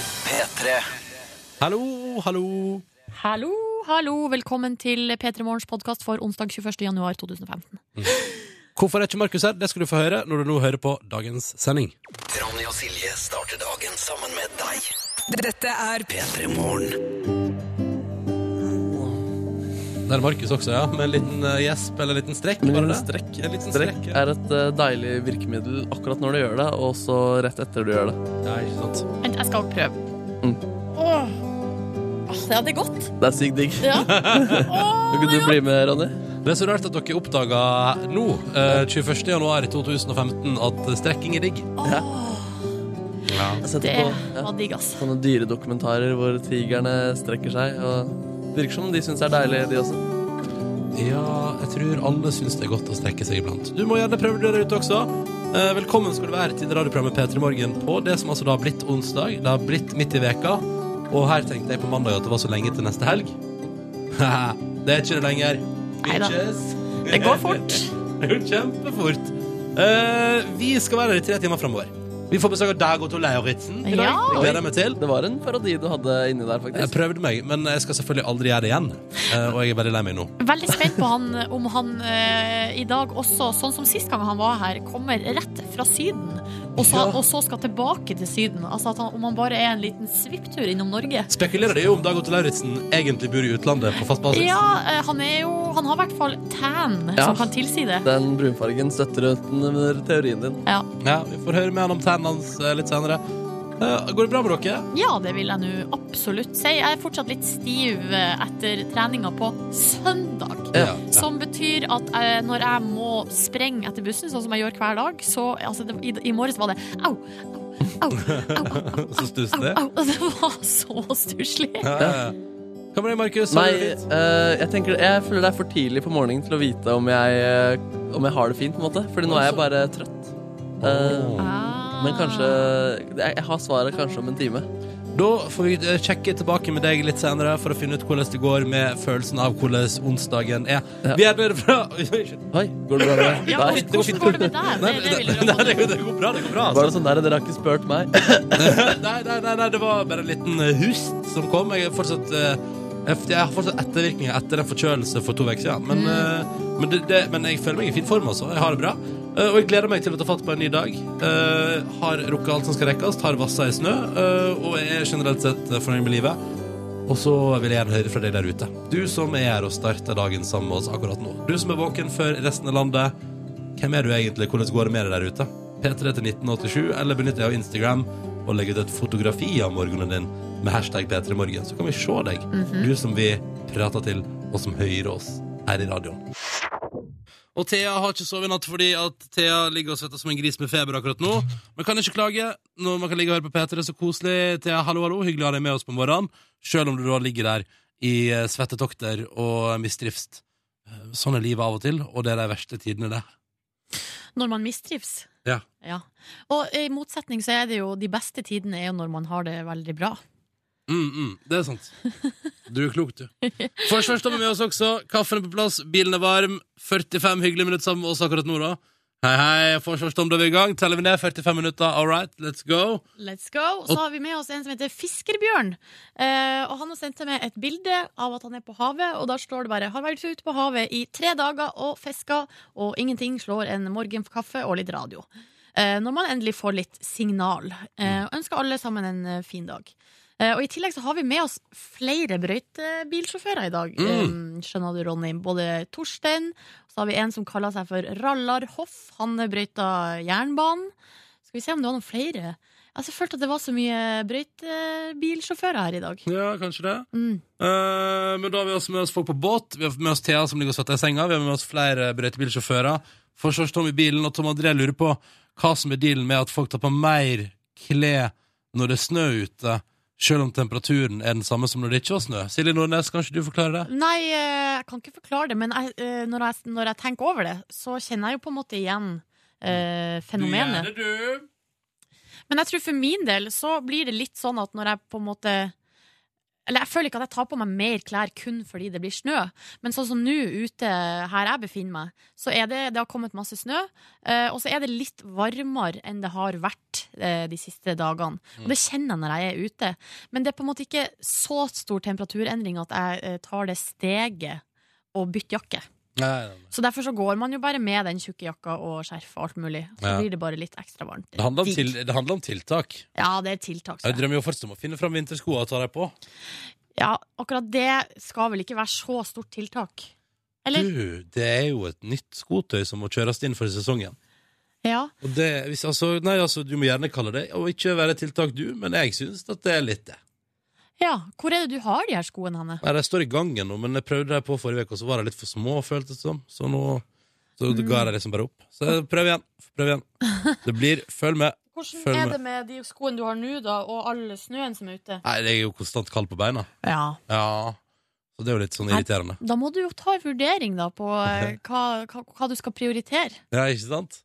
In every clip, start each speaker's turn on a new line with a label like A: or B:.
A: P3.
B: Hallo, hallo.
C: Hallo, hallo. Velkommen til P3 Morgens podkast for onsdag 21. januar 2015.
B: Hvorfor er ikke Markus her? Det skal du få høre når du nå hører på dagens sending.
A: Ronny og Silje starter dagen sammen med deg.
D: Dette er
A: P3 Morgen.
B: Det er Markus også, ja. Med en liten eh, gjesp eller en liten strekk.
E: En
B: var
E: liten
B: det det?
E: strekk.
B: En liten
E: Strekk
B: strekk, ja.
E: er et eh, deilig virkemiddel akkurat når du gjør det, og så rett etter du gjør det.
B: Nei, ikke sant.
C: Vent, jeg skal prøve.
E: Mm.
C: Åh. Åh, det hadde gått.
E: Det er sykt digg.
C: Ja.
E: Kan ikke du bli med, Ronny?
B: Det er så rart at dere oppdaga nå, eh, 21. januar 2015, at strekking er digg.
E: Jeg setter
C: Det
E: på ja,
C: var digg, ass.
E: sånne dyredokumentarer hvor tigrene strekker seg. Og det virker som de syns det er deilig, de også.
B: Ja, jeg tror alle syns det er godt å strekke seg iblant. Du må gjerne prøve det der ute også. Eh, Velkommen skal du være til radioprogrammet P3 Morgen på det som altså da har blitt onsdag. Det har blitt midt i veka. Og her tenkte jeg på mandag at det var så lenge til neste helg. det er ikke det lenger.
C: Neida.
B: Bitches.
C: Det går fort.
B: Det går kjempefort. Eh, vi skal være her i tre timer framover. Vi får besøk av Dag Otto Lauritzen i dag.
C: Ja.
B: Det gleder jeg meg til.
E: Det var en parodi du hadde inni der,
B: Jeg
E: faktisk.
B: prøvde meg, men jeg skal selvfølgelig aldri gjøre det igjen. Eh, og jeg er veldig lei meg nå.
C: Veldig spent på han, om han eh, i dag også, sånn som sist gang han var her, kommer rett fra Syden. Og så,
B: Ja.
C: og så skal tilbake til Syden. Altså at han, Om han bare er en liten svipptur innom Norge.
B: Spekulerer det jo om Dag Otto Lauritzen egentlig bor i utlandet på fast basis.
C: Ja, eh, han er jo Han har i hvert fall tan
E: Ja.
C: som kan tilsi det.
E: Den brunfargen støtter under teorien din.
C: Ja.
B: Ja, vi får høre med han om tennene hans eh, litt senere. Eh, går det bra med dere?
C: ja, det vil jeg nå absolutt si. Jeg er fortsatt litt stiv eh, etter treninga på søndag.
E: Ja.
C: Som betyr at eh, når jeg må sprenge etter bussen, sånn som jeg gjør hver dag, så altså, det, i, I morges var det au, au, au, au, au, au,
B: Så stusslig.
C: au, au. Det var så stusslig.
B: Ja, ja, ja. Hva med deg, Markus? Har
E: Nei,
B: du det fint?
E: eh, jeg, tenker, jeg føler det er for tidlig på morgenen til å vite om jeg, eh, om jeg har det fint, på en måte. Fordi nå er jeg bare trøtt. Eh,
C: Ah.
E: Men kanskje Jeg, jeg har svaret kanskje om en time.
B: Da får vi eh, sjekke tilbake med deg litt senere for å finne ut hvordan det går med følelsen av hvordan onsdagen er.
E: Ja.
B: Vi er bedre fra Unnskyld.
E: Oi, går det bra med
C: Ja,
E: deg?
B: det går fint.
C: hvordan går det med deg?
B: Nei,
C: Det, det vil
B: nei,
C: jeg
B: nei,
C: råde.
B: det, går- det går bra. det går bra
E: Var
B: altså.
E: det sånn der dere har ikke spurt meg?
B: nei, nei, nei, nei, det var bare en liten eh, hust som kom. Jeg, er fortsatt, eh, jeg- jeg har fortsatt ettervirkninger etter en forkjølelse for to uker siden. Men, eh, men, det, det, men jeg føler meg i fin form, altså. Jeg har det bra. Eh, og jeg gleder meg til å ta fatt på en ny dag. Eh, har rukket alt som skal rekkes, har vassa i snø, eh, og jeg er generelt sett eh, fornøyd med livet. Og så vil jeg gjerne høre fra deg der ute. Du som er her og starter dagen sammen med oss akkurat nå. Du som er våken før resten av landet. Hvem er du egentlig? Hvordan går det med deg der ute? P3 til 1987, eller benytter jeg av Instagram og legger ut et fotografi av morgenen din med hashtag P3morgen, så kan vi se deg. Du som vi prater til, og som hører oss her i radioen. Og Thea har ikke sovet i natt fordi at Thea ligger og svetter som en gris med feber akkurat nå. Men kan ikke klage når man kan ligge og høre på P3. Så koselig. Thea, hallo, hallo. Hyggelig å ha deg med oss på morgenen. Selv om du da ligger der i eh, svettetokter og mistrivst. Eh, Sånn er livet av og til, og det er de verste tidene, det.
C: Når man mistrives.
B: Ja.
C: Og i motsetning så er det jo de beste tidene er jo når man har det veldig bra.
B: Mm, mm, det er sant. Du er klok, du. Forsvarst har vi med oss også. Kaffen er på plass, bilen er varm. 45 hyggelige minutter sammen med oss akkurat nå, da. Hei, hei, Forsvarsstom, da er vi i gang. Teller vi ned 45 minutter. All right, let's go.
C: Let's go. Så har vi med oss en som heter Fiskerbjørn. Eh, og han har sendt meg et bilde av at han er på havet, og da står det bare 'Har vært ute på havet i tre dager og fiska', og ingenting slår en morgen for kaffe og litt radio. Eh, når man endelig får litt signal. Eh,
B: Mm.
C: ønsker alle sammen en eh, fin dag. Eh, og I tillegg så har vi med oss flere brøytebilsjåfører i dag.
B: Mm.
C: Eh, skjønner du, Ronny. Både Torstein, så har vi en som kaller seg for Rallar Hoff. Han brøyta jernbanen. Skal vi se om det var noen flere? Altså, jeg følte at det var så mye brøytebilsjåfører her i dag.
B: Ja, kanskje det.
C: Mm.
B: Eh, men da har vi også med oss folk på båt. Vi har med oss Thea som ligger og svetter i senga. Vi har med oss flere brøytebilsjåfører. Forsvarsstom i bilen, og Tom André lurer på hva som er dealen med at folk tar på mer klær når det er snø ute, selv om temperaturen er den samme som når det ikke var snø. Silje Nordnes, kan ikke du forklare det?
C: Nei, eh, jeg kan ikke forklare det, men jeg, eh, når, jeg, når jeg tenker over det, så kjenner jeg jo på en måte igjen eh, fenomenet.
B: Mm. Du gjør det, du.
C: Men jeg tror for min del så blir det litt sånn at når jeg på en måte Eller jeg føler ikke at jeg tar på meg mer klær kun fordi det blir snø. Men sånn som nå ute her jeg befinner meg, så er det, det har kommet masse snø. eh, og så er det litt varmere enn det har vært eh, de siste dagene.
B: Mm.
C: Og det kjenner jeg når jeg er ute. Men det er på en måte ikke så stor temperaturendring at jeg eh, tar det steget å bytte jakke.
B: Nei, nei, nei.
C: Så derfor så går man jo bare med den tjukke jakka og skjerf og alt mulig. Så
B: Ja.
C: blir det bare litt ekstra varmt.
B: Det handler, om
C: Digg.
B: til, det handler om tiltak.
C: Ja, det er
B: Jeg
C: tiltak. tror jeg.
B: drømmer jo fortsatt om å finne fram vinterskoa og ta dem på.
C: Ja, akkurat det skal vel ikke være så stort tiltak. Eller?
B: Du, det er jo et nytt skotøy som må kjøres inn for sesongen.
C: Ja.
B: Og det, hvis, altså, nei, altså, du må gjerne kalle det Og ikke være et tiltak du, men jeg syns at det er litt det.
C: ja. Hvor er det du har de her skoene, Hanne?
B: Nei, De står i gangen nå, men jeg prøvde dem på forrige uke, og så var de litt for små, føltes det som. Så nå så ga jeg dem liksom bare opp. Så prøv igjen. Prøv igjen. Det blir Følg med.
C: Hvordan
B: Følg med.
C: er det med de skoene du har nå, da, og all snøen som er ute?
B: Nei, det er jo konstant kald på beina.
C: Ja.
B: Ja. Så det er jo litt sånn irriterende.
C: Da må du jo ta en vurdering, da, på eh, hva, hva, hva du skal prioritere.
B: Ja, ikke sant?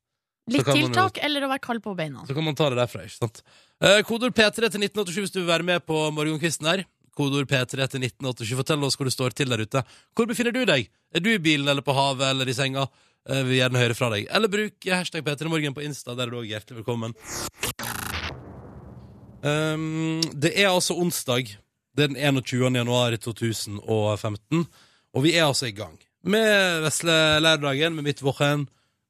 B: Så
C: Litt
B: kan man jo-
C: tiltak eller å være kald på beina.
B: Så kan man ta det derfra, ikke sant? Eh, kodord P3 til 1987 hvis du vil være med på morgenkvisten her. Kodord P3 til 1987. Fortell oss hvor du står til der ute. Hvor befinner du deg? Er du i bilen eller på havet eller i senga? Eh, vi vil gjerne høre fra deg. Eller bruk hashtag P3morgen på Insta. Der er du òg hjertelig velkommen. Um, det er altså onsdag. Det er den 21. januar 2015. Og vi er altså i gang med vesle lørdagen, med mitt våken.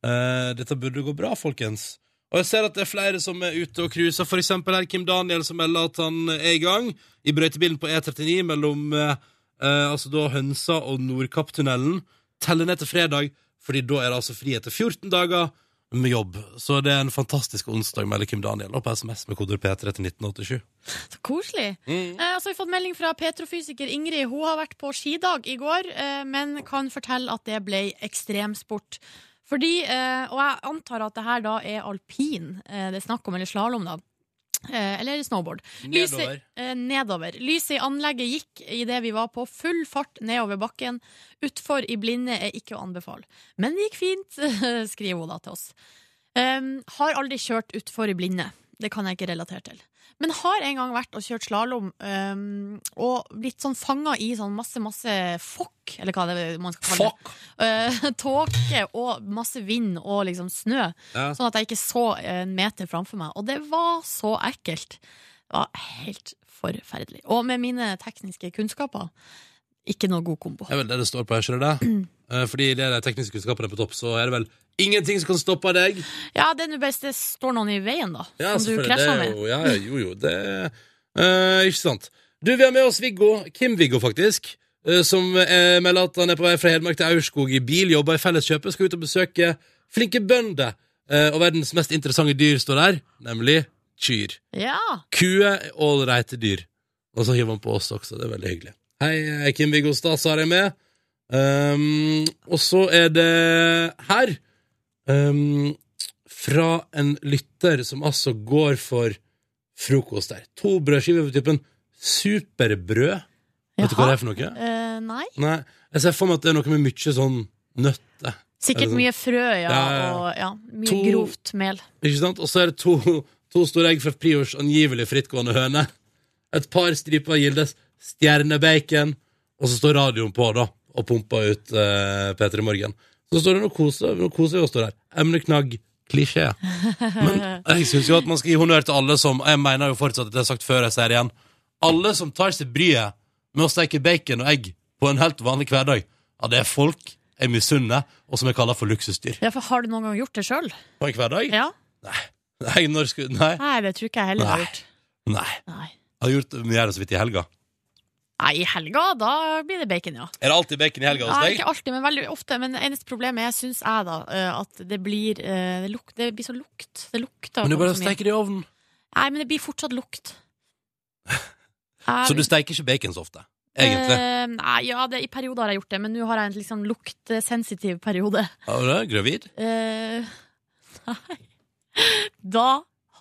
B: Eh, dette burde gå bra, folkens. Og jeg ser at det er flere som er ute og cruiser. For eksempel her Kim Daniel som melder at han er i gang i brøytebilen på E39 mellom eh, eh, altså da Hønsa og Nordkapptunnelen. Teller ned til fredag, fordi da er det altså fri etter 14 dager med jobb. Så det er en fantastisk onsdag, melder Kim Daniel. Og på SMS med kodeord P3 til 1987.
C: Så koselig. Eh, og så har vi fått melding fra petrofysiker Ingrid. Hun har vært på skidag i går, eh, men kan fortelle at det ble ekstremsport. Fordi, eh, og jeg antar at det her da er alpin eh, det er snakk om, eller slalåm, da. Eh, eller snowboard. Lyset-
B: Nedover.
C: eh, nedover. Lyset i anlegget gikk idet vi var på full fart nedover bakken. Utfor i blinde er ikke å anbefale. Men det gikk fint, skriver hun da til oss. Um, har aldri kjørt utfor i blinde. Det kan jeg ikke relatere til. Men har en gang vært og kjørt slalåm um, og blitt sånn fanga i sånn masse, masse fokk, eller hva det er man skal kalle det.
B: Fuck!
C: Eh, tåke og masse vind og liksom snø.
B: Ja.
C: Sånn at jeg ikke så en meter framfor meg. Og det var så ekkelt. Det var helt forferdelig. Og med mine tekniske kunnskaper, ikke noe god kombo.
B: Det er vel det det står på her, skjønner du det? Eh, Fordi det er de tekniske kunnskapene på topp, så er det vel ingenting som kan stoppe deg.
C: Ja, det er nå best det står noen i veien, da.
B: Ja,
C: som du
B: selvfølgelig. Det
C: krasjer
B: er
C: med.
B: Jo, ja, ja, jo, jo, det eh, Ikke sant. Du, vi har med oss Viggo, Kim-Viggo, faktisk, eh, som eh, melder at han er på vei fra Hedmark til Aurskog i bil, jobber i Felleskjøpet, skal ut og besøke flinke bønder. eh, og verdens mest interessante dyr står der, nemlig kyr.
C: Ja.
B: Kuer er ålreite dyr. Og så hiver han på oss også. Det er veldig hyggelig. Hei, jeg er Kim-Viggo Stas har jeg med. Um, og så er det her um, Fra en lytter som altså går for frokost der. To brødskiver på typen superbrød. Vet du hva det er for noe?
C: Eh, nei.
B: Nei, Jeg ser for meg at det er noe med mye sånn nøtter. Er
C: Sikkert
B: det sånn?
C: mye frø, ja,
B: Ja, ja, ja.
C: og ja, mye
B: To-
C: grovt mel.
B: Ikke sant? Og så er det to, to store egg fra Priors angivelig frittgående høne. Et par striper av Gildes stjernebacon. Og så står radioen på da, og pumper ut eh, P3 Morgen. Så står det noe koselig noe koselig å stå der. Emneknagg. Klisjé. Men jeg syns jo at man skal gi honnør til alle som Jeg mener jo fortsatt at det er sagt før jeg sier det igjen. Alle som tar seg bryet med å steke bacon og egg på en helt vanlig hverdag, ja, det er folk jeg misunner, og som jeg kaller for luksusdyr.
C: Ja, for har du noen gang gjort det sjøl?
B: På en hverdag?
C: Ja.
B: Nei, når skulle Nei.
C: Nei, det tror ikke jeg heller har
B: Nei.
C: gjort.
B: Nei.
C: Nei.
B: Jeg har gjort mye her så vidt i helga.
C: Nei, i helga, da blir det bacon, ja.
B: Er det alltid bacon i helga hos
C: Nei,
B: deg?
C: ikke alltid, men veldig ofte. Men eneste problemet er, syns jeg, da, eh, at det blir eh, det, luk, det blir så lukt. Det lukter
B: Men du
C: sånn
B: bare
C: så mye.
B: steker det i ovnen.
C: Nei, men det blir fortsatt lukt.
B: Så du
C: Jeg-
B: steker ikke bacon så ofte, egentlig?
C: Eh, nei, ja, det, i perioder har jeg gjort det, men nå har jeg en liksom luktsensitiv periode.
B: Ja, du er gravid?
C: Eh, nei. Da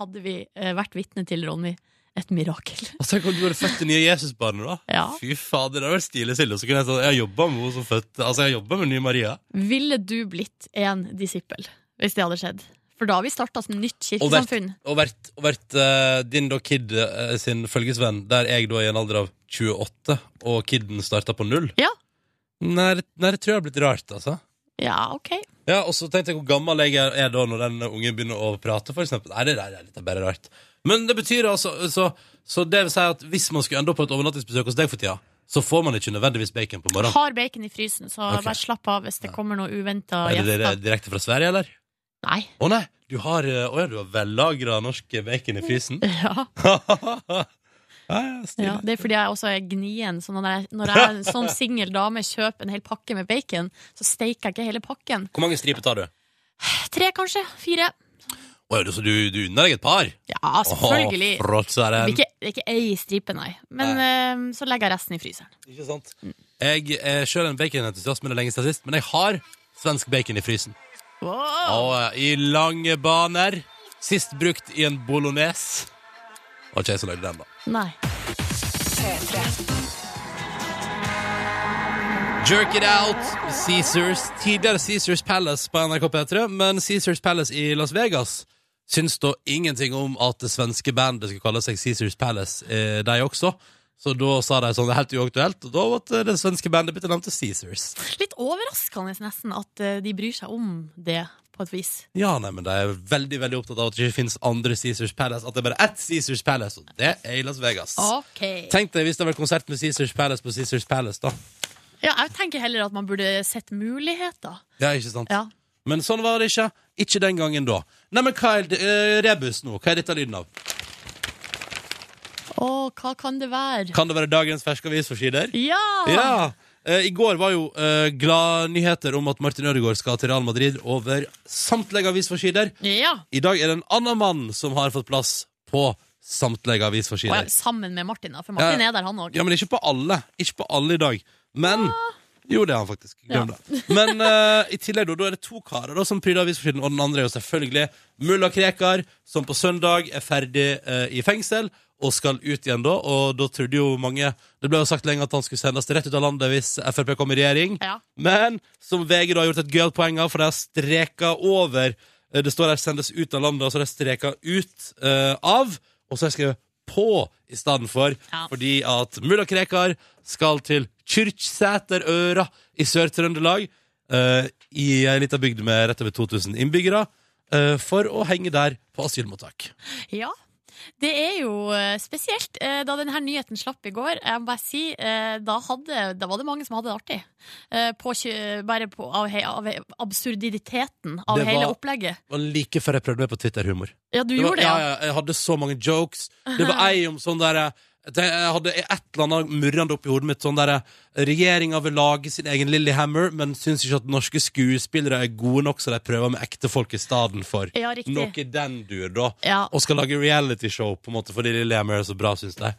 C: hadde vi eh, vært vitne til, Ronny, et mirakel.
B: Og tenk om du hadde født det nye Jesusbarnet, da.
C: Ja.
B: Fy fader, det hadde vært stilig, Silje. Så kunne jeg sagt jeg har jobba med henne som fødte Altså, jeg har jobba med nye Maria.
C: Ville du blitt en disippel hvis det hadde skjedd? For da har vi starta et nytt
B: Og vært,
C: kirkesamfunn.
B: og vært, og vært eh, din da Kid eh, sin følgesvenn, der jeg da i en alder av 28, og Kidden starta på null.
C: Ja.
B: Nei, det- nei, det tror jeg har blitt rart, altså.
C: Ja, OK.
B: Ja, og så tenkte jeg hvor gammel jeg er er da når den ungen begynner å prate, for eksempel. Nei, det, det, det er bare rart. Men det betyr altså, så, så det vil si at hvis man skulle ende opp på et overnattingsbesøk hos deg for tida, så får man ikke nødvendigvis bacon på morgenen.
C: Har bacon i frysen, så
B: Ok.
C: bare slapp av hvis det kommer noen uventa
B: Er det
C: gjester.
B: dire- direkte fra Sverige, eller?
C: Nei.
B: Å nei, du har, eh, å, ja, du har vellagra norsk bacon i frysen.
C: Ja,
B: ja, ja, stilig.
C: ja, det er fordi jeg også er gnien. Så når jeg, når jeg som singel dame kjøper en hel pakke med bacon, så steiker jeg ikke hele pakken.
B: Hvor mange striper tar du?
C: Tre, kanskje? Fire?
B: Å, ja, du, så du, du unner deg et par?
C: Ja, selvfølgelig.
B: Å, fråtseren.
C: Det blir ikke, det er ikke ei stripe, nei. Men eh, så legger jeg resten i fryseren.
B: Ikke sant? Jeg er selv en baconentusiast, men det er lenge siden sist. Men jeg har svensk bacon i frysen. Og eh, i lange baner. Sist brukt i en bolognese. Det var ikke jeg som lagde den, da.
C: Nei.
B: Jerk it out. Caesars. Tidligere Caesars Palace på NRK P3, men Caesars Palace i Las Vegas syns da ingenting om at det svenske bandet skal kalle seg Caesars Palace, eh, de også. Så da sa de sånn, det er helt uaktuelt, og da måtte det svenske bandet bytte navn til Caesars.
C: Litt overraskende nesten at eh, de bryr seg om det, på et vis.
B: Ja, nei, men de er veldig veldig opptatt av at det ikke finnes andre Caesars Palace. At det er bare ett Caesars Palace, og det er i Las Vegas.
C: OK.
B: Tenk deg hvis det hadde vært konsert med Caesars Palace på Caesars Palace, da.
C: Ja, jeg tenker heller at man burde sett muligheter.
B: Ja, ikke sant?
C: Ja.
B: Men sånn var det ikke. Ikke den gangen da. Nei, men hva er det, eh, rebus nå? Hva er dette lyden av?
C: Å, hva kan det være?
B: Kan det være dagens ferske avisforsider?
C: Ja!
B: Ja! Eh, I går var jo eh, glad nyheter om at Martin Ødegaard skal til Real Madrid over samtlige avisforsider.
C: Ja.
B: I dag er det en annen mann som har fått plass på samtlige
C: Og
B: avisforsider.
C: ja, sammen med Martin, da. For Martin
B: Ja.
C: er der, han òg.
B: Ja, men ikke på alle. Ikke på alle i dag. Men Jo, det er han faktisk. Glem det. Men eh, i tillegg, da, da er det to karer da, som pryder avisforsiden, og den andre er jo selvfølgelig mulla Krekar, som på søndag er ferdig eh, i fengsel og skal ut igjen da. Og da trodde jo mange Det ble jo sagt lenge at han skulle sendes rett ut av landet hvis Frp kom i regjering.
C: Ja.
B: Men som VG da har gjort et gøyalt poeng av, for de har streka over eh, Det står der 'sendes ut av landet', og så har de streka ut eh, av, og så har jeg skrevet 'på' i stedet for.
C: Ja.
B: Fordi at mulla Krekar skal til Kyrksæterøra i Sør-Trøndelag, eh, i ei lita bygd med rett over 2000 innbyggere, eh, for å henge der på asylmottak.
C: Ja. Det er jo eh, spesielt. Eh, Da denne nyheten slapp i går, jeg må bare si, eh, da, hadde, da var det mange som hadde det artig. Eh, På, kjø- bare på, av, he- av absurditeten av
B: Det var-
C: hele opplegget.
B: Og like før jeg prøvde meg på Twitter-humor.
C: Ja, du
B: Det var,
C: gjorde det,
B: ja,
C: ja.
B: ja, jeg hadde så mange jokes. Det var ei om sånn derre det- jeg hadde et eller annet murrende oppi hodet mitt. Sånn der, Regjeringa vil lage sin egen Lillehammer, men syns ikke at norske skuespillere er gode nok, så de prøver med ekte folk i stedet for.
C: Ja, riktig.
B: Noe i den dur, da.
C: Ja.
B: Og skal lage realityshow på en måte fordi Lillehammer er så bra, syns de.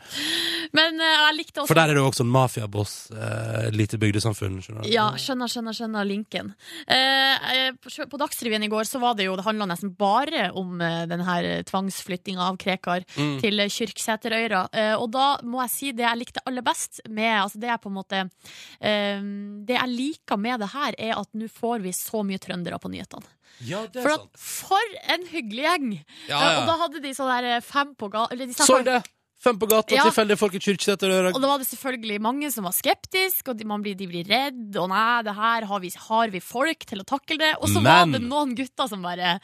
C: Men eh, jeg likte også
B: For der er det jo også en mafiaboss. Eh, lite bygdesamfunn, skjønner du.
C: Ja, skjønner, skjønner, skjønner linken. Eh, eh, på sjø- på Dagsrevyen i går så var det jo, det handla nesten bare om eh, den her tvangsflyttinga av Krekar
B: Mm.
C: til eh, Kyrksæterøyra. Eh, og da må jeg si det jeg likte aller best med altså Det er på en måte eh, Det jeg liker med det her, er at nå får vi så mye trøndere på nyhetene.
B: Ja, det er
C: For, at,
B: sant.
C: for en hyggelig gjeng!
B: Ja,
C: Eh,
B: ja.
C: og da hadde de sånn der eh, fem på ga... Eller de
B: Så
C: snakket-
B: det! Fem på gata,
C: Ja.
B: tilfeldige folk i Kyrksæterøra.
C: og da var det selvfølgelig mange som var skeptiske, og de, man blir, de blir redd, og nei, det her har vi, har vi folk til å takle det? Og så var
B: Men-
C: det noen gutter som bare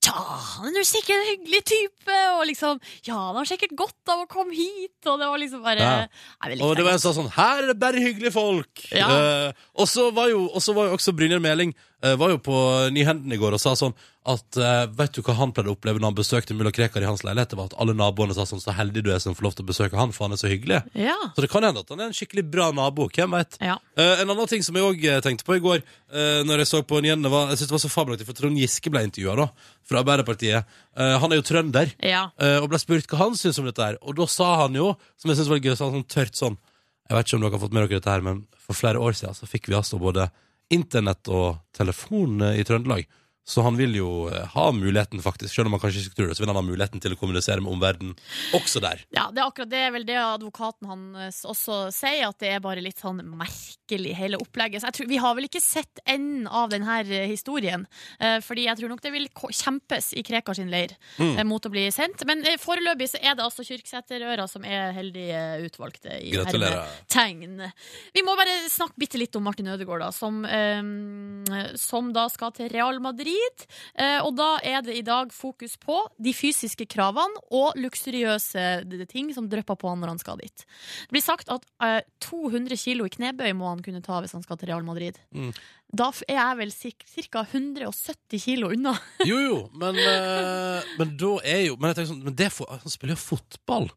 C: Tja, han er jo sikkert en hyggelig type, og liksom Ja, han har sikkert godt av å komme hit, og det var liksom bare
B: Ja.
C: Nei, det
B: Og
C: likte
B: det var
C: jeg.
B: en som sa sånn Her er det bare hyggelige folk!
C: Ja.
B: Eh, og så var, jo- og så var jo også Brynjar Meling eh, Var jo på Nyhendene i går og sa sånn at eh, Vet du hva han pleide å oppleve når han besøkte mulla Krekar i hans leilighet? Det var at alle naboene sa sånn Så heldig du er som får lov til å besøke han, for han er så hyggelig.
C: Ja.
B: Så det kan hende at han er en skikkelig bra nabo. Hvem veit?
C: Ja.
B: Eh, en annen ting som jeg òg tenkte på i går, eh, Når jeg så på nyhetene, var Jeg synes det var så fabelaktig, for Trond Giske ble intervjua fra Arbeiderpartiet. Eh, han er jo trønder.
C: ja.
B: Eh, og ble spurt hva han syntes om dette her. Og da sa han jo, som jeg syntes var gøy, så han sånn tørt sånn Jeg vet ikke om dere har fått med dere dette her, men for flere år siden så fikk vi altså både internett og telefon eh, i Trøndelag. Så han vil jo eh, ha muligheten, faktisk, selv om han kanskje ikke tror det, så vil han ha muligheten til å kommunisere med omverdenen også der.
C: Ja, det er akkurat det, er vel det advokaten hans også sier, at det er bare litt sånn merkelig hele opplegget. Så jeg tror, vi har vel ikke sett enden av denne historien, eh, fordi jeg tror nok det vil ko- kjempes i Krekar sin leir eh, mot å bli sendt. Men eh, foreløpig så er det altså Kyrksæterøra som er heldig eh, utvalgt eh, i
B: Gratulerer.
C: tegn. Vi må bare snakke bitte litt om Martin Ødegaard, da, som, eh, som da skal til Real Madrid. Eh, og da er det i dag fokus på de fysiske kravene og luksuriøse d- ting som drypper på han når han skal dit. Det blir sagt at eh, 200 kilo i knebøy må han kunne ta hvis han skal til Real Madrid.
B: Mm.
C: Da f- er jeg vel ca. 170 kilo unna.
B: Jo, jo, men, eh, men da er jo Men, jeg tenker sånn, men det får, han spiller jo fotball.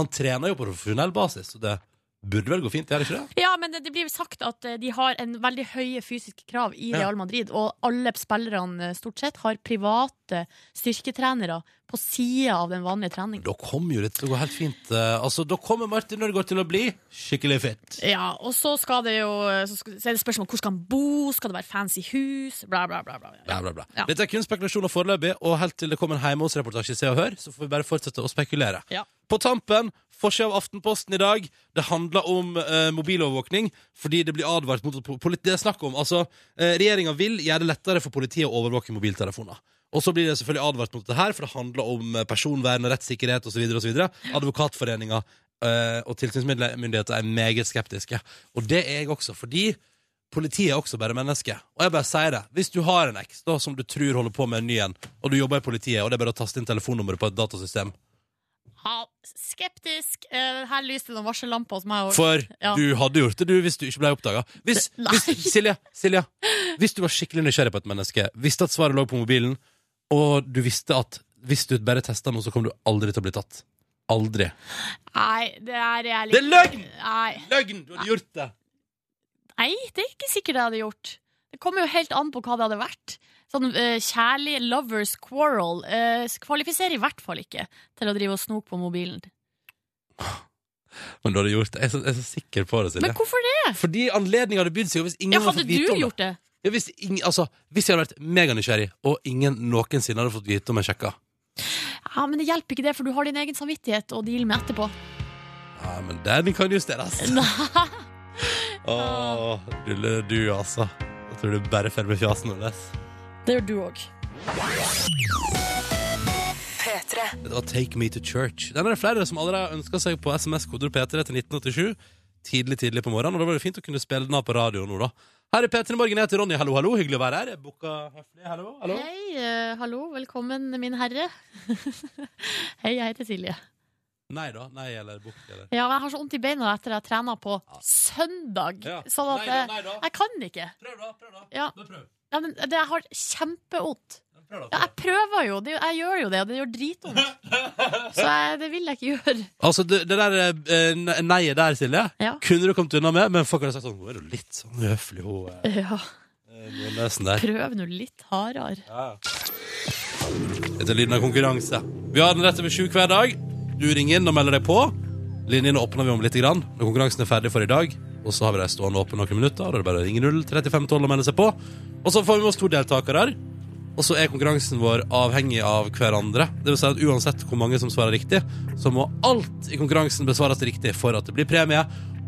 B: Han trener jo på profesjonell basis, så det burde vel gå fint, er det ikke det?
C: Ja, men det, det blir sagt at eh, de har en veldig høye fysiske krav i
B: Ja.
C: Real Madrid, og alle spillerne eh, stort sett har private styrketrenere på sida av den vanlige treningen.
B: Da kommer jo det til å gå helt fint. eh, altså, da kommer Martin Ødegaard til å bli skikkelig fit.
C: Ja, og så skal det jo eh, så, skal, så er det spørsmål om hvor skal han bo, skal det være fancy hus, bla, bla, bla. bla.
B: Bla, bla, bla.
C: Ja.
B: Dette er kun spekulasjoner foreløpig, og helt til det kommer en hjemme hos reportasje i Se og Hør, så får vi bare fortsette å spekulere.
C: Ja.
B: På tampen, forsida av Aftenposten i dag, det handler om eh, mobilovervåkning, fordi det blir advart mot at po- politi- Det er snakk om, altså, eh, regjeringa vil gjøre det lettere for politiet å overvåke mobiltelefoner. Og så blir det selvfølgelig advart mot det her, for det handler om eh, personvern og rettssikkerhet osv. osv. Advokatforeninga eh, og tilsynsmyndigheter er meget skeptiske. Og det er jeg også, fordi Politiet er også bare mennesker. Og jeg bare sier det. Hvis du har en eks da, som du tror holder på med en ny en, og du jobber i politiet, og det er bare å taste inn telefonnummeret på et datasystem
C: Ja, skeptisk. Eh, her lyste det noen varsellamper hos meg. også.
B: For
C: Ja.
B: du hadde gjort det, du, hvis du ikke ble oppdaga. Hvis,
C: Nei.
B: hvis, Silje, Silje, hvis du var skikkelig nysgjerrig på et menneske, visste at svaret lå på mobilen, og du visste at hvis du bare testa noe, så kom du aldri til å bli tatt. Aldri.
C: Nei, det er jeg
B: Det er løgn!
C: Nei.
B: Løgn! Du hadde gjort det!
C: Nei, det er ikke sikkert jeg hadde gjort. Det kommer jo helt an på hva det hadde vært. Sånn eh, kjærlig lovers quarrel eh, kvalifiserer i hvert fall ikke til å drive og snoke på mobilen.
B: Men du hadde gjort det. Jeg er så, jeg er så sikker på det,
C: Men
B: Silje.
C: hvorfor det?
B: Fordi anledninga hadde bydd seg, og hvis ingen
C: Ja,
B: hadde
C: hadde
B: fått
C: du
B: vite om det
C: gjort det?
B: Ja, hvis, ingen, altså, hvis jeg hadde vært meganysgjerrig, og ingen noensinne hadde fått vite om jeg sjekka
C: Ja, Men det hjelper ikke det, for du har din egen samvittighet å deale med etterpå.
B: Ja, men den kan justeres. Åh, du, du, altså. Jeg tror du bare følger med fjasen hennes.
C: Det gjør du òg.
B: Dette var Take Me To Church. Den er det flere som allerede ønska seg på SMS-koder P3 til 1987. Tidlig tidlig på morgenen, og da var det fint å kunne spille den av på radio nå, da. Her er P3 Morgen, jeg heter Ronny. Hallo, hallo. Hyggelig å være her. Jeg booka høflig. Hallo, hallo.
C: Hei, eh, hallo. Velkommen, min herre. Hei, jeg heter Silje.
B: Nei da. Nei eller book, eller
C: Ja, men Jeg har så vondt i beina etter at jeg trena på søndag.
B: Ja.
C: Sånn at
B: Nei da,
C: jeg,
B: nei da.
C: jeg kan ikke.
B: Prøv, da. Prøv, da.
C: Ja.
B: Men Prøv.
C: Ja, men eh, det, jeg har kjempevondt.
B: Men Prøv, da.
C: Ja,
B: Prøv.
C: jeg prøver jo. Det, jeg gjør jo det, og det gjør dritvondt. Så jeg, det vil jeg ikke gjøre.
B: Altså, det, det der eh, ne- neiet der, Silje,
C: Ja.
B: kunne du kommet unna med, men folk hadde sagt sånn Hun er jo litt sånn uhøflig, hun eh,
C: Ja,
B: Nordnesen der.
C: prøv nå litt hardere.
B: Dette er lyden av konkurranse. Vi har den rett over sju hver dag. Du ringer inn og melder deg på. Linjene åpner vi om litt grann når konkurransen er ferdig for i dag. Og så har vi de stående åpne noen minutter, og da er det bare å ringe 03512 og melde seg på. Og så får vi med oss to deltakere. Og så er konkurransen vår avhengig av hverandre. Det vil si at uansett hvor mange som svarer riktig, så må alt i konkurransen besvares riktig for at det blir premie.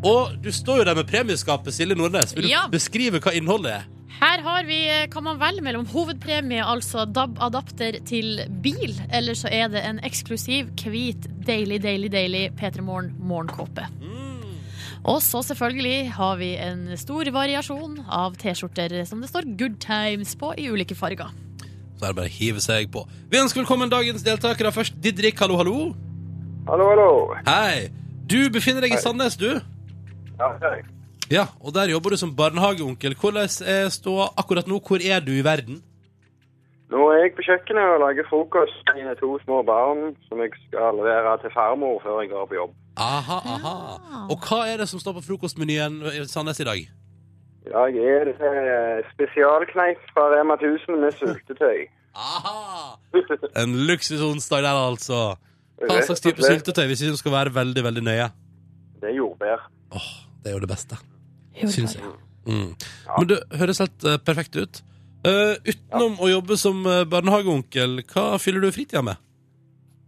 B: Og du står jo der med premieskapet, Silje Nordnes. Vil du
C: Ja.
B: beskrive hva innholdet er?
C: Her har vi, eh, kan man velge mellom hovedpremie, altså DAB-adapter til bil, eller så er det en eksklusiv, hvit, deilig, deilig, deilig P3 Morgen morgenkåpe. Og så selvfølgelig har vi en stor variasjon av T-skjorter som det står Good Times på i ulike farger.
B: Så er det bare å hive seg på. Vi ønsker velkommen dagens deltakere. Først Didrik, hallo, hallo.
D: Hallo, hallo.
B: Hei. Du befinner deg i Sandnes, du.
D: Ja, hei.
B: Ja, og der jobber du som barnehageonkel. Hvordan er ståa akkurat nå? Hvor er du i verden?
D: Nå er jeg på kjøkkenet og lager frokost til mine to små barn som jeg skal levere til farmor før jeg går på jobb.
B: Aha, aha.
C: Ah.
B: Og hva er det som står på frokostmenyen i Sandnes i dag?
D: I dag er det eh, spesialkneip fra Rema 1000 med sultetøy.
B: Aha! En luksusonsdag der, altså. Hva slags type
D: Det-
B: syltetøy, hvis vi skal være veldig, veldig nøye?
D: Det er jordbær.
B: Åh, det er jo det beste, syns jeg. Mm. Men det høres helt eh, perfekt ut. Eh, utenom å jobbe som eh, barnehageonkel, hva fyller du fritida med?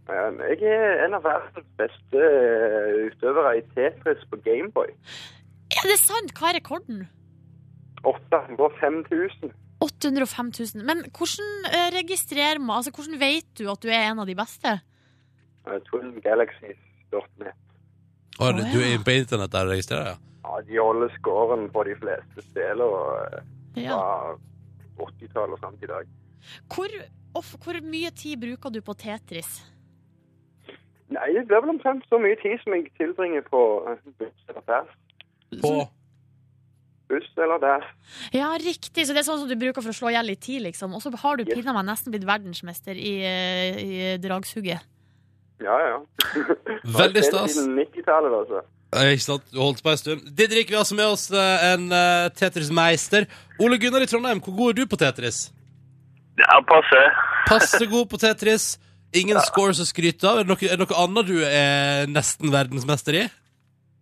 D: Eh, Jeg er en av verdens beste eh, utøvere i Tetris på Gameboy.
C: Er det sant? Hva er rekorden?
D: 805 000.
C: 805 000. Men hvordan eh, registrerer man Altså, hvordan vet du at du er en av de beste?
D: eh, Twingalaxies.net.
B: Å,
C: Å,
B: Du
C: ja.
B: er på internett der og registrerer, ja?
D: Ja, de holder scoren på de fleste spill og, eh,
C: Ja.
D: fra 80-tallet og fram til i dag.
C: Hvor, of, hvor mye tid bruker du på Tetris?
D: Nei, det blir vel omtrent så mye tid som jeg tilbringer på eh, buss eller der.
B: På
D: Buss eller der.
C: Ja, riktig. Så det er sånn som du bruker for å slå i hjel litt tid, liksom. Og så har du
D: Yes.
C: pinadø meg nesten blitt verdensmester i, eh, i dragshuget.
D: Ja, ja.
B: Veldig stas.
D: Siden 90-tallet, altså.
B: Eh, Ikke sant, du holdt på en stund Didrik, vi har altså med oss eh, en eh, Tetris-meister Ole Gunnar i Trondheim, hvor god er du på Tetris?
F: Ja, passe.
B: Passe god på Tetris Ingen scores å skryte av Er det noe, er det noe annet du er nesten verdensmester i?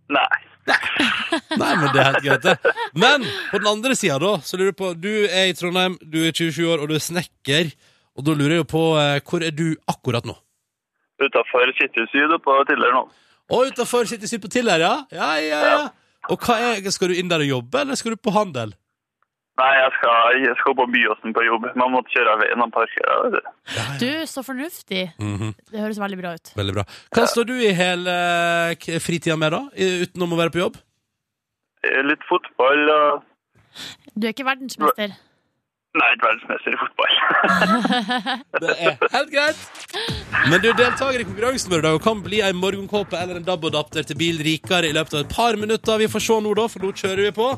F: Nei.
B: Nei, men det er helt greit det Men på den andre siden da Så lurer jeg på, du er i Trondheim, du er 27 år Og du er snekker Og da lurer jeg jo på, eh, hvor er du akkurat nå?
F: Utafor Kitty Syd og på Tiller nå.
B: Og utenfor sitter synd på til her, ja? Ja, ja, ja Og hva er, skal du inn der og jobbe Eller skal du på handel?
F: Nei, jeg skal, jeg skal på Byåsen på jobb. Man måtte kjøre av veien og parkere. vet du.
C: Du, så fornuftig.
B: Mhm
C: Det høres veldig bra ut.
B: Veldig bra. Hva står du i hele eh, k- fritida med, da? I- Utenom å være på jobb?
F: Eh, Litt fotball og
C: Du er ikke verdensmester.
F: Nei, ikke verdensmester i fotball.
B: Det er helt greit. Men du er deltaker i konkurransen vår i dag og kan bli ei morgenkåpe eller en DAB-adapter til bil rikere i løpet av et par minutter. Vi får se nå, da, for nå kjører vi på.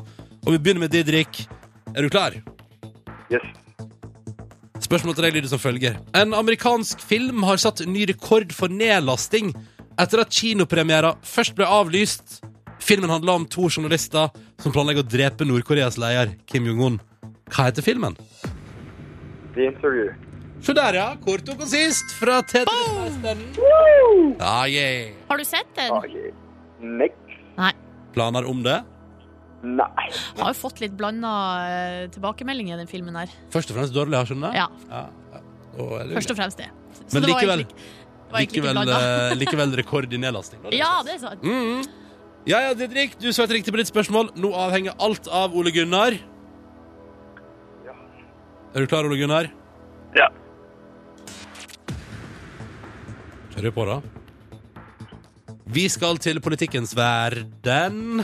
B: Og vi begynner med Didrik. Er du klar?
D: Yes.
B: Spørsmålet til deg lyder som følger. En amerikansk film har satt ny rekord for nedlasting etter at kinopremiera først ble avlyst. Filmen handler om to journalister som planlegger å drepe Nord-Koreas leder, Kim Jong-un. Hva heter filmen?
D: The Interview.
B: Se der, ja. Kort og konsist fra Tetris-meisteren. Ja, yeah.
C: Har du sett den?
D: Okay. Next.
B: Planer om det?
D: Nei.
C: Har jo fått litt blanda eh, tilbakemeldinger i den filmen her.
B: Først og fremst dårlig, har skjønner jeg.
C: Ja,
B: Ja, ja. Da er det jo
C: først og fremst det. Så
B: Men
C: det var
B: likevel-
C: egentlig ikke- det var egentlig ikke
B: likevel,
C: blanda.
B: eh, likevel rekord i nedlasting. da.
C: Ja, det er sant.
B: Mhm. Ja, ja, Didrik, du svarte riktig på ditt spørsmål. Nå avhenger alt av Ole Gunnar.
D: Ja.
B: Er du klar, Ole Gunnar?
F: Ja.
B: Kjører vi på, da. Vi skal til politikkens verden.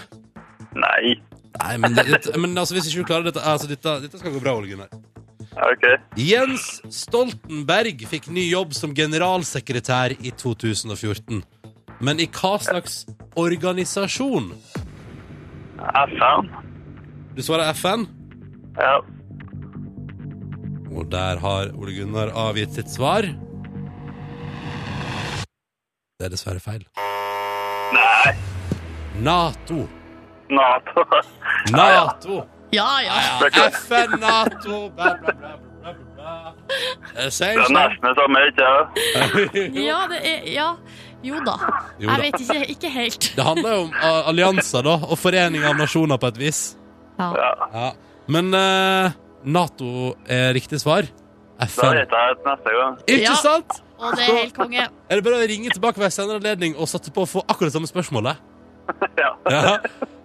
F: Nei.
B: Nei, men, det, men altså, hvis ikke du klarer dette, altså, dette Dette skal gå bra, Ole Gunnar.
F: OK.
B: Jens Stoltenberg fikk ny jobb som generalsekretær i 2014. Men i hva slags organisasjon?
F: FN.
B: Du svarer FN?
F: Ja.
B: Og der har Ole Gunnar avgitt sitt svar. Det er dessverre feil.
F: Nei.
B: Nato.
F: Nato.
B: Nato.
C: Ja, ja.
F: Det er klart.
B: FN, Nato, bla, bla, bla, bla, bla, bla. Eh,
F: Det er
B: Seinstein.
F: nesten det samme, ikke sant?
C: ja, det er, ja. Jo da.
B: Jo
C: Jeg
B: da.
C: vet ikke, ikke helt.
B: Det handler jo om eh, allianser, da, og forening av nasjoner på et vis.
C: Ja.
B: Ja. Men eh, Nato er riktig svar.
F: Da
B: FN.
F: vet jeg det neste gang.
B: Ikke
C: Ja.
B: sant?
C: Og det er helt konge.
B: Er det bare å ringe tilbake ved en senere anledning og satse på å få akkurat samme spørsmålet?
F: Ja.
B: Ja.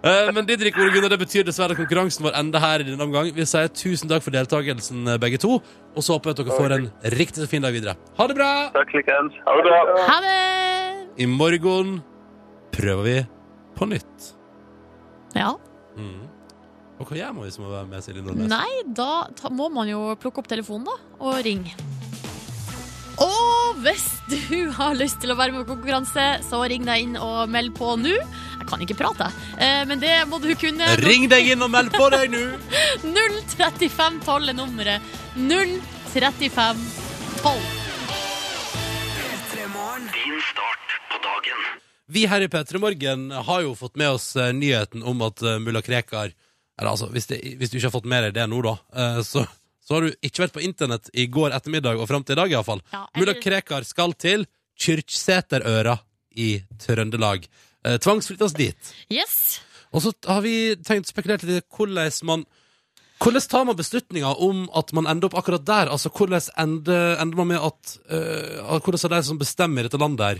B: Eh, Men Didrik Ole Gunnar, det betyr dessverre at konkurransen vår ender her i denne omgang. Vi sier tusen takk for deltakelsen, eh, begge to. Og så håper jeg at dere får en riktig så fin dag videre. Ha det bra!
F: Takk, Likens. Ha det bra.
C: Ha det!
B: I morgen prøver vi på nytt.
C: Ja.
B: Mm. Og hva gjør man hvis man må være med Silje Nordnes?
C: Nei, da ta, må man jo plukke opp telefonen, da, og ringe. Og hvis du har lyst til å være med på konkurranse, så ring deg inn og meld på nå. Jeg kan ikke prate, jeg. Eh, men det må du kunne.
B: Ring deg inn og meld på deg nå!
C: 03512 er nummeret. 03512.
A: Din start på dagen.
B: Vi her i P3 Morgen har jo fått med oss eh, nyheten om at eh, mulla Krekar Eller altså, hvis, det, hvis du ikke har fått med deg det nå, da, eh, så, så har du ikke vært på internett i går ettermiddag og fram til i dag, iallfall.
C: Ja,
B: Mulla
C: eller-
B: Krekar skal til Kyrksæterøra i Trøndelag. Eh, Tvangsflyttes dit.
C: Yes.
B: Og så har vi tenkt spekulert litt i hvordan man Hvordan tar man beslutninga om at man ender opp akkurat der? Altså, Hvordan ender, ender man med at eh, at Hvordan har de som bestemmer i dette landet her,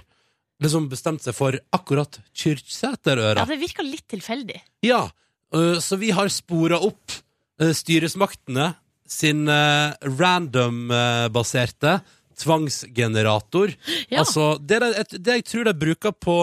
B: liksom bestemt seg for akkurat
C: Ja,
B: Kyrksæterøra?
C: det virka litt tilfeldig.
B: Ja, eh, så vi har spora opp eh, styresmaktene sin eh, random-baserte tvangsgenerator.
C: Ja.
B: Altså, det, de- et- det jeg tror de bruker på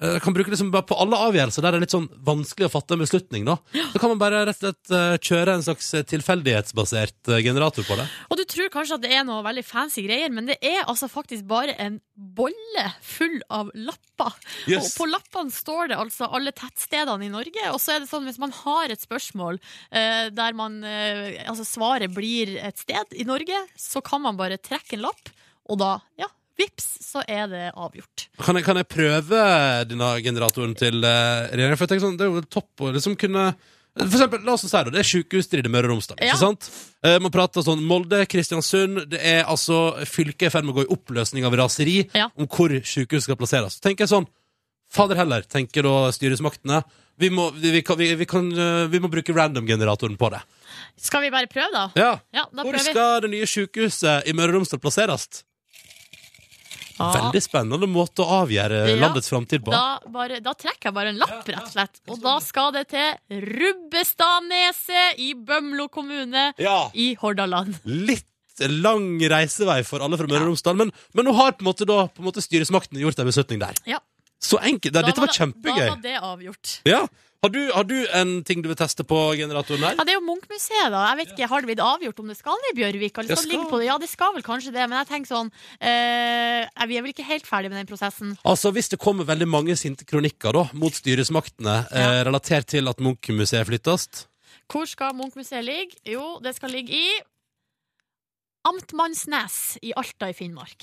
B: eh, kan bruke liksom bare på alle avgjørelser der det er litt sånn vanskelig å fatte en beslutning. da Så kan man bare rett og slett eh, kjøre en slags eh, tilfeldighetsbasert eh, generator på det.
C: Og du tror kanskje at det er noe veldig fancy greier, men det er altså faktisk bare en bolle full av lapper.
B: Yes.
C: Og på lappene står det altså alle tettstedene i Norge, og så er det sånn hvis man har et spørsmål eh, der man, eh, altså svaret blir et sted i Norge, så kan man bare trekke en lapp, og da, ja, vips, så er det avgjort.
B: Kan jeg, kan jeg prøve denne generatoren til eh, regjeringen? For jeg tenker sånn, Det er jo topp å liksom kunne for eksempel, la oss si det, det er sykehusstrid i Møre og Romsdal.
C: Ja.
B: ikke sant? Eh, man prater sånn Molde, Kristiansund Det er altså fylket er i ferd med å gå i oppløsning av raseri
C: Ja.
B: om hvor sykehus skal plasseres. Så tenker jeg sånn Fader heller, tenker da styresmaktene. Vi må, vi, vi, kan, vi, vi, kan, eh, vi må bruke random-generatoren på det.
C: Skal vi bare prøve da?
B: Ja.
C: Ja, da
B: Hvor
C: prøver vi.
B: skal det nye sykehuset i Møre og Romsdal plasseres?
C: Ja.
B: Veldig spennende måte å avgjøre
C: Ja.
B: landets framtid på.
C: Da, bare, da trekker jeg bare en lapp, rett og slett. Og da skal det til Rubbestadneset i Bømlo kommune
B: Ja.
C: i Hordaland.
B: litt lang reisevei for alle fra Møre og Romsdal, men, men nå har på en måte, da, på en måte styresmakten gjort en beslutning der.
C: Ja.
B: Så enkelt.
C: Da
B: Da, dette var
C: det-
B: kjempegøy.
C: Da var det avgjort.
B: Ja. Har, du, har du en ting du vil teste på generatoren her?
C: Ja, Det er jo Munchmuseet, da. Jeg vet ikke, Har det blitt avgjort om det skal ned i Bjørvika? Eller
B: Det
C: skal det ligge
B: skal.
C: på det? Ja, det skal vel kanskje det, men jeg tenker sånn eh, Vi er vel ikke helt ferdig med den prosessen.
B: Altså, Hvis det kommer veldig mange sinte kronikker da, mot styresmaktene eh, relatert til at Munchmuseet flyttes
C: Hvor skal Munchmuseet ligge? Jo, det skal ligge i Amtmannsnes i Alta i Finnmark.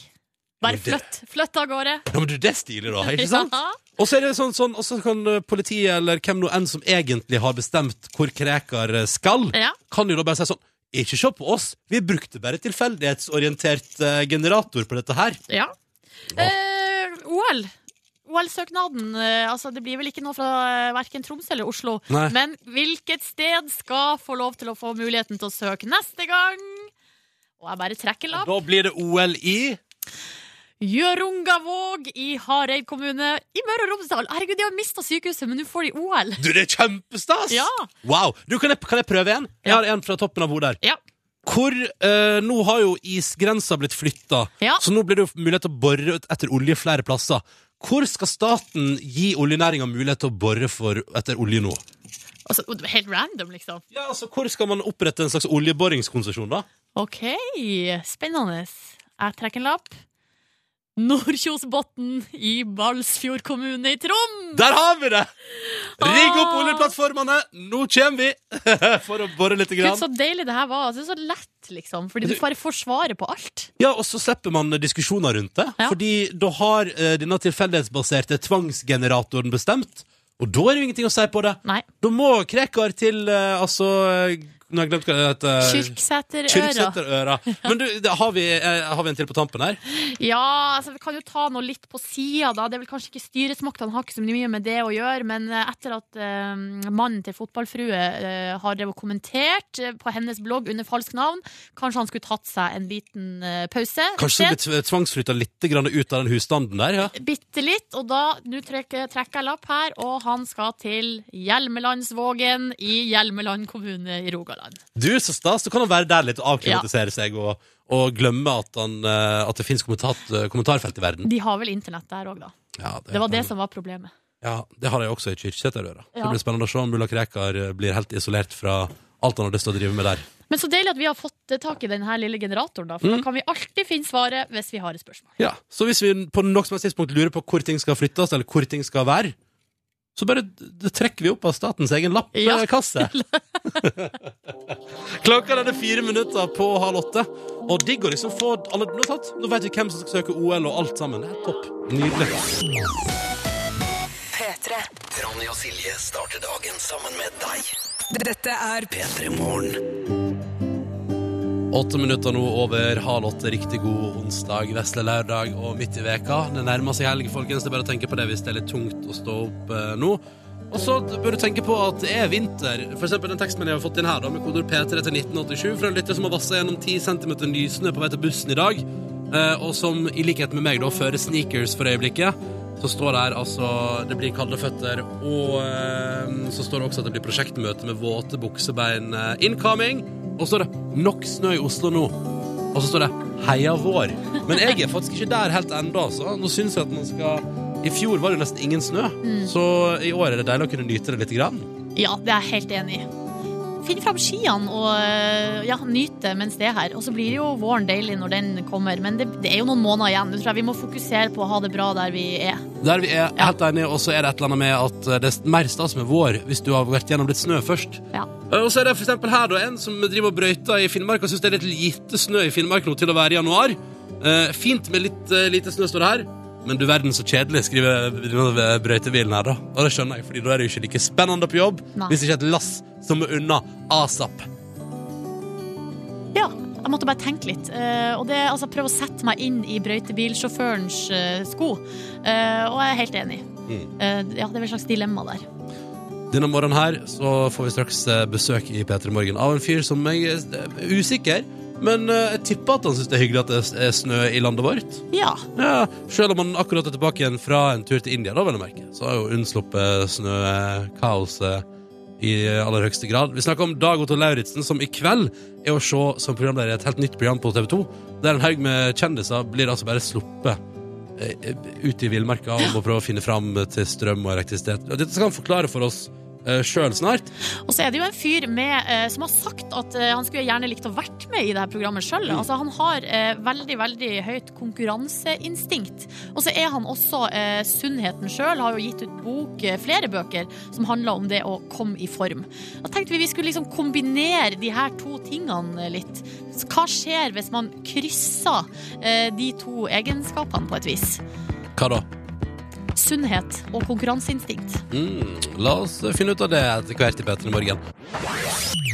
C: Bare
B: Men det-
C: flytt, flytt av gårde.
B: Ja, men du, Det er stilig, da. ikke sant?
C: Ja.
B: Og så er det sånn, sånn, og så kan eh, politiet eller hvem nå enn som egentlig har bestemt hvor Krekar eh, skal,
C: Ja.
B: kan jo da bare si sånn Ikke se på oss, vi brukte bare tilfeldighetsorientert eh, generator på dette her.
C: Ja. Eh, OL. OL-søknaden. eh, altså, det blir vel ikke noe fra eh, verken Tromsø eller Oslo.
B: Nei.
C: Men hvilket sted skal få lov til å få muligheten til å søke neste gang? Og jeg bare trekker lapp.
B: Da blir det OL i
C: Gjørungavåg i Hareid kommune i Møre og Romsdal. Herregud, de har mista sykehuset, men nå får de OL.
B: Du, det er kjempestas!
C: Ja.
B: Wow. Du, kan, jeg, kan jeg prøve en? Jeg
C: Ja.
B: har en fra toppen av bordet her.
C: Ja.
B: Hvor, eh, Nå har jo isgrensa blitt flytta,
C: Ja.
B: så nå blir det jo mulighet til å bore ut etter olje flere plasser. Hvor skal staten gi oljenæringa mulighet til å bore for etter olje nå?
C: Altså, helt random, liksom.
B: Ja, altså, Hvor skal man opprette en slags oljeboringskonsesjon, da?
C: OK, spennende. Jeg trekker en lapp. Nordkjosbotn i Balsfjord kommune i Troms.
B: Der har vi det! Rigg opp
C: Ah.
B: oljeplattformene, nå kommer vi! For å bore litt.
C: Gud,
B: Grann.
C: så deilig det her var. Altså, så lett, liksom. Fordi du bare får svaret på alt.
B: Ja, og så slipper man diskusjoner rundt det.
C: Ja.
B: Fordi da har eh, denne tilfeldighetsbaserte tvangsgeneratoren bestemt. Og da er det jo ingenting å si på det.
C: Nei.
B: Da må Krekar til eh, altså eh, Nå har jeg glemt hva det heter. eh,
C: Kyrksæterøra.
B: Kyrksæterøra. Men du, det, har, vi, eh, har vi en til på tampen her?
C: Ja, altså, vi kan jo ta noe litt på sida, da. Det er vel kanskje ikke styresmaktene har ikke så mye med det å gjøre, men eh, etter at eh, mannen til fotballfrue eh, har drevet og kommentert eh, på hennes blogg under falskt navn, kanskje han skulle tatt seg en liten eh, pause.
B: Kanskje det blir tvangsflytta litt grann ut av den husstanden der? ja
C: Bitte litt, og da nå trekker, trekker jeg lapp her, og han skal til Hjelmelandsvågen i Hjelmeland kommune i Rogaland.
B: Du, så stas. Da kan han være der litt og avklimatisere seg og, og glemme at, han, eh, at det fins kommentarfelt i verden.
C: De har vel internett der òg, da.
B: Ja,
C: Det var det som var problemet.
B: Ja, det har jeg også i Kyrksæterøra. Så
C: Ja.
B: Det blir spennende å se om Mulla Krekar eh, blir helt isolert fra alt han har lyst til å drive med der.
C: Men så deilig at vi har fått eh, tak i denne lille generatoren, da. For da kan vi alltid finne svaret hvis vi har et spørsmål.
B: Ja, Så hvis vi på noe som helst tidspunkt lurer på hvor ting skal flyttes, eller hvor ting skal være, så bare d- d- trekker vi opp av statens egen eh,
C: Ja.
B: lappkasse. Klokka den er fire minutter på halv åtte, og digg å liksom få alle Nå, tatt. nå vet vi hvem som skal søke OL og alt sammen. Det er topp. Nydelig.
G: P3.
A: Ronny og Silje starter dagen sammen med deg.
G: Dette er
A: P3 Morgen.
B: Åtte minutter nå over halv åtte. Riktig god onsdag, vesle lørdag og midt i veka. Det nærmer seg helg, folkens. Det er bare å tenke på det hvis det er litt tungt å stå opp eh, nå. Og Og så bør du tenke på at det er vinter. For eksempel den tekstmeldingen jeg har fått inn her, da, med kodord P3 til 1987, fra en lytter som har vasset gjennom 10 cm nysnø på vei til bussen i dag, eh, og som i likhet med meg da fører sneakers for øyeblikket. Så står det her altså Det blir kalde føtter, og eh, så står det også at det blir prosjektmøte med våte buksebein eh, incoming. Og så står det 'Nok snø i Oslo nå'. Og så står det 'Heia vår'. Men jeg er faktisk ikke der helt ennå, altså. Nå syns jeg at man skal I fjor var det nesten ingen snø, så i år er det deilig å kunne nyte det lite grann.
C: Ja, det er jeg helt enig i. Finn fram skiene og eh, ja, nyt det mens det er her. Og så blir jo våren deilig når den kommer, men det, det er jo noen måneder igjen. Nå tror jeg vi må fokusere på å ha det bra der vi er.
B: Der vi er helt enige, og så er det et eller annet med at eh, det er mer stas med vår hvis du har vært gjennom litt snø først.
C: Ja.
B: Eh, Og så er det for eksempel her da, en som driver og brøyter i Finnmark og synes det er litt lite snø i Finnmark nå til å være i januar. Eh, fint med litt eh, lite snø står det her, men du verden så kjedelig, skriver denne brøytebilen her da. Og det skjønner jeg, fordi da er det jo ikke like spennende på jobb,
C: Nei.
B: hvis ikke et lass som er unna ASAP.
C: ja. Jeg måtte bare tenke litt. eh, Og det, altså, prøve å sette meg inn i brøytebilsjåførens eh, sko. Eh, Og jeg er helt enig.
B: Mm.
C: Eh, Ja, det er vel et slags dilemma der.
B: Denne morgenen her så får vi straks eh, besøk i P3 Morgen av en fyr som jeg eh, er usikker, men eh, jeg tipper at han synes det er hyggelig at det er snø i landet vårt.
C: Ja.
B: Ja, selv om han akkurat er tilbake igjen fra en tur til India, da, vel å merke, så har jo unnsluppet snøkaoset i aller høyeste grad. Vi snakker om Dag Otto Lauritzen, som i kveld er å se som programleder i et helt nytt program på TV 2, der en haug med kjendiser blir altså bare sluppet eh, ut i villmarka og må prøve å finne fram til strøm og elektrisitet. Og Dette skal han forklare for oss uh, sjøl snart.
C: Og så er det jo en fyr med, eh, som har sagt at eh, han skulle gjerne likt å vært med i det her programmet sjøl. Altså, han har eh, veldig veldig høyt konkurranseinstinkt. Og så er han også eh, sunnheten sjøl, har jo gitt ut bok, eh, flere bøker, som handler om det å komme i form. Da tenkte vi vi skulle liksom kombinere de her to tingene eh, litt. Så Hva skjer hvis man krysser eh, de to egenskapene på et vis?
B: Hva da?
C: Sunnhet og konkurranseinstinkt.
B: Mm, la oss finne ut av det etter hvert i P3 Morgen.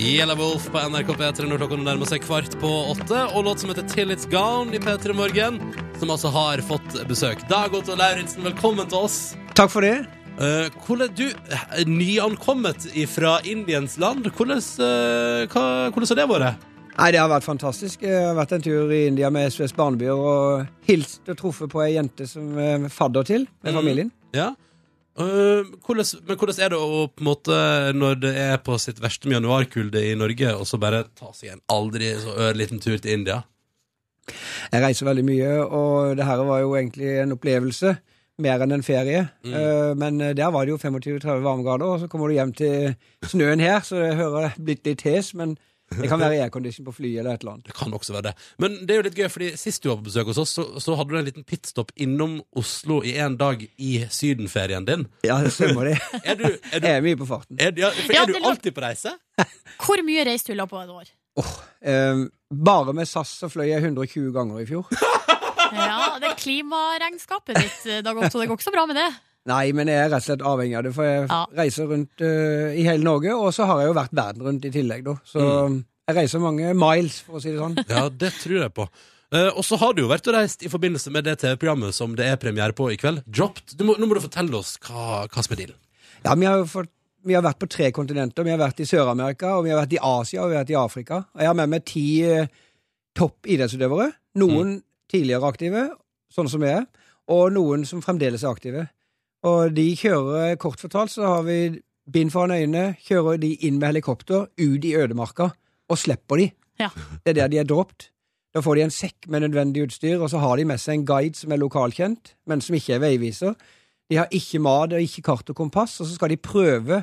B: Yellow Wolf på NRK P3 når klokka nærmer seg kvart på åtte, og låt som heter Till It's Gone i P3 Morgen, som altså har fått besøk. Dag Otto Lauritzen, velkommen til oss.
G: Takk for det.
B: Eh, hvordan du, eh, nyankommet fra Indiens land, hvordan, eh, hva, hvordan har det vært?
G: Nei, Det har vært fantastisk. Jeg har vært en tur i India med SVs barnebyer og hilst og truffet på ei jente som jeg er fadder til med
B: Mm.
G: familien.
B: Ja. Eh, hvordan, men hvordan er det å på en måte når det er på sitt verste januarkulde i Norge, og så bare ta seg en aldri så ørliten tur til India?
G: Jeg reiser veldig mye, og det her var jo egentlig en opplevelse. Mer enn en ferie. Eh, Men der var det jo 25-30 varmegrader, og så kommer du hjem til snøen her, så jeg hører det er blitt litt hes, men det kan være aircondition på flyet eller et eller annet.
B: Det kan også være det. Men det er jo litt gøy, fordi sist du var på besøk hos oss, så, så hadde du en liten pitstop innom Oslo i en dag i sydenferien din.
G: Ja, det stemmer det.
B: Er du, er du,
G: Jeg er mye på farten.
B: er, ja, for
C: Ja,
B: er du
C: det lå-
B: alltid på reise?
C: Hvor mye reiste du la på et år?
G: Eh, Bare med SAS så fløy jeg 120 ganger i fjor.
C: Ja, det er klimaregnskapet ditt, Dag Otto. Det går ikke så bra med det.
G: Nei, men jeg er rett og slett avhengig av det, for jeg
C: Ja.
G: reiser rundt eh, i hele Norge, og så har jeg jo vært verden rundt i tillegg, da. Så jeg reiser mange miles, for å si det sånn.
B: Ja, det tror jeg på. Eh, og så har du jo vært og reist i forbindelse med det TV-programmet som det er premiere på i kveld. Dropped. Du må, nå må du fortelle oss hva, hva som er dealen.
G: Ja, vi har, jo fått, vi har vært på tre kontinenter. Vi har vært i Sør-Amerika, og vi har vært i Asia, og vi har vært i Afrika. Og jeg har med meg ti eh, topp idrettsutøvere. Noen tidligere aktive, sånn som jeg er, og noen som fremdeles er aktive. Og de kjører, eh, kort fortalt, så har vi bind foran øynene, kjører de inn med helikopter, ut i ødemarka, og slipper de.
C: Ja.
G: Det er der de er dropt. Da får de en sekk med nødvendig utstyr, og så har de med seg en guide som er lokalkjent, men som ikke er veiviser. De har ikke mat og ikke kart og kompass, og så skal de prøve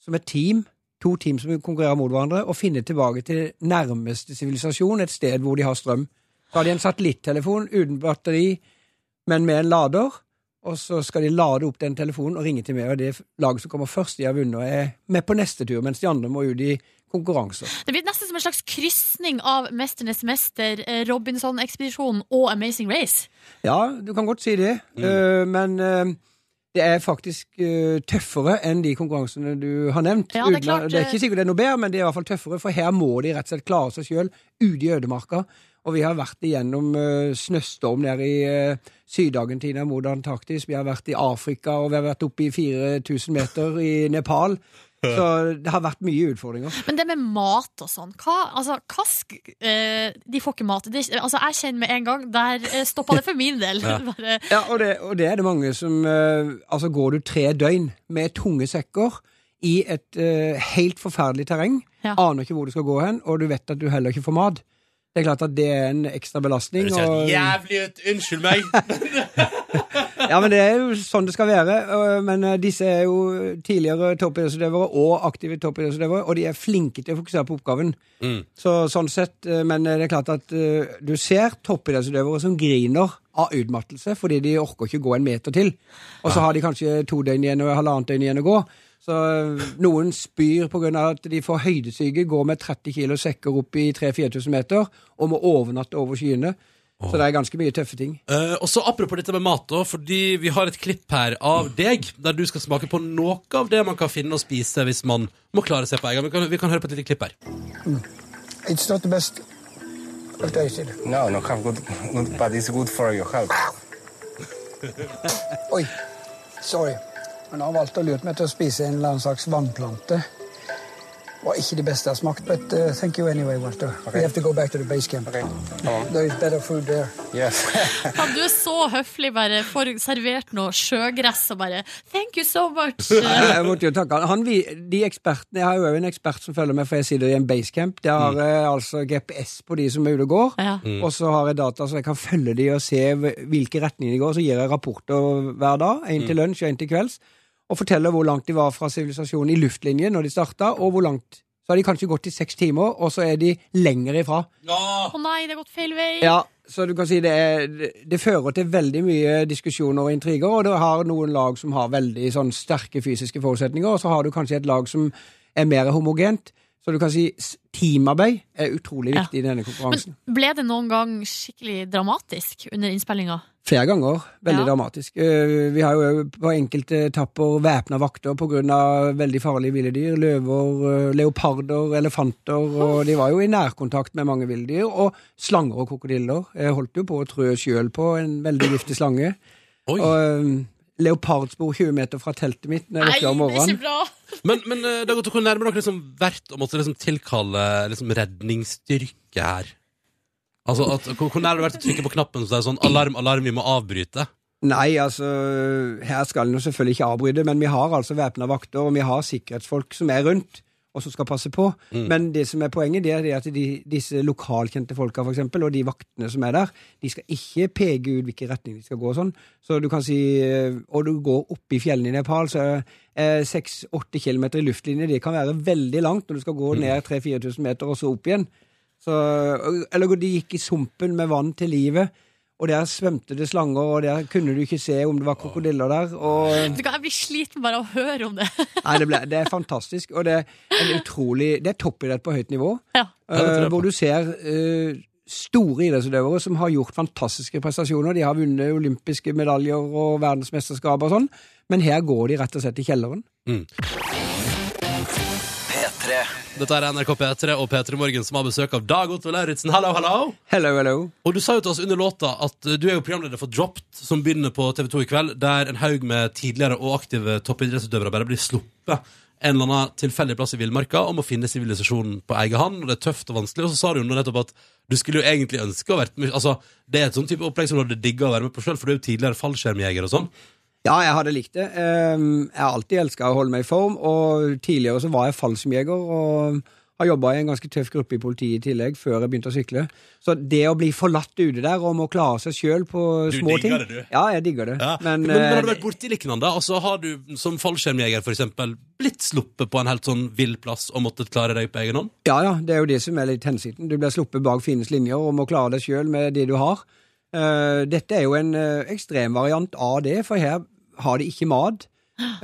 G: som et team, to team som konkurrerer mot hverandre, å finne tilbake til nærmeste sivilisasjon, et sted hvor de har strøm. Så har de en satellittelefon uten batteri, men med en lader, og så skal de lade opp den telefonen og ringe til meg, og det laget som kommer først, de har vunnet, og er med på neste tur, mens de andre må ut i konkurranser.
C: Det blir nesten som en slags krysning av 'Mesternes mester', eh, 'Robinson-ekspedisjonen' og 'Amazing Race'.
G: Ja, du kan godt si det, eh, men eh, det er faktisk eh, tøffere enn de konkurransene du har nevnt.
C: Ja, det er
G: Uten at-
C: klart,
G: det
C: eh,
G: er ikke sikkert det er noe bedre, men det er i hvert fall tøffere, for her må de rett og slett klare seg sjøl ute i ødemarka. Og vi har vært igjennom eh, snøstorm nede i eh, Syd-Argentina mot Antarktis. Vi har vært i Afrika, og vi har vært oppe i 4000 meter i Nepal. Så det har vært mye utfordringer.
C: Men det med mat og sånn hva, altså, Kask eh, De får ikke mat. Det, altså, jeg kjenner med en gang Der eh, stoppa det for min del.
B: Ja.
C: Bare,
G: Ja, og det, og det er det mange som eh, Altså, går du tre døgn med tunge sekker i et eh, helt forferdelig terreng,
C: Ja.
G: aner ikke hvor du skal gå hen, og du vet at du heller ikke får mat. Det er klart at det er en ekstra belastning.
B: Det ser
G: og-
B: helt jævlig ut! Unnskyld meg!
G: Ja, men det er jo sånn det skal være. øh, Men øh, disse er jo tidligere toppidrettsutøvere og aktive toppidrettsutøvere, og de er flinke til å fokusere på oppgaven.
B: Mm.
G: Så sånn sett, øh, Men det er klart at øh, du ser toppidrettsutøvere som griner av utmattelse fordi de orker ikke gå en meter til. Og så har de kanskje to døgn igjen og halvannet døgn igjen å gå. Så øh, noen spyr pga. at de får høydesyke, går med 30 kilo sekker opp i 3000-4000 meter og må overnatte over skyene. Så det er ganske mye tøffe ting.
B: Eh, og så Apropos dette med mat, da, fordi vi har et klipp her av deg der du skal smake på noe av det man kan finne og spise hvis man må klare seg på egen hånd. Vi, kan- vi kan høre på et lite klipp her.
H: It's not the best. I've tasted.
I: No, no, have good, good, but it's good for your health.
H: Oi, sorry. Men han valgte å lure meg til å spise en eller annen slags vannplante. Var ikke det beste jeg har smakt, but uh, thank you anyway, Walter. We have to go back to the base camp.
I: Okay, come on.
H: There is better food there.
I: Yes.
C: ja, du er så høflig, bare får servert noe sjøgress og bare Thank you so much! Eh,
G: Jeg måtte jo takke han. han vi- de ekspertene, Jeg har jo også en ekspert som følger med, for jeg sitter i en basecamp. Der har jeg altså GPS på de som er ute og går.
C: Ja.
G: Og så har jeg data så jeg kan følge de og se hv- hvilke retninger de går. Så gir jeg rapporter hver dag. En til lunsj og en til kvelds. Og forteller hvor langt de var fra sivilisasjonen i luftlinje når de starta, og hvor langt. Så har de kanskje gått i seks timer, og så er de lenger ifra.
C: Å nei, det har gått feil vei.
G: Ja, så du kan si det, er, det fører til veldig mye diskusjoner og intriger, og du har noen lag som har veldig sånn sterke fysiske forutsetninger, og så har du kanskje et lag som er mer homogent. Så du kan si s- teamarbeid er utrolig
C: Ja.
G: viktig i denne konkurransen.
C: Men ble det noen gang skikkelig dramatisk under innspillinga?
G: Flere ganger. Veldig
C: Ja.
G: dramatisk. Eh, Vi har jo på enkelte etapper væpna vakter pga. veldig farlige ville dyr. Løver, eh, leoparder, elefanter. Og de var jo i nærkontakt med mange ville dyr. Og slanger og krokodiller. Jeg holdt jo på å trø sjøl på en veldig giftig slange.
B: Oi.
G: Og eh, leopardspor 20 meter fra teltet mitt når jeg våkna om
C: det er
G: morgenen.
C: ikke bra!
B: Men, men eh, det har gått dere nærmere dere liksom hvert å måtte liksom tilkalle liksom redningsstyrke her. Altså, at, hvor, hvor nær har du vært til å trykke på knappen så det er sånn alarm, alarm, vi må avbryte?
G: Nei, altså, her skal en jo selvfølgelig ikke avbryte, men vi har altså væpna vakter, og vi har sikkerhetsfolk som er rundt, og som skal passe på. Men det som er poenget, det er det at de, disse lokalkjente folka, for eksempel, og de vaktene som er der, de skal ikke peke ut hvilken retning de skal gå og sånn. Så du kan si eh, Og du går opp i fjellene i Nepal, så eh, 6-8 km i luftlinje, det kan være veldig langt når du skal gå ned 3000-4000 meter og så opp igjen. Så, eller de gikk i sumpen med vann til livet, og der svømte det slanger, og der kunne du ikke se om det var krokodiller der. Og,
C: Du kan- Jeg blir sliten bare av å høre om det.
G: nei, det, ble, det er fantastisk, og det er en utrolig Det er toppidrett på høyt nivå,
C: Ja.
B: Ja, det tror jeg
G: eh,
B: på.
G: hvor du ser eh, store idrettsutøvere som har gjort fantastiske prestasjoner. De har vunnet olympiske medaljer og verdensmesterskap og sånn, men her går de rett og slett i kjelleren.
A: P3.
B: Dette er NRK P3 og P3 Morgen som har besøk av Dag Otto Lauritzen. Hallo, hallo!
G: Hello, hello.
B: Og du sa jo til oss under låta at eh, du er jo programleder for Dropped, som begynner på TV2 i kveld, der en haug med tidligere og aktive toppidrettsutøvere bare blir sluppet en eller annen tilfeldig plass i villmarka om å finne sivilisasjonen på egen hånd, og det er tøft og vanskelig. Og så sa du jo nå nettopp at du skulle jo egentlig ønske å vært med Altså, det er et sånn type opplegg som du hadde digga å være med på sjøl, for du er jo tidligere fallskjermjeger og sånn.
G: Ja, jeg hadde likt det. Ehm, Jeg har alltid elska å holde meg i form, og tidligere så var jeg fallskjermjeger og har jobba i en ganske tøff gruppe i politiet i tillegg, før jeg begynte å sykle. Så det å bli forlatt ute der og må klare seg sjøl på
B: Du
G: små
B: digger
G: ting
B: det, du.
G: Ja, jeg digger det.
B: Ja. Men,
G: Men,
B: men, har du
G: eh,
B: vært borti lignende? Altså, har du som fallskjermjeger for eksempel blitt sluppet på en helt sånn vill plass og måttet klare deg på egen hånd?
G: Ja, ja, det er jo det som er litt hensikten. Du blir sluppet bak fiendens linjer og må klare deg sjøl med det du har. Eh, dette er jo en eh, ekstrem variant av det, for her har de ikke mat.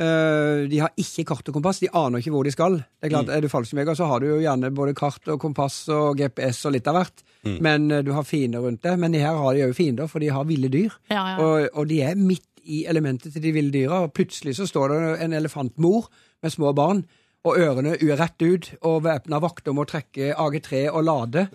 G: Eh, de har ikke kart og kompass, de aner ikke hvor de skal. Det Er klart, er du fallskjermjeger, så har du jo gjerne både kart og kompass og GPS og litt av hvert. Men eh, du har fiender rundt deg. Men her har de òg fiender, for de har ville dyr.
C: Ja, ja.
G: Og, og de er midt i elementet til de ville dyra, og plutselig så står det en elefantmor med små barn, og ørene u- rett ut, og væpna vakter må trekke AG3 og lade.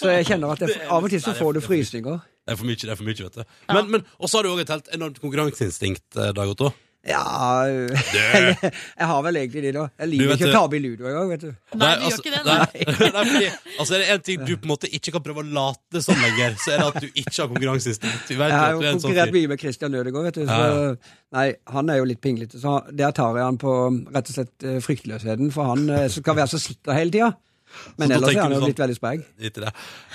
G: Så jeg kjenner at det, av og til så får du frysninger.
B: Det er for mye, det er for mye, vet du. Men, men, og så har du òg et helt enormt konkurranseinstinkt, eh, Dag Otto.
G: Ja
B: Du.
G: Jeg har vel egentlig det, da. Jeg
B: Du
G: liker
B: vet
G: ikke
B: det.
G: å tape i ludo engang, vet du.
C: Nei, du gjør ikke det, nei.
B: altså, nei. nei fordi, altså, er det én ting du på en måte ikke kan prøve å late som lenger, så er det at du ikke har konkurranseinstinkt. Vi vet jo
G: Jeg har
B: at
G: jo
B: du er en sånn
G: konkurrert
B: fyr.
G: mye med Christian Ødegaard, vet du. Så,
B: Ja,
G: Nei, han er jo litt pinglete, så han- der tar jeg han på rett og slett eh, fryktløsheten, for han eh, skal være så sikker hele tida. Men
B: Så da
G: ellers
B: tenker
G: er han
B: du
G: jo
B: sånn-
G: blitt veldig sprek.
B: Drit i det.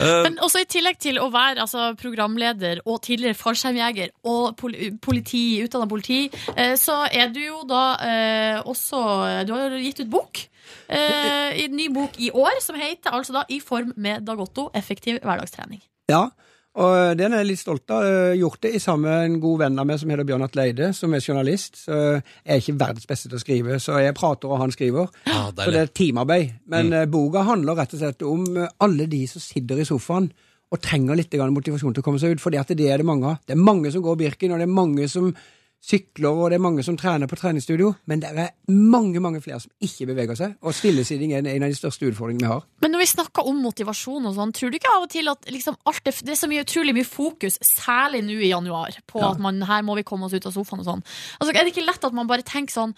B: Eh,
C: Men også i tillegg til å være altså, programleder og tidligere fallskjermjeger og pol politi, utdanna politi, eh, så er du jo da eh, også Du har jo gitt ut bok. Eh, i en ny bok i år som heter altså da I form med Dagotto effektiv hverdagstrening.
G: Ja, og den er jeg litt stolt av. Jeg har Gjort det i sammen med en god venn av meg som heter Bjørn Atle Eide, som er journalist. Så jeg er ikke verdens beste til å skrive, så jeg prater og han skriver.
B: ah,
G: Så det
B: deilig. Mm.
G: er teamarbeid. Men eh, boka handler rett og slett om eh, alle de som sitter i sofaen og trenger litt grann motivasjon til å komme seg ut, for det er det mange av. Det er mange som går Birken, og det er mange som sykler, og det er mange som trener på treningsstudio, men det er mange, mange flere som ikke beveger seg, og stillesitting er en av de største utfordringene vi har.
C: Men når vi snakker om motivasjon og sånn, tror du ikke av og til at liksom alt det, det er så mye, utrolig mye fokus, særlig nå i januar, på at man, her må vi komme oss ut av sofaen og sånn. Altså, er det ikke lett at man bare tenker sånn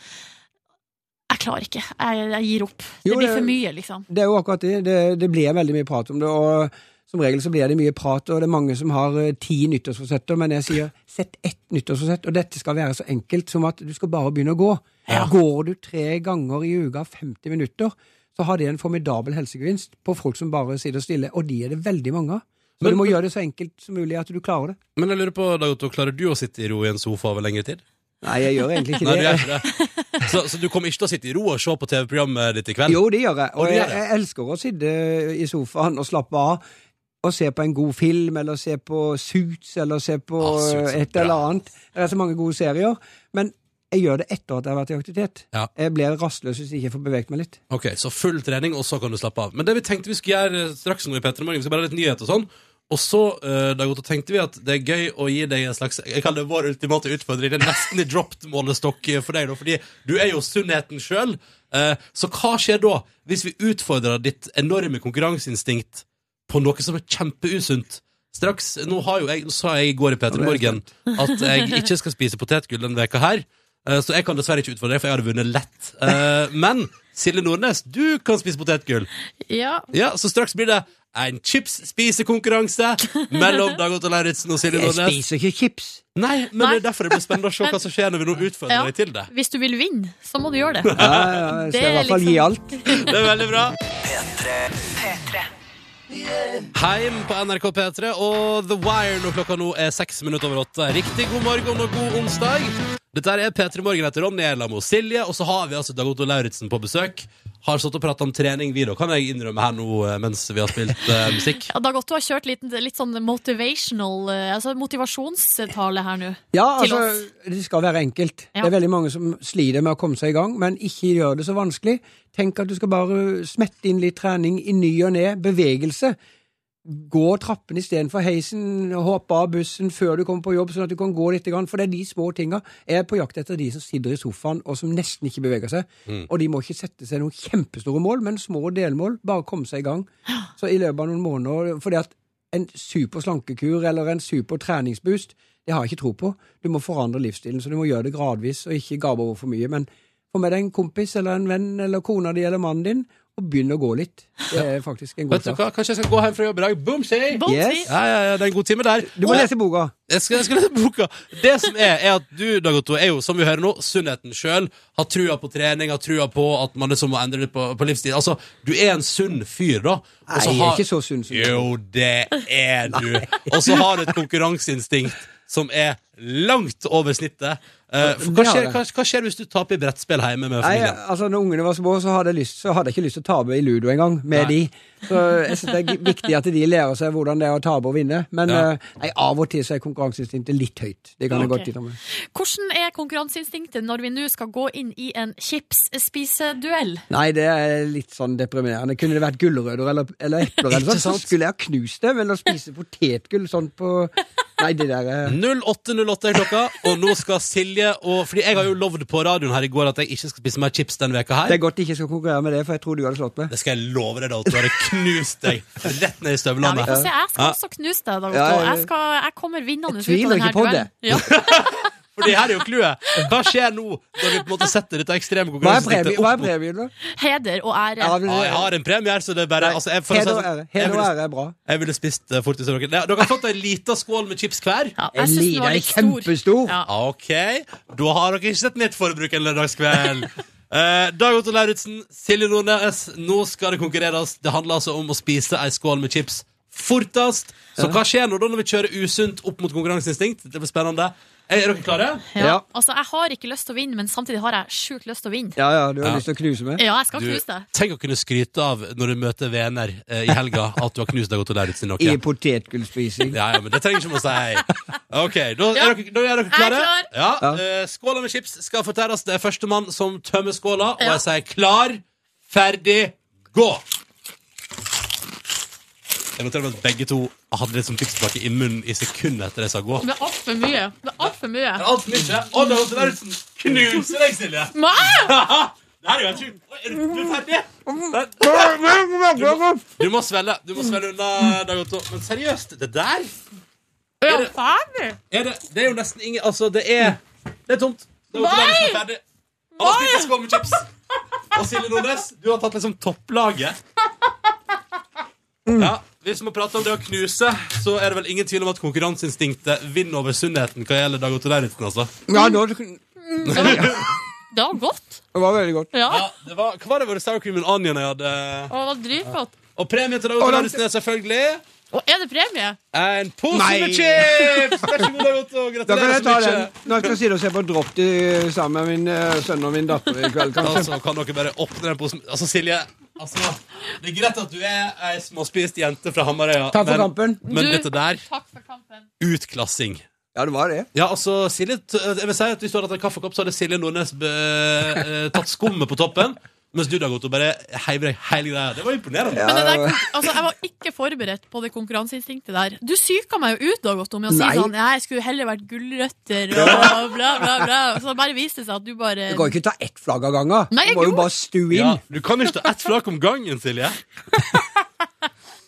C: Jeg klarer ikke. Jeg, jeg gir opp.
G: Jo,
C: det blir
G: det-
C: for mye, liksom.
G: Det er jo akkurat det. det. Det blir veldig mye prat om det, og som regel så blir det mye prat, og det er mange som har eh, ti nyttårsforsetter, men jeg sier sett ett nyttårsforsett, og dette skal være så enkelt som at du skal bare begynne å gå. Går du tre ganger i uka 50 minutter, så har det en formidabel helsegevinst på folk som bare sitter stille, og de er det veldig mange av. Så
B: Men-
G: du må gjøre det så enkelt som mulig at du klarer det.
B: Men jeg lurer på, Dag Otto, klarer du å sitte i ro i en sofa over lengre tid?
G: Nei, jeg gjør egentlig
B: Nei,
G: ikke
B: du
G: det.
B: gjør ikke det. Så, så du kommer ikke til å sitte i ro og se på TV-programmet ditt i kveld?
G: Jo, det gjør jeg.
B: Og
G: Og
B: du
G: jeg,
B: gjør det?
G: jeg elsker å sitte i sofaen og slappe av. Og se på en god film, eller se på Suits, eller se på
B: Ah, Suits er
G: et
B: bra.
G: eller annet. Det er så mange gode serier. Men jeg gjør det etter at jeg har vært i aktivitet.
B: Ja.
G: Jeg blir rastløs hvis jeg ikke får beveget meg litt.
B: Ok, så full trening, og så kan du slappe av. Men det vi tenkte vi skulle gjøre eh, straks nå i Petra Morgen, vi skal bare ha litt nyhet og sånn. Og så eh, Dag Otto, tenkte vi at det er gøy å gi deg en slags Jeg kaller det vår ultimate utfordring. Det er nesten i dropped målestokk eh, for deg, da, fordi du er jo sunnheten sjøl. så hva skjer da, hvis vi utfordrer ditt enorme konkurranseinstinkt på noe som er kjempeusunt? Straks, nå har jo jeg, nå sa jeg i går i Petra Morgen at jeg ikke skal spise potetgull denne veka her. Eh, Så jeg kan dessverre ikke utfordre deg, for jeg hadde vunnet lett. Eh, Men Silje Nordnes, du kan spise potetgull.
C: Ja.
B: Ja, Så straks blir det en chips-spisekonkurranse mellom Dag Otto Lauritzen og Silje
G: Jeg
B: Nordnes.
G: spiser ikke chips.
B: Nei, men
C: Nei.
B: det er derfor det blir spennende å se hva som skjer når vi nå utfordrer
C: Ja.
B: deg til det.
C: Hvis du vil vinne, så må du gjøre det.
G: Ja, ja, jeg
C: Det
G: skal i
C: er
G: hvert fall gi
C: liksom-
G: alt.
B: Det er veldig bra. Heim på NRK P3 og The Wire når klokka nå er seks minutter over åtte. Riktig god morgen og god onsdag. Dette er P3 Morgen etter Ronny Elamo og Silje, og så har vi altså Dag Otto Lauritzen på besøk. Har stått og pratet om trening, vi da, kan jeg innrømme her nå eh, mens vi har spilt eh, musikk.
C: Ja, Dag Otto har kjørt litt, litt sånn motivational eh, Altså motivasjonstale her nå.
G: Ja,
C: til
G: altså,
C: oss.
G: det skal være enkelt.
C: Ja.
G: Det er veldig mange som sliter med å komme seg i gang, men ikke gjør det så vanskelig. Tenk at du skal bare smette inn litt trening i ny og ne, bevegelse. Gå trappen istedenfor heisen, hoppe av bussen før du kommer på jobb, sånn at du kan gå litt, grann, for det er de små tinga. Jeg er på jakt etter de som sitter i sofaen og som nesten ikke beveger seg.
B: Mm.
G: Og de må ikke sette seg noen kjempestore mål, men små delmål. Bare komme seg i gang. Så i løpet av noen måneder fordi at en super slankekur eller en super treningsboost, det har jeg ikke tro på. Du må forandre livsstilen, så du må gjøre det gradvis og ikke gape over for mye. Men få med deg en kompis eller en venn eller kona di eller mannen din, og begynn å gå litt. Det er faktisk en god
B: Vet du
G: start.
B: hva, kanskje jeg skal gå hjem fra jobb i dag. Boom, say!
C: Bon
G: Yes.
B: Ja, ja, ja, det er en god time der.
G: Du må lese boka.
B: Jeg skal, jeg skal lese boka. Det som er, er at du, Dag Otto, er jo, som vi hører nå, sunnheten sjøl. Har trua på trening, har trua på at man liksom må endre litt på, på livsstil. Altså, du er en sunn fyr, da. Og
G: Nei,
B: så
G: jeg
B: har-
G: er ikke så sunn som du.
B: Jo, det er du. Og så har du et konkurranseinstinkt som er langt over snittet. Eh, for hva,
G: Det har
B: skjer,
G: jeg.
B: hva, hva skjer hvis du taper i brettspill hjemme med
G: Nei,
B: familien?
G: altså når ungene var små, så hadde jeg, lyst, så hadde jeg ikke lyst til å tape i ludo engang, med
B: Nei.
G: de. Så jeg synes det er g- viktig at de lærer seg hvordan det er å tape og vinne. Men
B: Ja.
G: eh, nei, av og til så er konkurranseinstinktet litt høyt. Det kan jeg
C: Ok.
G: godt innrømme.
C: Hvordan er konkurranseinstinktet når vi nå skal gå inn i en chipsspiseduell?
G: Nei, det er litt sånn deprimerende. Kunne det vært gulrøtter eller, eller epler, eller sånn, så skulle jeg ha knust det, men å spise potetgull sånn på Nei, det der er
B: 08.00 00.08 er klokka, og nå skal Silje og Fordi jeg har jo lovd på radioen her i går at jeg ikke skal spise mer chips denne veka
G: Det
B: her.
G: er godt de ikke skal konkurrere med det, for jeg tror du hadde slått meg.
B: Det skal jeg love deg, Dalton. Du hadde knust deg rett ned i
C: Ja, vi
B: støvlene.
C: får se. Jeg skal
B: Ja.
C: også knuse deg, Dag
G: Ja,
C: Otto.
G: ja, ja.
C: Jeg, skal, jeg kommer vinnende ut
G: Jeg
C: av
G: tviler
C: denne
G: ikke på
C: duellen.
G: det.
C: Ja.
B: For det her er jo clouet. Hva skjer nå, når vi på en måte setter dette ekstreme
G: Hva er premien,
B: konkurransesnittet
G: hva er
B: opp mot
G: premien da?
C: Heder og ære.
G: Ja, men-
B: ja, jeg har en premie her, så det er bare altså, jeg, for å si det
G: Heder og
B: sånn,
G: ære.
B: jeg,
G: Heder og
B: ville,
G: ære er bra.
B: jeg ville spist uh, fortis av dere. Ja, Dere har fått ei lita skål med chips hver.
C: Ja, jeg
G: En
C: synes den
G: liten
C: var
G: er
C: litt stor.
G: kjempestor.
C: Ja.
B: OK, da har dere ikke sett mitt forbruk en lørdagskveld. Eh, Dag Otto Lauritzen, Silje Nordnes, nå skal det konkurreres. Det handler altså om å spise ei skål med chips fortest. Så hva skjer nå da når vi kjører usunt opp mot konkurranseinstinkt? Det blir spennende. Er dere klare?
C: Ja.
G: Ja.
C: Altså, jeg har ikke lyst til å vinne, men samtidig har jeg sjukt lyst til å vinne.
G: Ja, ja, du har
B: Ja.
G: lyst til å knuse meg?
C: Ja, jeg skal
B: Du,
C: knuse deg.
B: tenk å kunne skryte av når du møter venner eh, i helga at du har knust Dag Otto Lauritzen i noe.
G: I potetgullspising.
B: Ja, ja, men det trenger ikke man si. Ok, da
C: Ja.
B: er dere, da er dere klare?
C: Jeg er
B: Ja,
G: Ja.
B: eh, Skåla med chips skal fortæres. Det er førstemann som tømmer skåla, og
C: Ja.
B: jeg sier klar, ferdig, gå! Jeg noterer meg at begge to hadde litt som tipspakke i munnen i sekundet etter jeg sa gå.
C: Det er altfor mye. Det er altfor mye.
B: Alt for mye. Å, det hørtes ut som knuser deg, Silje.
C: Ma!
B: Det her er jo helt sjukt. Oi, Er du ferdig? Der. Du må svelle. Du må svelle unna, Dag Otto. Men seriøst, det der
C: Ja, ferdig.
B: er det, det er jo nesten ingen Altså, det er Det er tomt. Det er jo
C: Nei!
B: ikke den som er ferdig. Han har spist en skål med chips. Og Silje Nordnes, du har tatt liksom topplaget. Ja, Hvis man prater om det å knuse, så er det vel ingen tvil om at konkurranseinstinktet vinner over sunnheten hva gjelder Dag Otto Lauritzen, altså.
G: Ja, nå, det
C: Det var godt.
G: var veldig godt.
C: Ja.
B: Ja, det var, hva var det var Sour Cream and Onion jeg hadde?
C: Og det var dritgodt.
B: Og premien til Dag Otto Lauritzen er selvfølgelig
C: Og er det premie?
B: en pose
G: Nei.
B: med chips! Vær så god, Dag Otto.
G: Da kan
B: Gratulerer
G: jeg ta
B: så mye.
G: den. Når jeg skal sitte og se på Drop til sammen med min eh, sønn og min datter i kveld, kanskje.
B: Altså, kan dere bare åpne den posen Altså, Silje altså, Det er greit at du er ei småspist jente fra Hamarøya,
G: Takk for
B: men,
G: kampen.
B: men
C: Du-
B: dette der
C: Takk for kampen.
B: Utklassing.
G: Ja, det var det.
B: Ja, altså, Silje t- Jeg vil si at Hvis du hadde hatt en kaffekopp, så hadde Silje Nordnes be, eh, tatt skummet på toppen. Mens du, Dag Otto, bare heiver deg hele greia. Det var imponerende.
C: Men det der, altså, jeg var ikke forberedt på det konkurranseinstinktet der. Du syka meg jo ut da, Otto, med å
G: Nei.
C: si sånn «Nei, Jeg skulle heller vært gulrøtter og bla, bla, bla. Så det bare viste seg at du bare
G: Det går ikke å ta ett flagg av gangen.
C: Nei,
G: Du må
C: jo.
G: jo bare stue
B: Ja,
G: inn.
B: du kan jo ikke ta ett flak om gangen, Silje.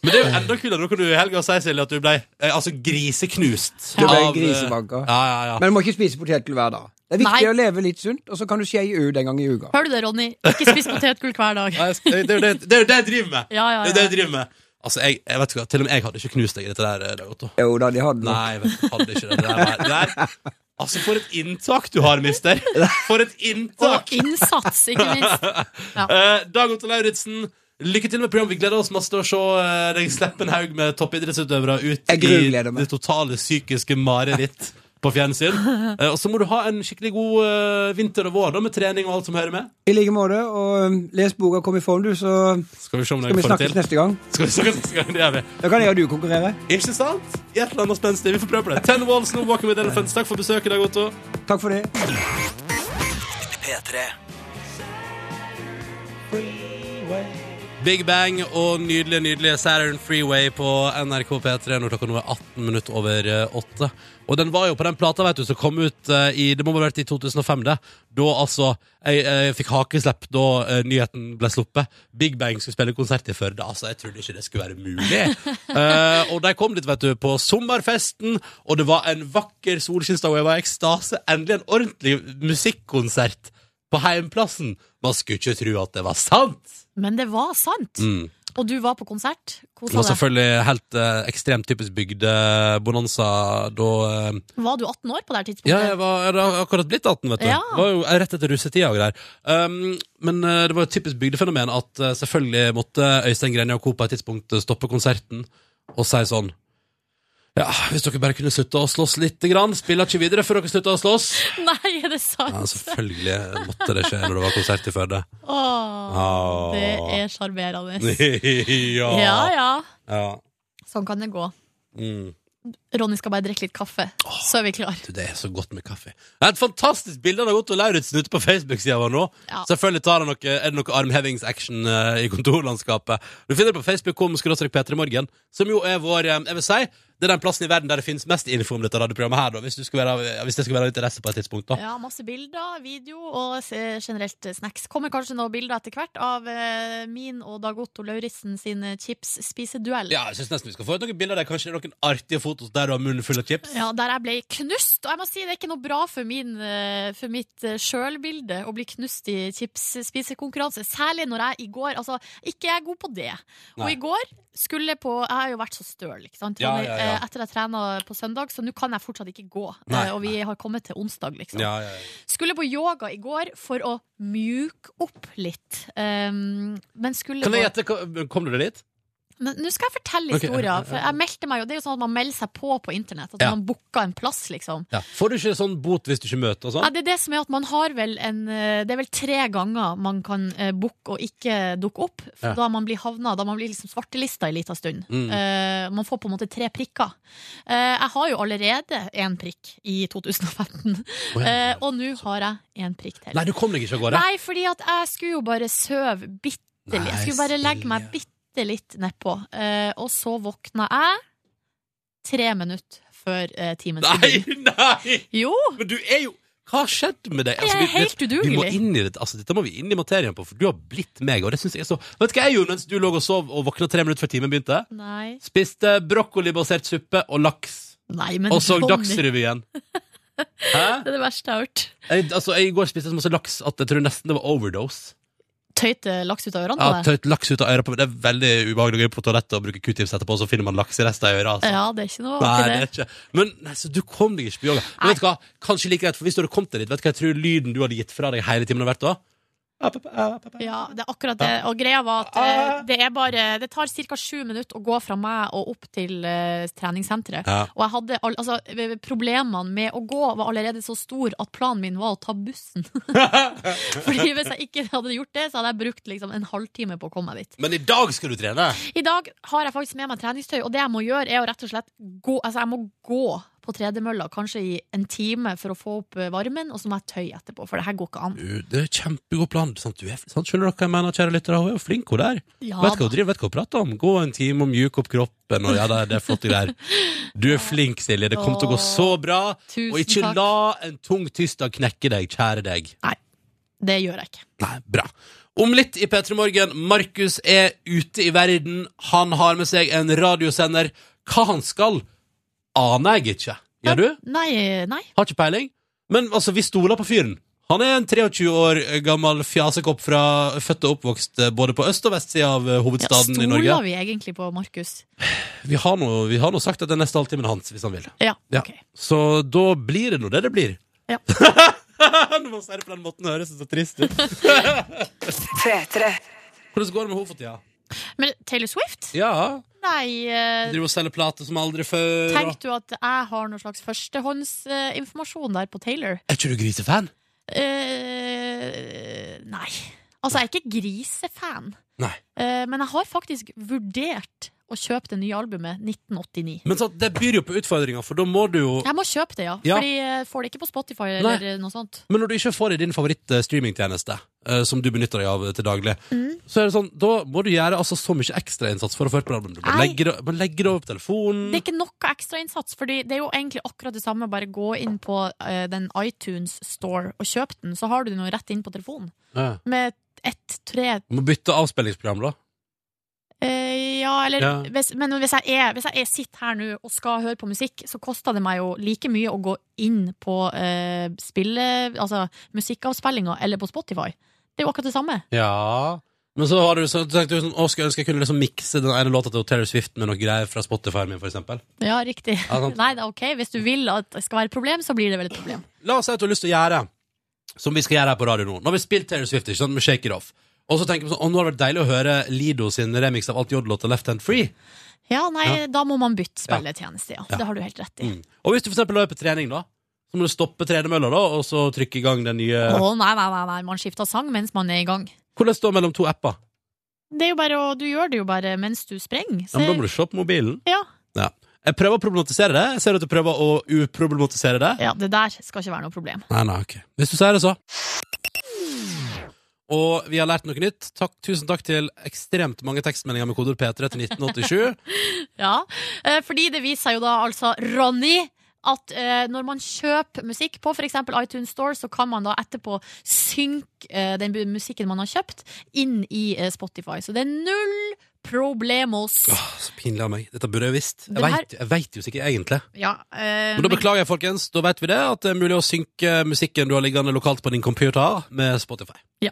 B: Men det er jo enda kulere. Nå kan du i helga si, Silje, at du ble eh, altså, griseknust.
G: Du ble
B: av, eh,
G: grisebanka.
B: Ja, ja, ja.
G: Men du må ikke spise potetgull hver dag. Det er viktig
C: Nei.
G: å leve litt sunt, og så kan du skeie ut en gang i uka.
C: Hører du det, Ronny? Ikke spis potetgull hver dag.
B: Nei, jeg sk- det, det, er jo det, det er jo det jeg driver med.
C: Ja,
B: Det er
C: ja, ja.
B: jo det jeg driver med. Altså, jeg, jeg vet ikke, hva, Til og med jeg hadde ikke knust deg i dette der. eh, Dag Otto.
G: Jo da, de hadde noe.
B: Nei, jeg vet, ikke, hadde ikke det. Det der, var- det der. Altså, for et inntak du har, mister! For et inntak!
C: Og innsats, ikke minst.
B: Eh, Dag Otto Lauritzen, lykke til med program. Vi gleder oss masse til å se eh, deg slippe en haug med toppidrettsutøvere ut i
G: Jeg grugleder meg.
B: det totale psykiske mareritt på fjernsyn. Eh, og så må du ha en skikkelig god eh, vinter og vår da, med trening og alt som hører med.
G: I like måte. Og um, les boka Kom i form, du, så
B: Skal vi se om
G: skal
B: jeg
G: vi
B: får det
G: snakkes
B: til.
G: neste gang.
B: Skal vi snakkes neste gang? Det gjør vi.
G: Da kan jeg og du konkurrere.
B: Ikke sant? I et eller annet spenstig. Vi får prøve på det. Ten Walls, No Walking with Elephants. Takk for besøket, Dag Otto.
G: Takk for det.
A: P3.
B: Big Bang og nydelige, nydelige Saturn Freeway på NRK P3 når klokka nå er 18 minutter over eh, 8. Og den var jo på den plata vet du, som kom ut eh, i Det må ha vært i 2005, det. Da altså Jeg, jeg fikk hakeslepp da eh, nyheten ble sluppet. Big Bang skulle spille konsert i Førde. Altså, jeg trodde ikke det skulle være mulig. Eh, og de kom dit, vet du, på sommerfesten, og det var en vakker solskinnsdag, og jeg var i ekstase. Endelig en ordentlig musikkonsert på heimplassen. Man skulle ikke tro at det var sant.
C: Men det var sant.
B: Mm.
C: Og du var på konsert.
B: Det var
C: Kosa deg.
B: selvfølgelig helt eh, ekstremt typisk bygdebonanza da eh,
C: Var du 18 år på det her tidspunktet?
B: Ja, jeg var jeg hadde akkurat blitt 18, vet du.
C: Ja.
B: Det var jo rett etter russetida og greier. Um, men eh, det var et typisk bygdefenomen at eh, selvfølgelig måtte Øystein Grenja og Co. på et tidspunkt eh, stoppe konserten og si sånn Ja, hvis dere bare kunne slutte å slåss lite grann. Spiller ikke videre før dere slutter å slåss.
C: Nei, er det sant?
B: Ja, altså. selvfølgelig måtte det skje når det var konsert i Førde.
C: Åh,
B: Ah.
C: det er sjarmerende.
B: ja.
C: Ja, ja.
B: ja.
C: Sånn kan det gå.
B: Mm.
C: Ronny skal bare drikke litt kaffe, så er vi klar.
B: Du, Det er så godt med kaffe. Det er et fantastisk bilde av Otto Lauritzen ute på Facebook-sida vår nå.
C: Ja.
B: Selvfølgelig tar han noe, er det noe armhevingsaction eh, i kontorlandskapet. Du finner det på Facebook.com skråstrek P3morgen, som jo er vår eh, Jeg vil si Det er den plassen i verden der det finnes mest info om dette radioprogrammet her, da, hvis, du skulle være, eh, hvis det skulle være av interesse på et tidspunkt. da
C: Ja, masse bilder, video og se- generelt snacks. Kommer kanskje noen bilder etter hvert av eh, min og Dag Otto Lauritzen sin eh, chips-spiseduell.
B: Ja, jeg synes nesten vi skal få ut noen bilder der Kanskje det er noen artige fotos der du har munnen full av chips.
C: Ja, der jeg ble knust. Og jeg må si det er ikke noe bra for, min, eh, for mitt eh, sjølbilde å bli knust i chips-spisekonkurranse. Særlig når jeg i går Altså, ikke jeg er god på det. Og
B: Nei.
C: i går skulle på Jeg har jo vært så støl, ikke sant.
B: Ja, ja, ja.
C: Eh, Etter jeg trena på søndag, så nå kan jeg fortsatt ikke gå.
B: Nei.
C: Eh, Og vi har kommet til onsdag, liksom.
B: Ja, ja, ja.
C: Skulle på yoga i går for å mjuke opp litt. Um, men skulle
B: Kan jeg
C: på-
B: gjette, hva- kom du deg dit?
C: men nå skal jeg
B: Ok,
C: fortelle
B: ja, ja,
C: historien.
B: ja.
C: For jeg meldte meg jo, det er jo sånn at man melder seg på på internett. At
B: Ja.
C: man booker en plass, liksom.
B: Ja. Får du ikke sånn bot hvis du ikke møter og
C: Ja,
B: sånn?
C: det er det som er at man har vel en eh, Det er vel tre ganger man kan eh, booke og ikke dukke opp. For
B: Ja.
C: Da man blir havna, da man blir liksom svartelista en liten stund.
B: Mm.
C: Eh, man får på en måte tre prikker. Eh, jeg har jo allerede én prikk i 2015,
B: Å, ja.
C: eh, og nå har jeg én prikk til.
B: Nei, du kom deg ikke av gårde?
C: Nei, fordi at jeg skulle jo bare søve bitte litt. Jeg skulle bare legge meg bitte litt nedpå. Eh, og så våkna jeg tre minutter før eh, timen skulle
B: Nei,
C: begynne.
B: nei!
C: Jo!
B: Men du er jo Hva har skjedd med deg? Altså,
C: Jeg er helt
B: vi- vi må
C: udugelig.
B: inn i det, altså, dette må vi inn i materien på, for du har blitt meg. Og det synes jeg er så Vet du hva jeg gjorde mens du lå og sov og våkna tre minutter før timen begynte?
C: Nei.
B: Spiste brokkolibasert suppe og laks.
C: Nei, men
B: Og så
C: Ronny,
B: Dagsrevyen. Hæ?
C: Det er det verste jeg har hørt.
B: Jeg, altså, jeg I går spiste jeg så masse laks at jeg tror nesten det var overdose.
C: Tøyte laks ut av ørene
B: Ja,
C: på deg?
B: tøyt laks ut av øra på meg. Det er veldig ubehagelig å gå på toalettet og bruke q-tips etterpå, og så finner man lakserester i øra. Altså.
C: Ja, det er ikke noe
B: Nei,
C: til
B: det
C: det.
B: er ikke Men nei, så du kom deg ikke på yoga. Men vet du hva? Kanskje like greit, for hvis du hadde kommet deg dit, vet du hva jeg tror lyden du hadde gitt fra deg hele timen hadde vært da?
C: Ja, det er akkurat det. Og greia var at
B: Ah.
C: eh, det er bare Det tar ca. sju minutter å gå fra meg og opp til eh, treningssenteret.
B: Ja.
C: Og jeg hadde all, altså, eh, problemene med å gå var allerede så stor at planen min var å ta bussen. Fordi hvis jeg ikke hadde gjort det, så hadde jeg brukt liksom en halvtime på å komme meg dit.
B: Men i dag skal du trene!
C: I dag har jeg faktisk med meg treningstøy, og det jeg må gjøre, er å rett og slett gå Altså, jeg må gå på tredemølla kanskje i en time for å få opp eh, varmen, og så må jeg tøye etterpå, for det her går ikke an.
B: Du, det er kjempegod plan. Sant? Du er, sant? Skjønner dere hva jeg mener, kjære lyttere? Hun er jo flink, hun der.
C: Ja,
B: vet hva
C: da.
B: hun driver, vet hva hun prater om. Gå en time og mjuke opp kroppen, og ja, det er, det er flotte greier. Du er flink, Silje. Det kommer til å gå så bra.
C: Tusen
B: Og ikke
C: takk.
B: la en tung tirsdag knekke deg, kjære deg.
C: Det gjør jeg ikke.
B: Nei, bra. Om litt i P3 Morgen. Markus er ute i verden. Han har med seg en radiosender. Hva han skal, aner jeg ikke. Gjør du?
C: Nei, nei.
B: Har ikke peiling. Men altså, vi stoler på fyren. Han er en 23 år gammel fjasekopp fra født og oppvokst eh, både på øst- og vestsida av eh,
C: Ja,
B: hovedstaden i Norge.
C: Stoler vi egentlig på Markus?
B: Vi har nå vi har nå sagt at det er neste halvtimen hans, hvis han vil.
C: Ja,
B: Ja.
C: ok.
B: Så da blir det nå det det blir.
C: Ja.
B: Når man sier det på den måten, høres det så trist ut. Hvordan går det med henne for tida?
C: Men Taylor Swift?
B: Ja,
C: Nei. eh,
B: Driver og selger plater som aldri før.
C: Tenk du at jeg har noen slags førstehåndsinformasjon der på Taylor?
B: Er ikke du grisefan?
C: Eh, nei. Altså, jeg er ikke grisefan,
B: Nei.
C: Eh, men jeg har faktisk vurdert å kjøpe det nye albumet 1989.
B: Men sant, det byr jo på utfordringer, for da må du jo
C: Jeg må kjøpe det, ja.
B: Ja.
C: Fordi jeg får det ikke på Spotify
B: Nei.
C: eller noe sånt.
B: Men når du ikke får i din favoritt-streamingtjeneste, eh, som du benytter deg av eh, til daglig,
C: Mm.
B: så er det sånn, da må du gjøre altså, så mye ekstrainnsats for å få hørt på albumet. Du må
C: Nei.
B: legge det, må legge det over på telefonen.
C: Det er ikke noe ekstrainnsats, for det er jo egentlig akkurat det samme. Bare gå inn på eh, den iTunes Store og kjøp den, så har du den jo rett inn på telefonen.
B: Ja.
C: Med ett, tre
B: Du må bytte avspillingsprogram, da.
C: eh, Ja, eller
B: Ja.
C: Hvis, Men hvis jeg, er, hvis jeg er sitter her nå og skal høre på musikk, så koster det meg jo like mye å gå inn på eh, spille... Altså musikkavspillinga eller på Spotify. Det er jo akkurat det samme.
B: Ja. Men så har du så tenkte du sånn, å, skulle jeg ønske jeg kunne liksom mikse den ene låta til Taylor Swift med noe greier fra Spotify-en min, for eksempel.
C: Ja, riktig.
B: Ja, sant.
C: Nei, det er ok. Hvis du vil at det skal være et problem, så blir det vel et problem.
B: La oss si at du har lyst til å gjøre Som vi skal gjøre her på radio nå Nå har vi spilt Taylor Swift, ikke sant? Med Shake It Off Og så tenker vi sånn Å, nå har det vært deilig å høre Lido sin remix av alt jodlåta Left Hand Free
C: Ja, nei, da må man bytte spilletjeneste, ja. Det har du helt rett i.
B: Og hvis du for eksempel løper trening da Så må du stoppe tredemølla da Og så trykke i gang den nye
C: Å, nei, nei, nei, nei, man skifter sang mens man er i gang.
B: Hvordan står det mellom to apper?
C: Det er jo bare, å- du gjør det jo bare mens du sprenger.
B: Ja, men da må du se på mobilen
C: ja.
B: Ja Jeg prøver å problematisere det Jeg ser at du prøver å uproblematisere det
C: ja, det der skal ikke være noe problem.
B: Nei, nei, ok Hvis du sier det så Og vi har lært noe nytt. Takk, tusen takk til ekstremt mange tekstmeldinger med kodeord P3 til 1987.
C: Ja, eh, fordi det viser jo da altså Ronny at eh, når man kjøper musikk på f.eks. iTunes Store, så kan man da etterpå synke eh, den bu- musikken man har kjøpt, inn i eh, Spotify. Så det er null problemos.
B: Åh, så pinlig av meg. Dette burde jeg visst. Jeg
C: Det her-
B: vet- jeg veit jo sikkert egentlig.
C: Ja, eh,
B: Men da beklager jeg, folkens. Da vet vi det, at det er mulig å synke musikken du har liggende lokalt på din computer, med Spotify.
C: Ja.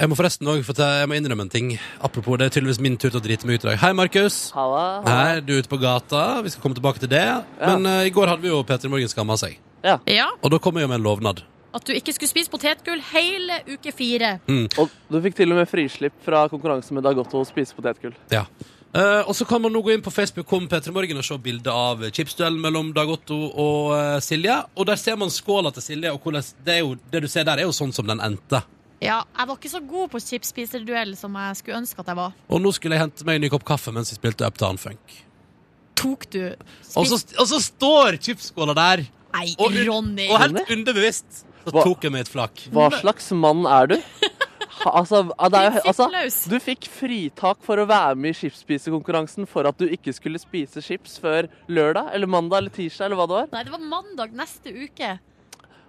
B: Jeg må forresten også fortelle, jeg må innrømme en ting. Apropos, det er tydeligvis min tur til å drite meg ut i dag. Hei, Markus.
E: Halla.
B: Hei, du er ute på gata. Vi skal komme tilbake til det. Men eh, i går hadde vi jo Peter Morgen skamma seg.
C: ja,
B: Og da kom jeg jo med en lovnad.
C: at du ikke skulle spise potetgull hele uke fire.
E: Og du fikk til og med frislipp fra konkurransen med Dagotto og spise potetgull.
B: Ja. Eh, og så kan man nå gå inn på Facebook om Peter Morgen og se bilde av eh, chipsduellen mellom Dag Otto og eh, Silje. Og der ser man skåla til Silje, og hvordan, det, er jo, det du ser der, er jo sånn som den endte.
C: Ja, jeg var ikke så god på chipsspiserduell som jeg skulle ønske at jeg var.
B: Og nå skulle jeg hente meg en ny kopp kaffe mens jeg spilte Uptown Funk.
C: Tok du
B: Og så, og så står chipsskåla der!
C: Nei,
B: Og,
C: Ronny!
B: og helt underbevisst så
E: Hva-
B: tok jeg meg et flak.
E: Hva slags mann er du? Ha- Altså, ah, det er, jo-
C: Prinsippløs.
E: altså, du fikk fritak for å være med i skipsspisekonkurransen for at du ikke skulle spise chips før lørdag eller mandag eller tirsdag eller hva det var.
C: Nei, det var mandag neste uke.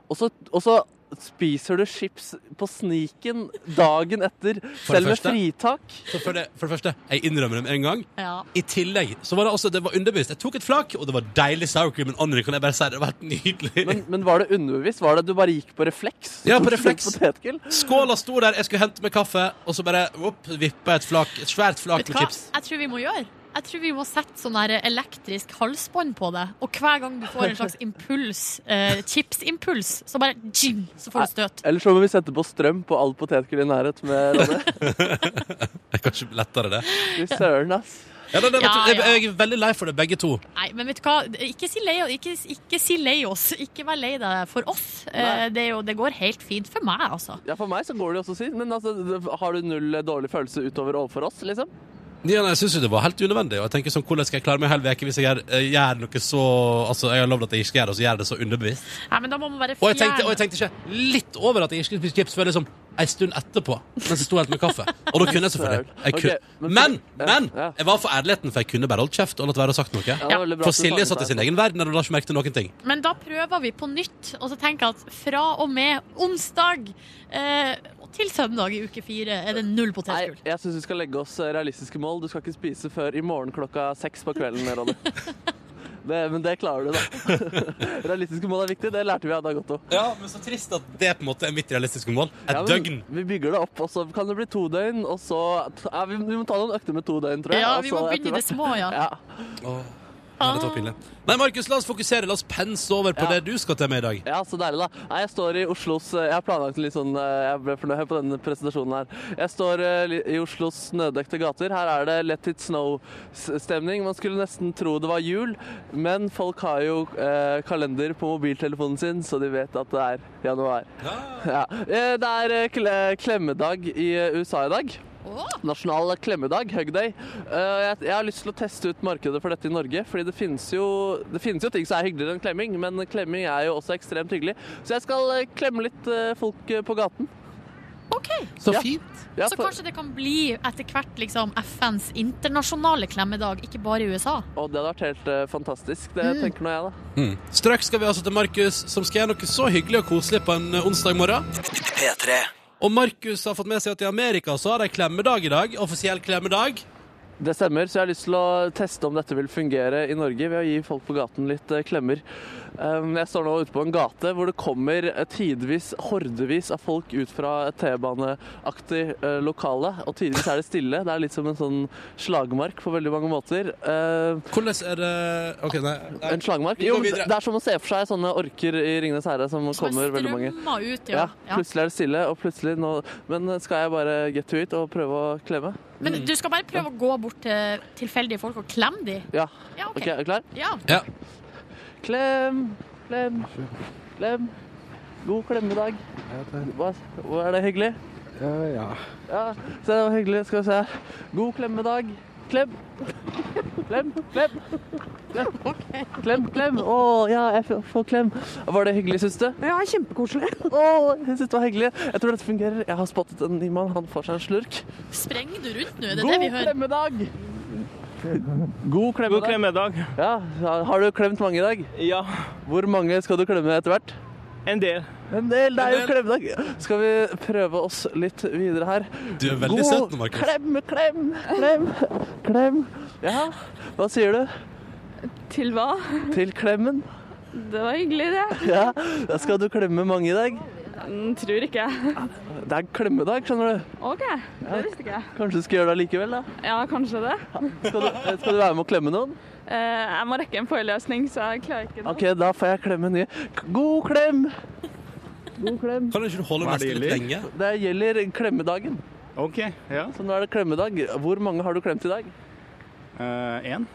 E: Og så, og så spiser du chips på sniken dagen etter, selv med
B: første.
E: fritak.
B: Så for det, for det første, jeg innrømmer det med en gang.
C: Ja.
B: I tillegg så var det også, det var underbevisst. Jeg tok et flak, og det var deilig sour cream and onion. Kan jeg bare si det var helt nydelig.
E: Men, men var det underbevisst? Var det at du bare gikk på refleks?
B: Ja, på
E: Tok du
B: refleks.
E: potetgull?
B: Skåla sto der, jeg skulle hente meg kaffe, og så bare opp, vippa et flak, et svært flak
C: Vet du
B: med
C: hva
B: chips.
C: jeg tror vi må gjøre? Jeg tror vi må sette sånn her elektrisk halsbånd på det. Og hver gang du får en slags impuls, eh, chipsimpuls, så bare jim, så får du støt.
E: Eller så må vi sette på strøm på all potetgull i nærhet med Ronny.
B: Det er kanskje lettere, det.
E: Fy søren, ass.
B: Ja, nei, nei, vet
C: Ja,
B: du, jeg,
C: ja.
B: jeg er veldig lei for det, begge to.
C: Nei, men vet du hva? Ikke si lei, ikke, ikke si lei oss. Ikke vær lei deg for oss. Eh,
E: Nei.
C: det, er jo, det går helt fint for meg, altså.
E: Ja, for meg så går det jo også siden, men altså, det- har du null eh, dårlig følelse utover overfor oss, liksom?
B: Ja, nei, jeg syns jo det var helt unødvendig. Og jeg tenker sånn, Hvordan skal jeg klare meg en hel uke hvis jeg gjør, eh, gjør noe så Altså, Jeg har lovd at jeg ikke skal gjøre det, og så gjør jeg det så underbevisst.
C: Nei, men da må man bare
B: Og jeg tenkte, og
C: fjerne
B: jeg tenkte ikke litt over at jeg ikke skulle spise chips før liksom en stund etterpå. Mens jeg sto helt med kaffe. Og da kunne jeg selvfølgelig. Jeg kunne.
E: Ok, men-
B: Men, men!
E: Ja.
B: Jeg var for ærligheten, for jeg kunne bare holdt kjeft og latt være å sagt noe.
E: det var veldig bra
B: For
E: at du
B: Silje
E: sa
B: satt i
E: det.
B: sin egen verden og la ikke merke til noen ting.
C: Men da prøver vi på nytt, og så tenker jeg at fra og med onsdag eh, til søndag i uke fire er det null
E: Nei,
C: potetgull.
E: jeg syns vi skal legge oss eh, realistiske mål. Du skal ikke spise før i morgen klokka seks på kvelden, Ronny. Det, men det klarer du, da. Realistiske mål er viktig, det lærte vi av Dag Otto.
B: Ja, men så trist at det på en måte er mitt realistiske mål. Et
E: Ja, men
B: døgn.
E: Vi bygger det opp, og så kan det bli to døgn, og så ja, vi, vi må ta noen økter med to døgn, tror jeg.
C: Ja,
E: og
C: vi
E: så
C: må begynne i
E: altså etter
C: det
E: hvert-
C: små, ja.
B: Åh, nei, dette var pinlig. Nei, Markus, la oss fokusere. La oss pense over på
E: Ja.
B: det du skal til med i dag.
E: Ja, så deilig da. Nei, jeg står i Oslos Jeg har planlagt en litt sånn eh, Jeg ble fornøyd på denne presentasjonen her. Jeg står eh, li- i Oslos snødekte gater. Her er det Let it snow-stemning. Man skulle nesten tro det var jul, men folk har jo eh, kalender på mobiltelefonen sin, så de vet at det er januar. Ja. Eh, Det er eh, kle klemmedag i eh, USA i dag.
C: Åh!
E: Nasjonal klemmedag, Hug Day. Eh, jeg, jeg har lyst til å teste ut markedet for dette i Norge, fordi det finnes, jo, det finnes jo ting som er hyggeligere enn klemming, men klemming er jo også ekstremt hyggelig. Så jeg skal eh, klemme litt eh, folk eh, på gaten.
C: OK.
B: Så
E: Ja.
B: fint.
E: Ja,
C: Så
E: for-
C: kanskje det kan bli etter hvert liksom, FNs internasjonale klemmedag, ikke bare i USA.
E: Å, det hadde vært helt eh, fantastisk. Det
B: Mm.
E: tenker nå jeg, da.
B: Straks skal vi altså til Markus, som skal gjøre noe så hyggelig og koselig på en eh, onsdag morgen.
A: P3.
B: Og Markus har fått med seg at i Amerika så har de klemmedag i dag. Offisiell klemmedag.
E: Det stemmer, så jeg har lyst til å teste om dette vil fungere i Norge ved å gi folk på gaten litt eh, klemmer. Um, Jeg står nå ute på en gate hvor det kommer eh, tidvis hordevis av folk ut fra et T-baneaktig eh, lokale, og tidvis er det stille. Det er litt som en sånn slagmark på veldig mange måter. Eh,
B: Hvordan er det OK, nei. nei.
E: En slagmark?
B: Vi
E: Jo,
B: går
E: men
B: videre.
E: det er som å se for seg sånne orker i Ringenes herre som kommer veldig mange.
C: Strømmer ut, ja.
E: Ja,
C: ja.
E: plutselig er det stille, og plutselig nå Men skal jeg bare get to it og prøve å klemme?
C: Men du skal bare prøve å gå bort til tilfeldige folk og klemme de.
E: Ja.
C: Ja, OK.
E: OK, er du klar?
C: Ja.
B: Ja.
E: Klem, klem, klem. God klemmedag. Hva, hva er det hyggelig? Ja, ja. Se, det var hyggelig. Skal vi se. God klemmedag. Klem. Klem, klem. Klem, klem. Å, ja, jeg får- får klem. Var det hyggelig, syns du? Ja, kjempekoselig. Å, jeg syns det var hyggelig. Jeg tror dette fungerer. Jeg har spottet en ny mann. Han får seg en slurk.
C: Sprenger du rundt nå? Er det
E: God
C: det vi hører?
E: klemmedag! God klemmedag.
J: God klemmedag.
E: Ja, Har du klemt mange i dag? Ja. Hvor mange skal du klemme etter hvert? En del. En del, Det er jo klemmedag. Skal vi prøve oss litt videre her?
B: Du er veldig søt nå, Markus.
E: Klem, klem, klem, klem. Ja, hva sier du?
K: Til hva?
E: Til klemmen?
K: Det var hyggelig, det.
E: Ja, da skal du klemme mange i dag.
K: Mm, Tror ikke jeg.
E: Det er klemmedag, skjønner du.
K: OK, det visste ikke jeg.
E: Kanskje du skal gjøre det likevel, da?
K: Ja, kanskje det.
E: Skal du, eh, skal du være med å klemme noen?
K: Eh, Jeg må rekke en forelesning, så jeg klarer ikke det.
E: OK, da får jeg klemme nye. God klem! God klem.
B: Kan du ikke holde
E: Hva er
B: neste
E: det
B: litt lenge?
E: gjelder? Det gjelder klemmedagen. Ok, ja. Så nå er det klemmedag. Hvor mange har du klemt i dag? Én.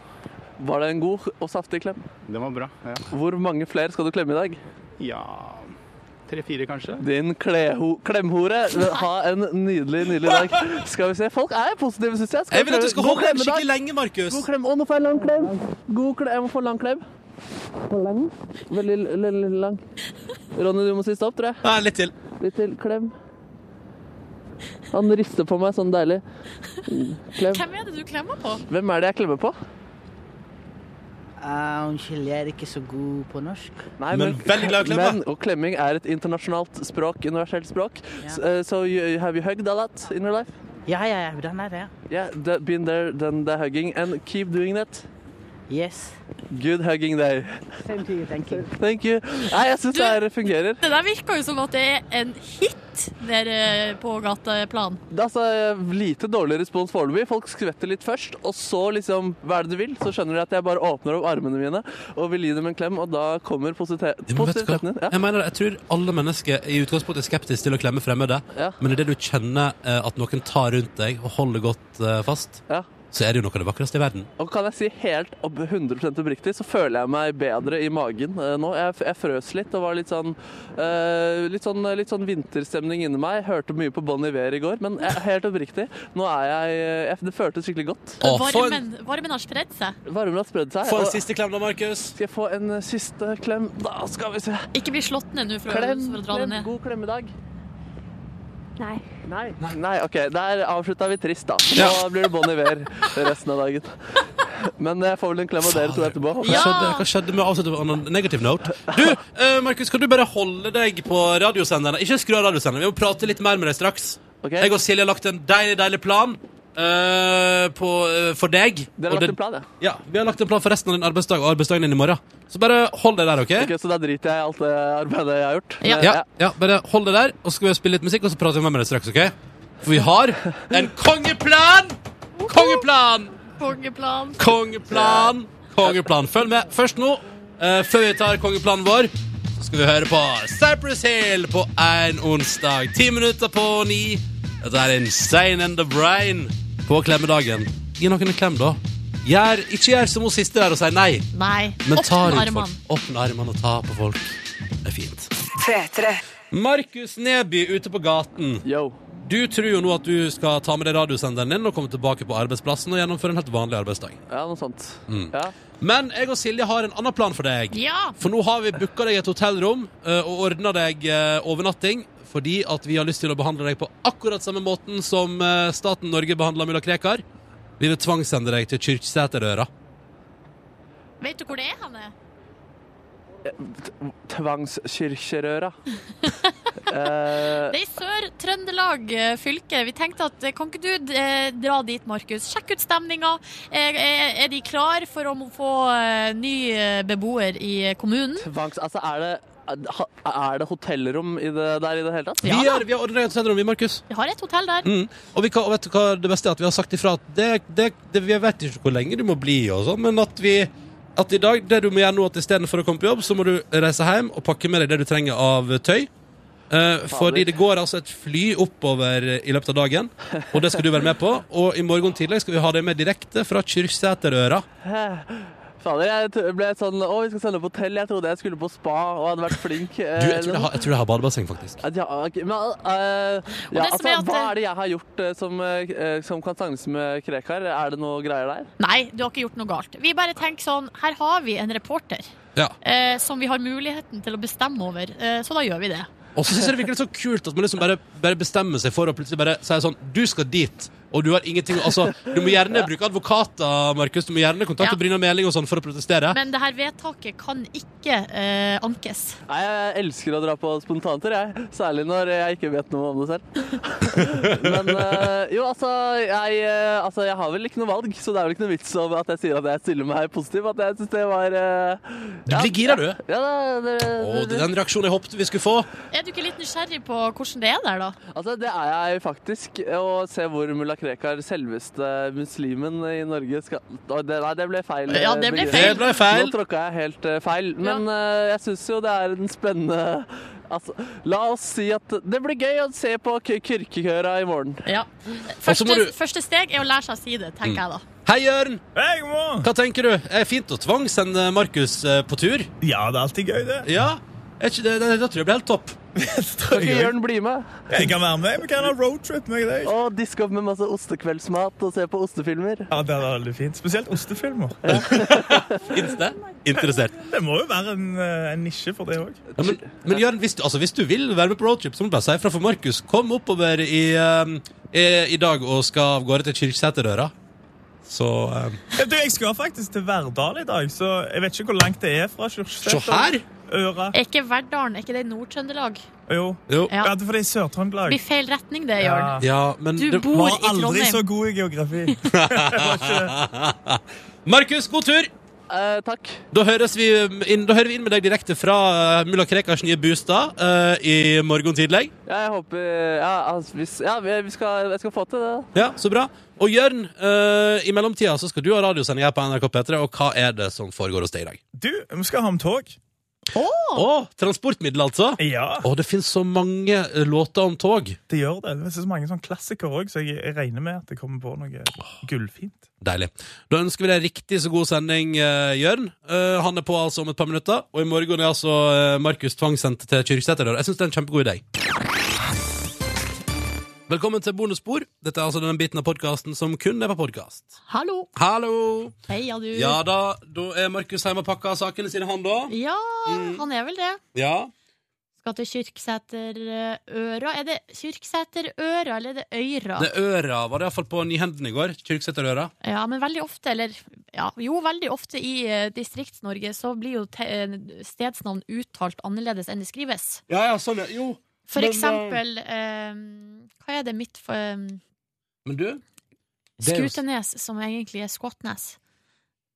E: var det en god og saftig klem? Den Eh, var bra, ja. Hvor mange flere skal du klemme i dag? Ja Tre-fire, kanskje. Din kleho klemhore. Ha en nydelig, nydelig dag. Skal vi se. Folk er positive, syns jeg.
B: Jeg vil at du skal
E: God
B: holde den
E: klemmedag.
B: skikkelig lenge, Markus.
E: God klem. Å, nå får jeg lang klem. God klem. Jeg må få lang klem. For lang? Veldig l- l- l- lang. Ronny, du må si stopp, tror jeg.
B: Ja, litt til.
E: Litt til. Klem. Han rister på meg sånn deilig. Klem.
C: Hvem er det du klemmer på?
E: Hvem er det jeg klemmer på?
L: Ah, Unnskyld, jeg er ikke så god på norsk.
E: Nei, Men, og klemming er et internasjonalt språk, universelt språk. S- eh, So, you, have you hugged a lot in your life?
L: Ja, ja, ja, den er det.
E: Yeah, the, been there, done the hugging, and keep doing that. Yes. Good hugging day.
L: Same to you, thank you.
E: Thank you. Nei, jeg syns det her fungerer.
C: Det der virker jo som at det er en hit der eh, på gateplan.
E: Det er altså lite dårlig respons foreløpig. Folk skvetter litt først, og så liksom Hva er det du vil? Så skjønner de at jeg bare åpner opp armene mine og vil gi dem en klem, og da kommer posite- positiviteten din. Ja.
B: Jeg mener, det, jeg tror alle mennesker i utgangspunktet er skeptiske til å klemme fremmede,
E: Ja.
B: men idet du kjenner eh, at noen tar rundt deg og holder godt eh, fast,
E: Ja.
B: så er det jo noe av det vakreste i verden.
E: Og kan jeg si helt opp 100 oppriktig, så føler jeg meg bedre i magen eh, nå. Jeg, f- jeg frøs litt og var litt sånn, eh, litt sånn Litt sånn vinterstemning inni meg. Hørte mye på Bon Iver i går, men jeg, helt oppriktig, nå er jeg, eh, jeg Det føltes skikkelig godt.
C: Varmen, varmen har spredd seg.
E: Varmen har spredd seg.
B: Få en
E: og-
B: siste klem da, Markus.
E: Skal jeg få en eh, siste klem? Da skal vi se.
C: Ikke bli slått ned nå for, å-
E: Klem,
C: for å dra det
E: klem,
C: ned.
E: god klemmedag.
K: Nei.
E: Nei. Nei, OK. Der avslutta vi trist, da. Nå blir det Bon Iver resten av dagen. Men jeg får vel en klem av dere to etterpå.
B: Hva skjedde, hva skjedde med å avslutte på en negativ note? Du, eh, Markus, kan du bare holde deg på radiosenderne? Ikke skru av radiosenderne, vi må prate litt mer med deg straks. Jeg og Silje har lagt en deilig, deilig plan eh, på, eh, for deg. Og
E: Dere har lagt
B: det-
E: en plan, ja?
B: Ja, vi har lagt en plan for resten av din arbeidsdag og arbeidsdagen din i morgen. Så bare hold deg der, OK?
E: Ok, Så da driter jeg i alt det arbeidet jeg har gjort. eh,
B: Ja. Ja, bare hold det der, og så skal vi spille litt musikk, og så prater vi mer med deg straks, OK? For vi har en kongeplan! Kongeplan!
C: Kongeplan.
B: Kongeplan! Kongeplan. Følg med først nå. eh, før vi tar kongeplanen vår, så skal vi høre på Cypress Hill på en onsdag. Ti minutter på ni. Dette er Insane and the Brain på klemmedagen. Gi noen en klem, da. Gjør, ikke gjør som hun siste der og si nei.
C: Nei.
B: Men ta
C: Åpne
B: rundt folk.
C: armene.
B: Åpne armene og ta på folk. Det er fint. Markus Neby ute på gaten. Du tror jo nå at du skal ta med deg radiosenderen din og komme tilbake på arbeidsplassen og gjennomføre en helt vanlig arbeidsdag.
E: Ja, noe sånt.
B: Mm.
E: Ja.
B: Men jeg og Silje har en annen plan for deg.
C: Ja.
B: For nå har vi booka deg et hotellrom eh, og ordna deg eh, overnatting. Fordi at vi har lyst til å behandle deg på akkurat samme måten som eh, staten Norge behandla mulla Krekar. Vi vil tvangssende deg til Kyrksæterøra.
C: Vet du hvor det er han er?
E: T- Tvangskirkerøra. Eh,
C: Det er i Sør-Trøndelag eh, fylke. Vi tenkte at eh, kan ikke du eh, dra dit, Markus? Sjekk ut stemninga. Eh, Er er de klar for å må få eh, ny eh, beboer i eh, kommunen?
E: tvangs... Altså, er det ha- er det hotellrom i det, der i det hele tatt?
B: Vi har, vi har ordna deg et hotellrom, vi, Markus.
C: Vi har et hotell der.
B: Mm. Og, vi kan, og vet du hva det beste er? At vi har sagt ifra at det, det, det, vi vet ikke hvor lenge du må bli, og sånn, men at vi at i dag, det du må gjøre nå, at istedenfor å komme på jobb, så må du reise hjem og pakke med deg det du trenger av tøy. Eh, fordi det går altså et fly oppover i løpet av dagen, og det skal du være med på. Og i morgen tidlig skal vi ha deg med direkte fra Kyrksæterøra.
E: Eh, Fader, jeg t- ble sånn Å, vi skal sende på hotell. Jeg trodde jeg skulle på spa og hadde vært flink. eh,
B: Du, jeg tror det har, jeg tror det har badebasseng, faktisk.
E: Ja, ok, men, eh, ja,
C: det som
E: altså,
C: er at-
E: hva er det jeg har gjort eh, som, eh, som kan stagnes med Krekar? Er det noe greier der?
C: Nei, du har ikke gjort noe galt. Vi bare tenker sånn, her har vi en reporter
B: Ja.
C: eh, som vi har muligheten til å bestemme over, eh, så da gjør vi det.
B: Og så synes jeg det virker litt så kult at man liksom bare, bare bestemmer seg for å plutselig bare si sånn Du skal dit, og du har ingenting Altså, du må gjerne bruke advokater, Markus. Du må gjerne kontakte
C: Ja.
B: Bryna Meling og sånn for å protestere.
C: Men det her vedtaket kan ikke eh, ankes.
E: Nei, jeg elsker å dra på spontanter, jeg. Særlig når jeg ikke vet noe om det selv. Men eh, jo, altså jeg, eh, altså jeg har vel ikke noe valg, så det er vel ikke noe vits om at jeg sier at jeg stiller meg positiv. At jeg syns det var eh,
B: Du blir gira, du.
E: Ja, det, det,
B: Å, det er den reaksjonen jeg håpet vi skulle få.
C: Er du ikke litt nysgjerrig på hvordan det er der, da?
E: Altså, det er jeg faktisk. Å se hvor mulla Krekar, selveste muslimen i Norge, skal Å, det, Nei, det ble feil. eh,
C: Ja, det ble
E: Beklager.
C: feil. Det ble feil.
E: Nå tråkka jeg helt eh, feil. Men eh, jeg syns jo det er en spennende Altså, la oss si at det blir gøy å se på k- kyrkekøra i morgen.
C: Ja.
E: så må
C: Første,
E: du-
C: første steg er å lære seg å si det, tenker jeg da.
B: Hei, Jørn! Hva tenker du? Er det fint å tvangssende Markus eh, på tur? Ja, det er alltid gøy, det. Ja, er ikke det, det, det tror jeg blir helt topp.
E: Kan ikke Jørn bli med?
J: Jeg kan være med. Vi kan ha roadtrip. med deg.
E: Og diske opp med masse ostekveldsmat og se på ostefilmer.
J: Ja, det er veldig fint. Spesielt ostefilmer.
B: Fins det? Interessert.
J: Det må jo være en, eh, en nisje for det òg.
B: Ja, men, men Jørn, hvis du, altså, hvis du vil være med på roadtrip, så må du bare si ifra for Markus. Kom oppover i, ehm, i, i dag og skal av gårde til Kirkseterdøra. Så ehm,
J: Du, Jeg skal faktisk til Verdal i dag, så jeg vet ikke hvor langt det er fra Kyrksæter.
B: Se her!
J: Øra.
C: Er ikke Verdalen, er ikke det i Nord-Trøndelag?
J: Jo.
C: Ja.
J: Ja. det er fordi det er Sør-Trøndelag.
C: Blir feil retning det, Jørn.
B: Ja, men
C: Du
B: det-
C: bor i
J: Jeg var aldri
C: Trondheim.
J: så god i geografi.
B: Markus, god tur!
E: Eh, takk.
B: Da, høres vi inn, da hører vi inn med deg direkte fra eh, mulla Krekars nye bostad eh, i morgen tidlig.
E: Ja, jeg håper Ja, altså, hvis, ja vi vi skal, jeg skal få til det.
B: Ja, så bra. Og Jørn, eh, i mellomtida så skal du ha radiosending her på NRK P3, og hva er det som foregår hos deg i dag?
J: Du, vi skal ha med tog.
B: Å, transportmiddel, altså?
J: Ja.
B: Å, det finnes så mange eh, låter om tog.
J: Det gjør det. Det er så mange sånne klassikere òg, så jeg, jeg regner med at det kommer på noe gullfint.
B: Deilig. Da ønsker vi deg riktig så god sending, eh, Jørn. Eh, han er på altså om et par minutter. Og i morgen er altså eh, Markus tvangssendt til Kyrksæter. Jeg syns det er en kjempegod idé. Velkommen til bonusspor. Dette er altså den biten av podkasten som kun er på podkast.
C: Hallo.
B: Hallo!
C: Heia, du.
B: Ja da, da er Markus hjemme og pakker sakene sine, han da.
C: Ja, han er vel det.
B: Ja.
C: Skal til Kyrksæterøra. Er det Kyrksæterøra, eller er det Øyra?
B: Det øra var det iallfall på Nyhenden i går. Kyrksæterøra.
C: Ja, men veldig ofte, eller ja, jo, veldig ofte i eh, Distrikts-Norge så blir jo te eh, stedsnavn uttalt annerledes enn det skrives.
B: Ja, ja, sånn, ja. Jo.
C: For
B: Men, eh,
C: eksempel eh, Hva er det mitt for eh,
B: Men du det er jo-
C: Skutenes, som egentlig er Skåtnes?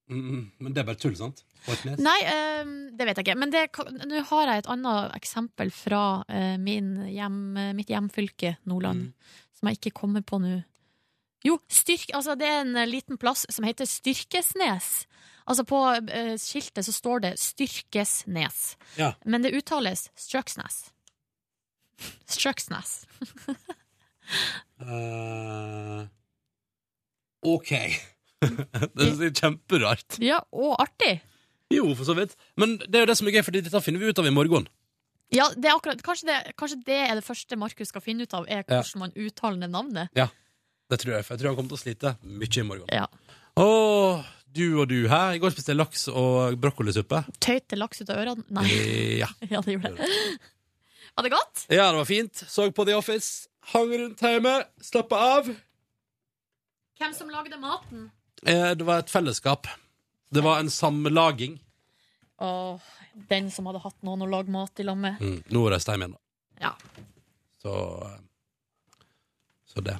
B: Mm, Men det er bare tull, sant? Orknes.
C: Nei, eh, det vet jeg ikke. Men det, kan- nå har jeg et annet eksempel fra eh, min hjem, eh, mitt hjemfylke, Nordland,
B: Mm.
C: som jeg ikke kommer på nå. Jo, styrk, altså det er en eh, liten plass som heter Styrkesnes. Altså På eh, skiltet så står det Styrkesnes,
B: Ja.
C: men det uttales Strøksnes. Strøksnes.
B: Eh, OK. det er kjemperart.
C: Ja, og artig!
B: Jo, for så vidt. Men det er jo det som er gøy, for dette finner vi ut av i morgen.
C: Ja, det er akkurat, kanskje, det, kanskje det er det første Markus skal finne ut av, er
B: Ja.
C: hvordan man uttaler det navnet.
B: Ja, det tror jeg, for jeg tror han kommer til å slite mye i morgen.
C: Ja.
B: Åh, du og du, hæ? I går spiste jeg laks og brokkolisuppe.
C: Tøyte laks ut av ørene? Nei.
B: Ja.
C: Ja, det gjorde det. Var det godt?
B: ja, det var fint. Så på The Office. Hang rundt hjemme. Slappa av.
C: Hvem som lagde maten?
B: Eh, det var et fellesskap. Det var en samlaging.
C: Åh, den som hadde hatt noen å lage mat i lag med.
B: Mm, nå reiste jeg hjem igjen, da.
C: Ja.
B: Så, eh, så det.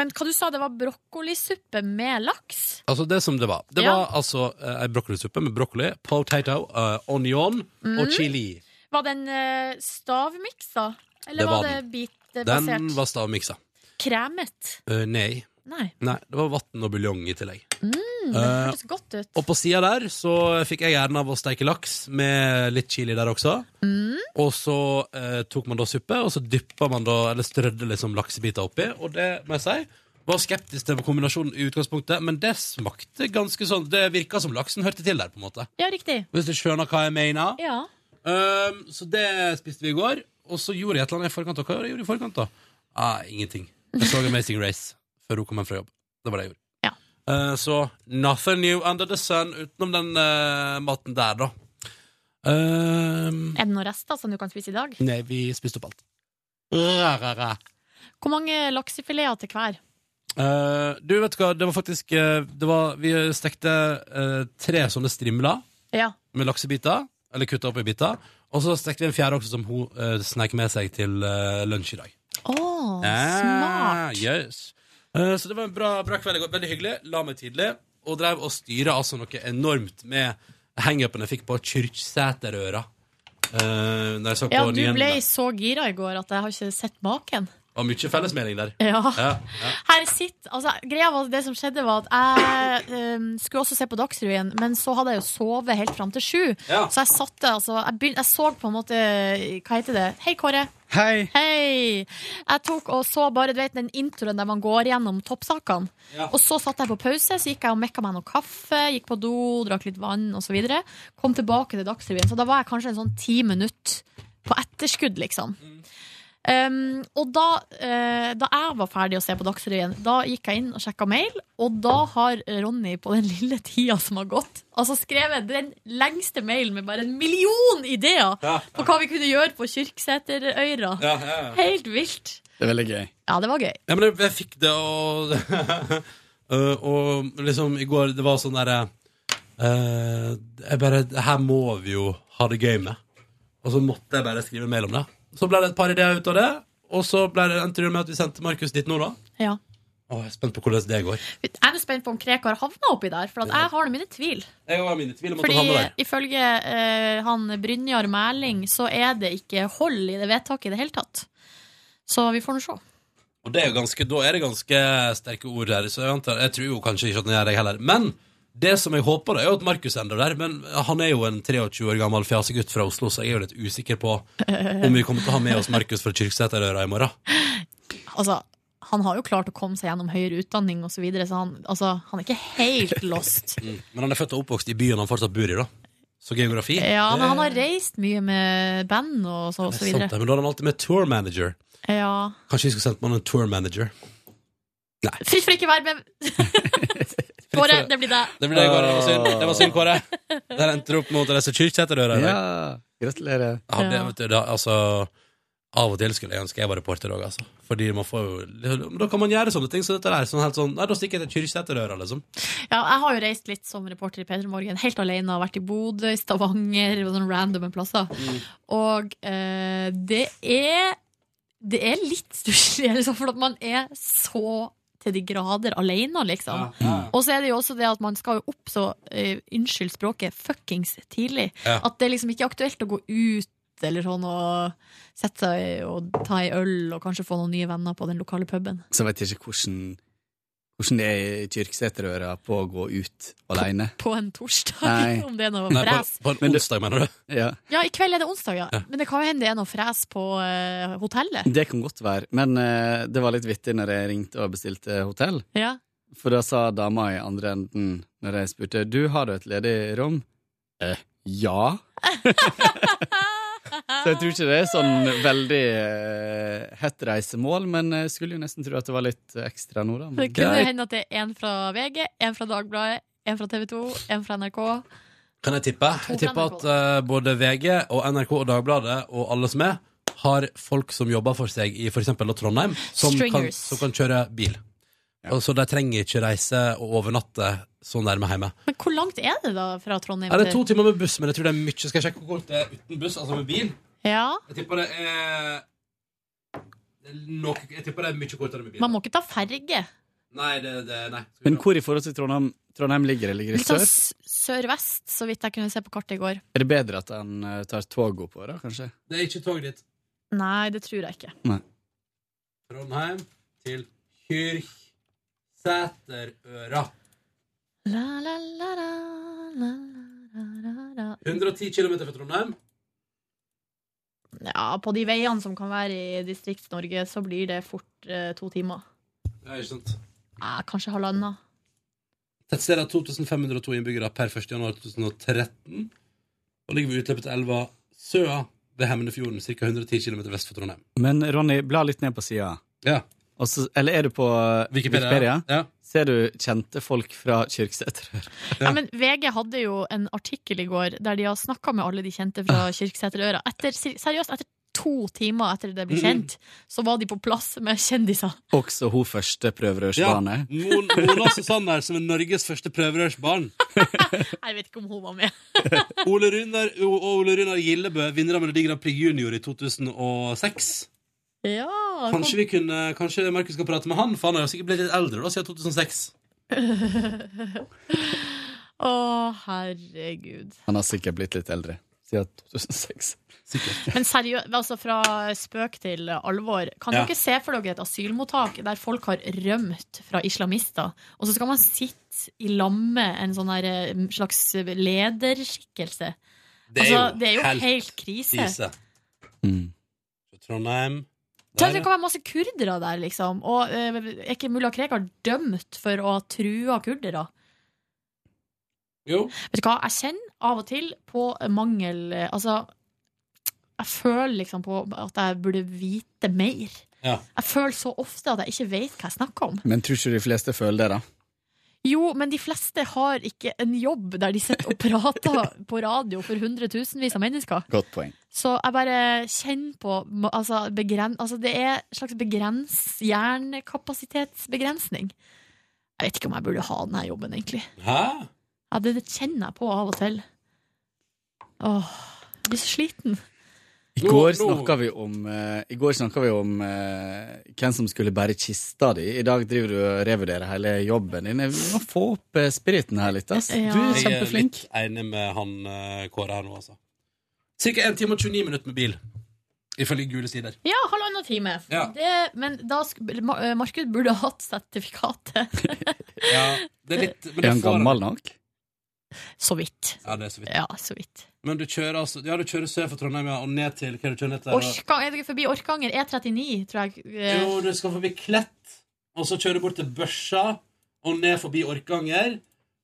C: Men hva du sa, det var brokkolisuppe med laks?
B: Altså det som det var. Det
C: Ja.
B: var altså eh, ei brokkolisuppe med brokkoli, potato, eh, onion
C: Mm.
B: og chili.
C: Var den eh, stavmiksa? Eller
B: Det
C: var,
B: var
C: det
B: den. Den
C: bitbasert?
B: var stavmiksa.
C: Kremet?
B: Eh, nei.
C: Nei.
B: nei. Det var vann og buljong i tillegg.
C: Mm, det
B: Eh,
C: hørtes godt ut.
B: Og på sida der så fikk jeg æren av å steike laks med litt chili der også.
C: Mm.
B: Og så eh, tok man da suppe, og så dyppa man da, eller strødde liksom laksebiter oppi, og det må jeg si Var skeptisk til kombinasjonen i utgangspunktet, men det smakte ganske sånn Det virka som laksen hørte til der, på en måte.
C: Ja, riktig.
B: Hvis du skjønner hva jeg mener.
C: Ja.
B: Ehm, så det spiste vi i går. Og så gjorde jeg et eller annet i forkant. Og hva gjorde jeg i forkant, da? Ah, ingenting. Jeg så Amazing Race før hun kom hjem fra jobb. Det var det jeg gjorde. Eh, så nothing new under the sun utenom den eh, maten der, da. Ehm,
C: Er det noen rester som du kan spise i dag?
B: nei, vi spiste opp alt. Ra, ra, ra.
C: Hvor mange laksefileter til hver?
B: Eh, du, vet du hva, det var faktisk eh, det var, Vi stekte eh, tre sånne strimler
C: Ja.
B: med laksebiter. Eller kutta opp i biter. Og så stekte vi en fjerde også som hun uh, sneik med seg til eh, lunsj i dag.
C: Å,
B: Ah,
C: smart.
B: yes. Eh, Så det var en bra, bra kveld i går. Veldig hyggelig. La meg tidlig. Og drev og styra altså noe enormt med hangupen jeg fikk på Kyrksæterøra. Uh, når jeg så på
C: Ja, du
B: nyhendene.
C: ble så gira i går at jeg har ikke sett maken.
B: Det var mye fellesmelding der.
C: Ja.
B: Ja, ja.
C: Her sitt, altså, greia var at Det som skjedde, var at jeg ehm, skulle også se på Dagsrevyen, men så hadde jeg jo sovet helt fram til sju.
M: Ja.
C: Så jeg satte altså jeg, begyn- jeg så på en måte Hva heter det? Hei, Kåre.
M: Hei.
C: Hei. Jeg tok og så bare du vet, den introen der man går gjennom toppsakene.
M: Ja.
C: Og så satte jeg på pause, så gikk jeg og mekka meg noe kaffe, gikk på do, drakk litt vann osv. Kom tilbake til Dagsrevyen. Så da var jeg kanskje en sånn ti minutter på etterskudd, liksom.
M: Mm.
C: Um, og da, eh, da jeg var ferdig å se på Dagsrevyen, da gikk jeg inn og sjekka mail, og da har Ronny på den lille tida som har gått, altså skrevet den lengste mailen med bare en million ideer
M: Ja.
C: på hva vi kunne gjøre på Kyrksæterøyra.
B: Ja, ja, ja.
C: Helt vilt.
B: Det er veldig gøy.
C: Ja, det var gøy.
B: Ja, men jeg, jeg fikk det, og Eh, Og liksom i går, det var sånn derre eh, Jeg bare det Her må vi jo ha det gøy med. Og så måtte jeg bare skrive en mail om det. Så ble det et par ideer ut av det, og så ble det, endte det med at vi sendte Markus dit nå, da.
C: Ja.
B: Å, jeg er spent på hvordan det går.
C: Jeg er jo spent på om Krekar havna oppi der, for at jeg har nå mine tvil.
B: Jeg har mine tvil om at
C: Fordi
B: han havner der.
C: ifølge eh, han Brynjar Mæling så er det ikke hold i det vedtaket i det hele tatt. Så vi får nå se.
B: Og det er jo ganske, da er det ganske sterke ord her, så jeg, antar, jeg tror jo kanskje ikke at den gjør det heller. Men det som jeg håper, da, er jo at Markus ender der. Men han er jo en 23 år gammel fjasegutt fra Oslo, så jeg er jo litt usikker på om vi kommer til å ha med oss Markus fra Kyrksæterøra i morgen.
C: altså, han har jo klart å komme seg gjennom høyere utdanning osv., så, videre, så han, altså, han er ikke helt lost.
B: Mm. Men han er født og oppvokst i byen han fortsatt bor i, da. Så geografi
C: Ja, men
B: det-
C: han har reist mye med band og så, og
B: det
C: så
B: er sant, det,
C: videre.
B: Men da har han alltid med tour manager.
C: Ja.
B: Kanskje vi skulle sendt med han en tour manager.
C: Fritt for ikke å være med Kåre, det blir deg.
B: Det blir det i går, det var synd, det var synd Kåre. Der endte du opp mot å lese Kyrksæterøra i dag.
N: gratulerer.
B: Ja, det, vet du, det, altså, av og til skulle jeg ønske jeg var reporter òg, altså. Fordi man får jo men Da kan man gjøre sånne ting. Så dette der er sånn helt sånn Nei, da stikker jeg til Kyrksæterøra, liksom.
C: Ja, jeg har jo reist litt som reporter i P3 Morgen, helt alene. Har vært i Bodø, i Stavanger og sånne randome plasser.
N: Mm.
C: Og eh, det er Det er litt stusslig, liksom, for at man er så til de grader alene, liksom.
G: Mm.
C: Og så er det jo også det at man skal jo opp så eh, Unnskyld språket, fuckings tidlig.
M: Ja.
C: At det er liksom ikke er aktuelt å gå ut. Eller sånn og sette seg og ta ei øl og kanskje få noen nye venner på den lokale puben.
N: Så vet jeg ikke hvordan, hvordan det er i Kyrksæterøra på å gå ut alene.
C: På en torsdag,
N: Nei.
C: om det er noe fres.
N: Men du-
B: onsdag, mener du?
N: Ja,
C: Ja, i kveld er det onsdag, ja.
N: Ja.
C: Men det kan jo hende det er noe fres på eh, hotellet.
N: det kan godt være. Men eh, det var litt vittig når jeg ringte og bestilte hotell.
C: Ja.
N: For da sa dama i andre enden, når jeg spurte du har du et ledig rom, eh, ja. Så jeg tror ikke det er sånn veldig eh, hett reisemål, men jeg skulle jo nesten tro at det var litt ekstra nå, da. Men-
C: Det kunne hende at det er en fra VG, en fra Dagbladet, en fra TV 2, en fra NRK.
B: Kan jeg tippe? Jeg tipper at eh, både VG og NRK og Dagbladet og alle som er, har folk som jobber for seg i f.eks. Trondheim, som kan,
C: Stringers.
B: som kan kjøre bil. Og så de trenger ikke reise og overnatte så nærme hjemme.
C: Men hvor langt er det da fra Trondheim
B: Ja, det er to timer med buss, men jeg tror det er mye. Skal jeg sjekke hvor kort det er uten buss, altså med bil?
C: Ja.
B: Jeg tipper det er det er nok, Jeg tipper det er mye kortere med bil.
C: Man må ikke ta ferge.
B: Nei, det, det, nei.
N: Men hvor i forhold til Trondheim, Trondheim ligger det? Ligger det
C: Litt sånn
N: sør?
C: s- sør-vest, så vidt jeg kunne se på kartet i går.
N: Er det bedre at en eh, tar tog oppover, da, kanskje?
B: Det er ikke tog dit.
C: Nei, det tror jeg ikke.
B: Trondheim til Kyrksæterøra.
C: La, la, la, la, la, la, la, la.
B: 110 km fra Trondheim.
C: Ja, på de veiene som kan være i Distrikts-Norge, så blir det fort eh, to timer.
B: Det er ikke sant.
C: Eh, kanskje halvannen.
B: Tettstedet har 2502 innbyggere per 1. januar 2013 og ligger ved utløpet til elva Søa ved Hemnefjorden, ca. 110 km vest for Trondheim.
N: Men Ronny, bla litt ned på sida.
B: Ja.
N: Eller er du på eh, Wikipedia?
B: Ja.
N: Ser du kjente folk fra Kyrksæter?
C: Ja, men VG hadde jo en artikkel i går der de har snakka med alle de kjente fra Kyrksæterøra. Etter, seriøst, etter to timer etter det ble kjent, så var de på plass med kjendiser.
N: Også hun første prøverørsbane.
B: Mon- Mona Susanne her, som er Norges første prøverørsbarn.
C: Jeg vet ikke om hun var med.
B: Ole Runar, og Ole Runar Gillebø, vinner av Melodi Grand Prix Junior i 2006.
C: Ja,
B: Kanskje, vi kunne, kanskje Markus skal prate med han, for han har jo sikkert blitt litt eldre da, siden 2006.
C: Å, herregud.
N: Han har sikkert blitt litt eldre siden 2006.
C: Men seriøst, altså fra spøk til alvor. Kan
N: Ja.
C: dere se for dere et asylmottak der folk har rømt fra islamister, og så skal man sitte i lamme med en sånn her, eh, slags lederskikkelse?
B: Det er
C: altså,
B: jo
C: det er jo
B: helt
C: helt, krise.
B: Ise.
N: Mm.
B: Så Trondheim
C: Tenk det kan være masse kurdere der, liksom. Og eh, er ikke mulla Krekar dømt for å ha trua kurdere?
B: Jo.
C: Vet du hva, jeg kjenner av og til på mangel eh, Altså, jeg føler liksom på at jeg burde vite mer.
N: Ja.
C: Jeg føler så ofte at jeg ikke vet hva jeg snakker om.
N: Men tror ikke de fleste føler det, da?
C: Jo, men de fleste har ikke en jobb der de sitter og prater på radio for hundretusenvis av mennesker.
N: Godt poeng.
C: Så jeg bare kjenner på altså, begren, altså det er en slags begrens, hjernekapasitetsbegrensning. Jeg vet ikke om jeg burde ha denne jobben, egentlig.
B: Hæ?
C: Ja, det, det kjenner jeg på av og til. Åh, jeg blir så sliten.
N: I går snakka vi om, eh, i går snakket vi om eh, hvem som skulle bære kista di. I dag driver du og revurderer hele jobben din. Vi må få opp eh, spiriten her litt. Ass. Du er kjempeflink.
B: Jeg er litt enig med han eh, Kåre her nå, altså. Cirka 1 time og 29 minutter med bil. Ifølge Gule Sider.
C: Ja, halvannen time.
B: Ja.
C: Det, men da sk- Ma- eh, Markus burde hatt sertifikatet.
B: Ja, det er litt men det
N: Er han
B: får
N: gammel nok?
C: Så vidt.
B: Ja, det er så vidt.
C: Ja, så vidt.
B: Men du kjører altså Ja, du kjører sør for Trondheim ja, og ned til Hva er det du kjører ned til?
C: Orka, er dere forbi Orkanger? E39, tror jeg. eh,
B: Jo, du skal forbi Klett, og så kjører du bort til Børsa, og ned forbi Orkanger,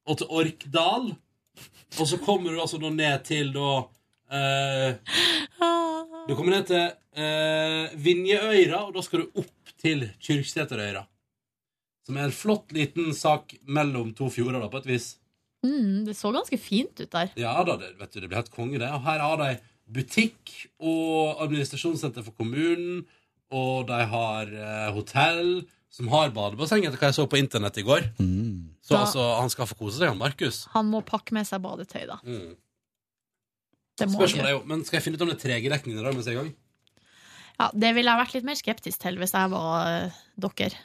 B: og til Orkdal. Og så kommer du altså da ned til da eh, Du kommer ned til eh, Vinjeøyra, og da skal du opp til Kyrksæterøyra. Som er en flott liten sak mellom to fjorder, da, på et vis.
C: Mm, det så ganske fint ut der.
B: Ja da, det, vet du, det blir helt konge, det. Og her har de butikk og administrasjonssenter for kommunen, og de har eh, hotell som har badebasseng, etter hva jeg så på internett i går. Så
N: Mm.
C: Da-
B: altså, han skal få kose seg, han Markus.
C: Han må pakke med seg badetøy, da.
B: Mm.
C: Det må
B: Spørsmålet
C: han
B: er jo,
C: gjøre.
B: men skal jeg finne ut om det er tregedekning i dag mens jeg er i gang?
C: Ja, det ville jeg vært litt mer skeptisk til hvis jeg var eh, dere.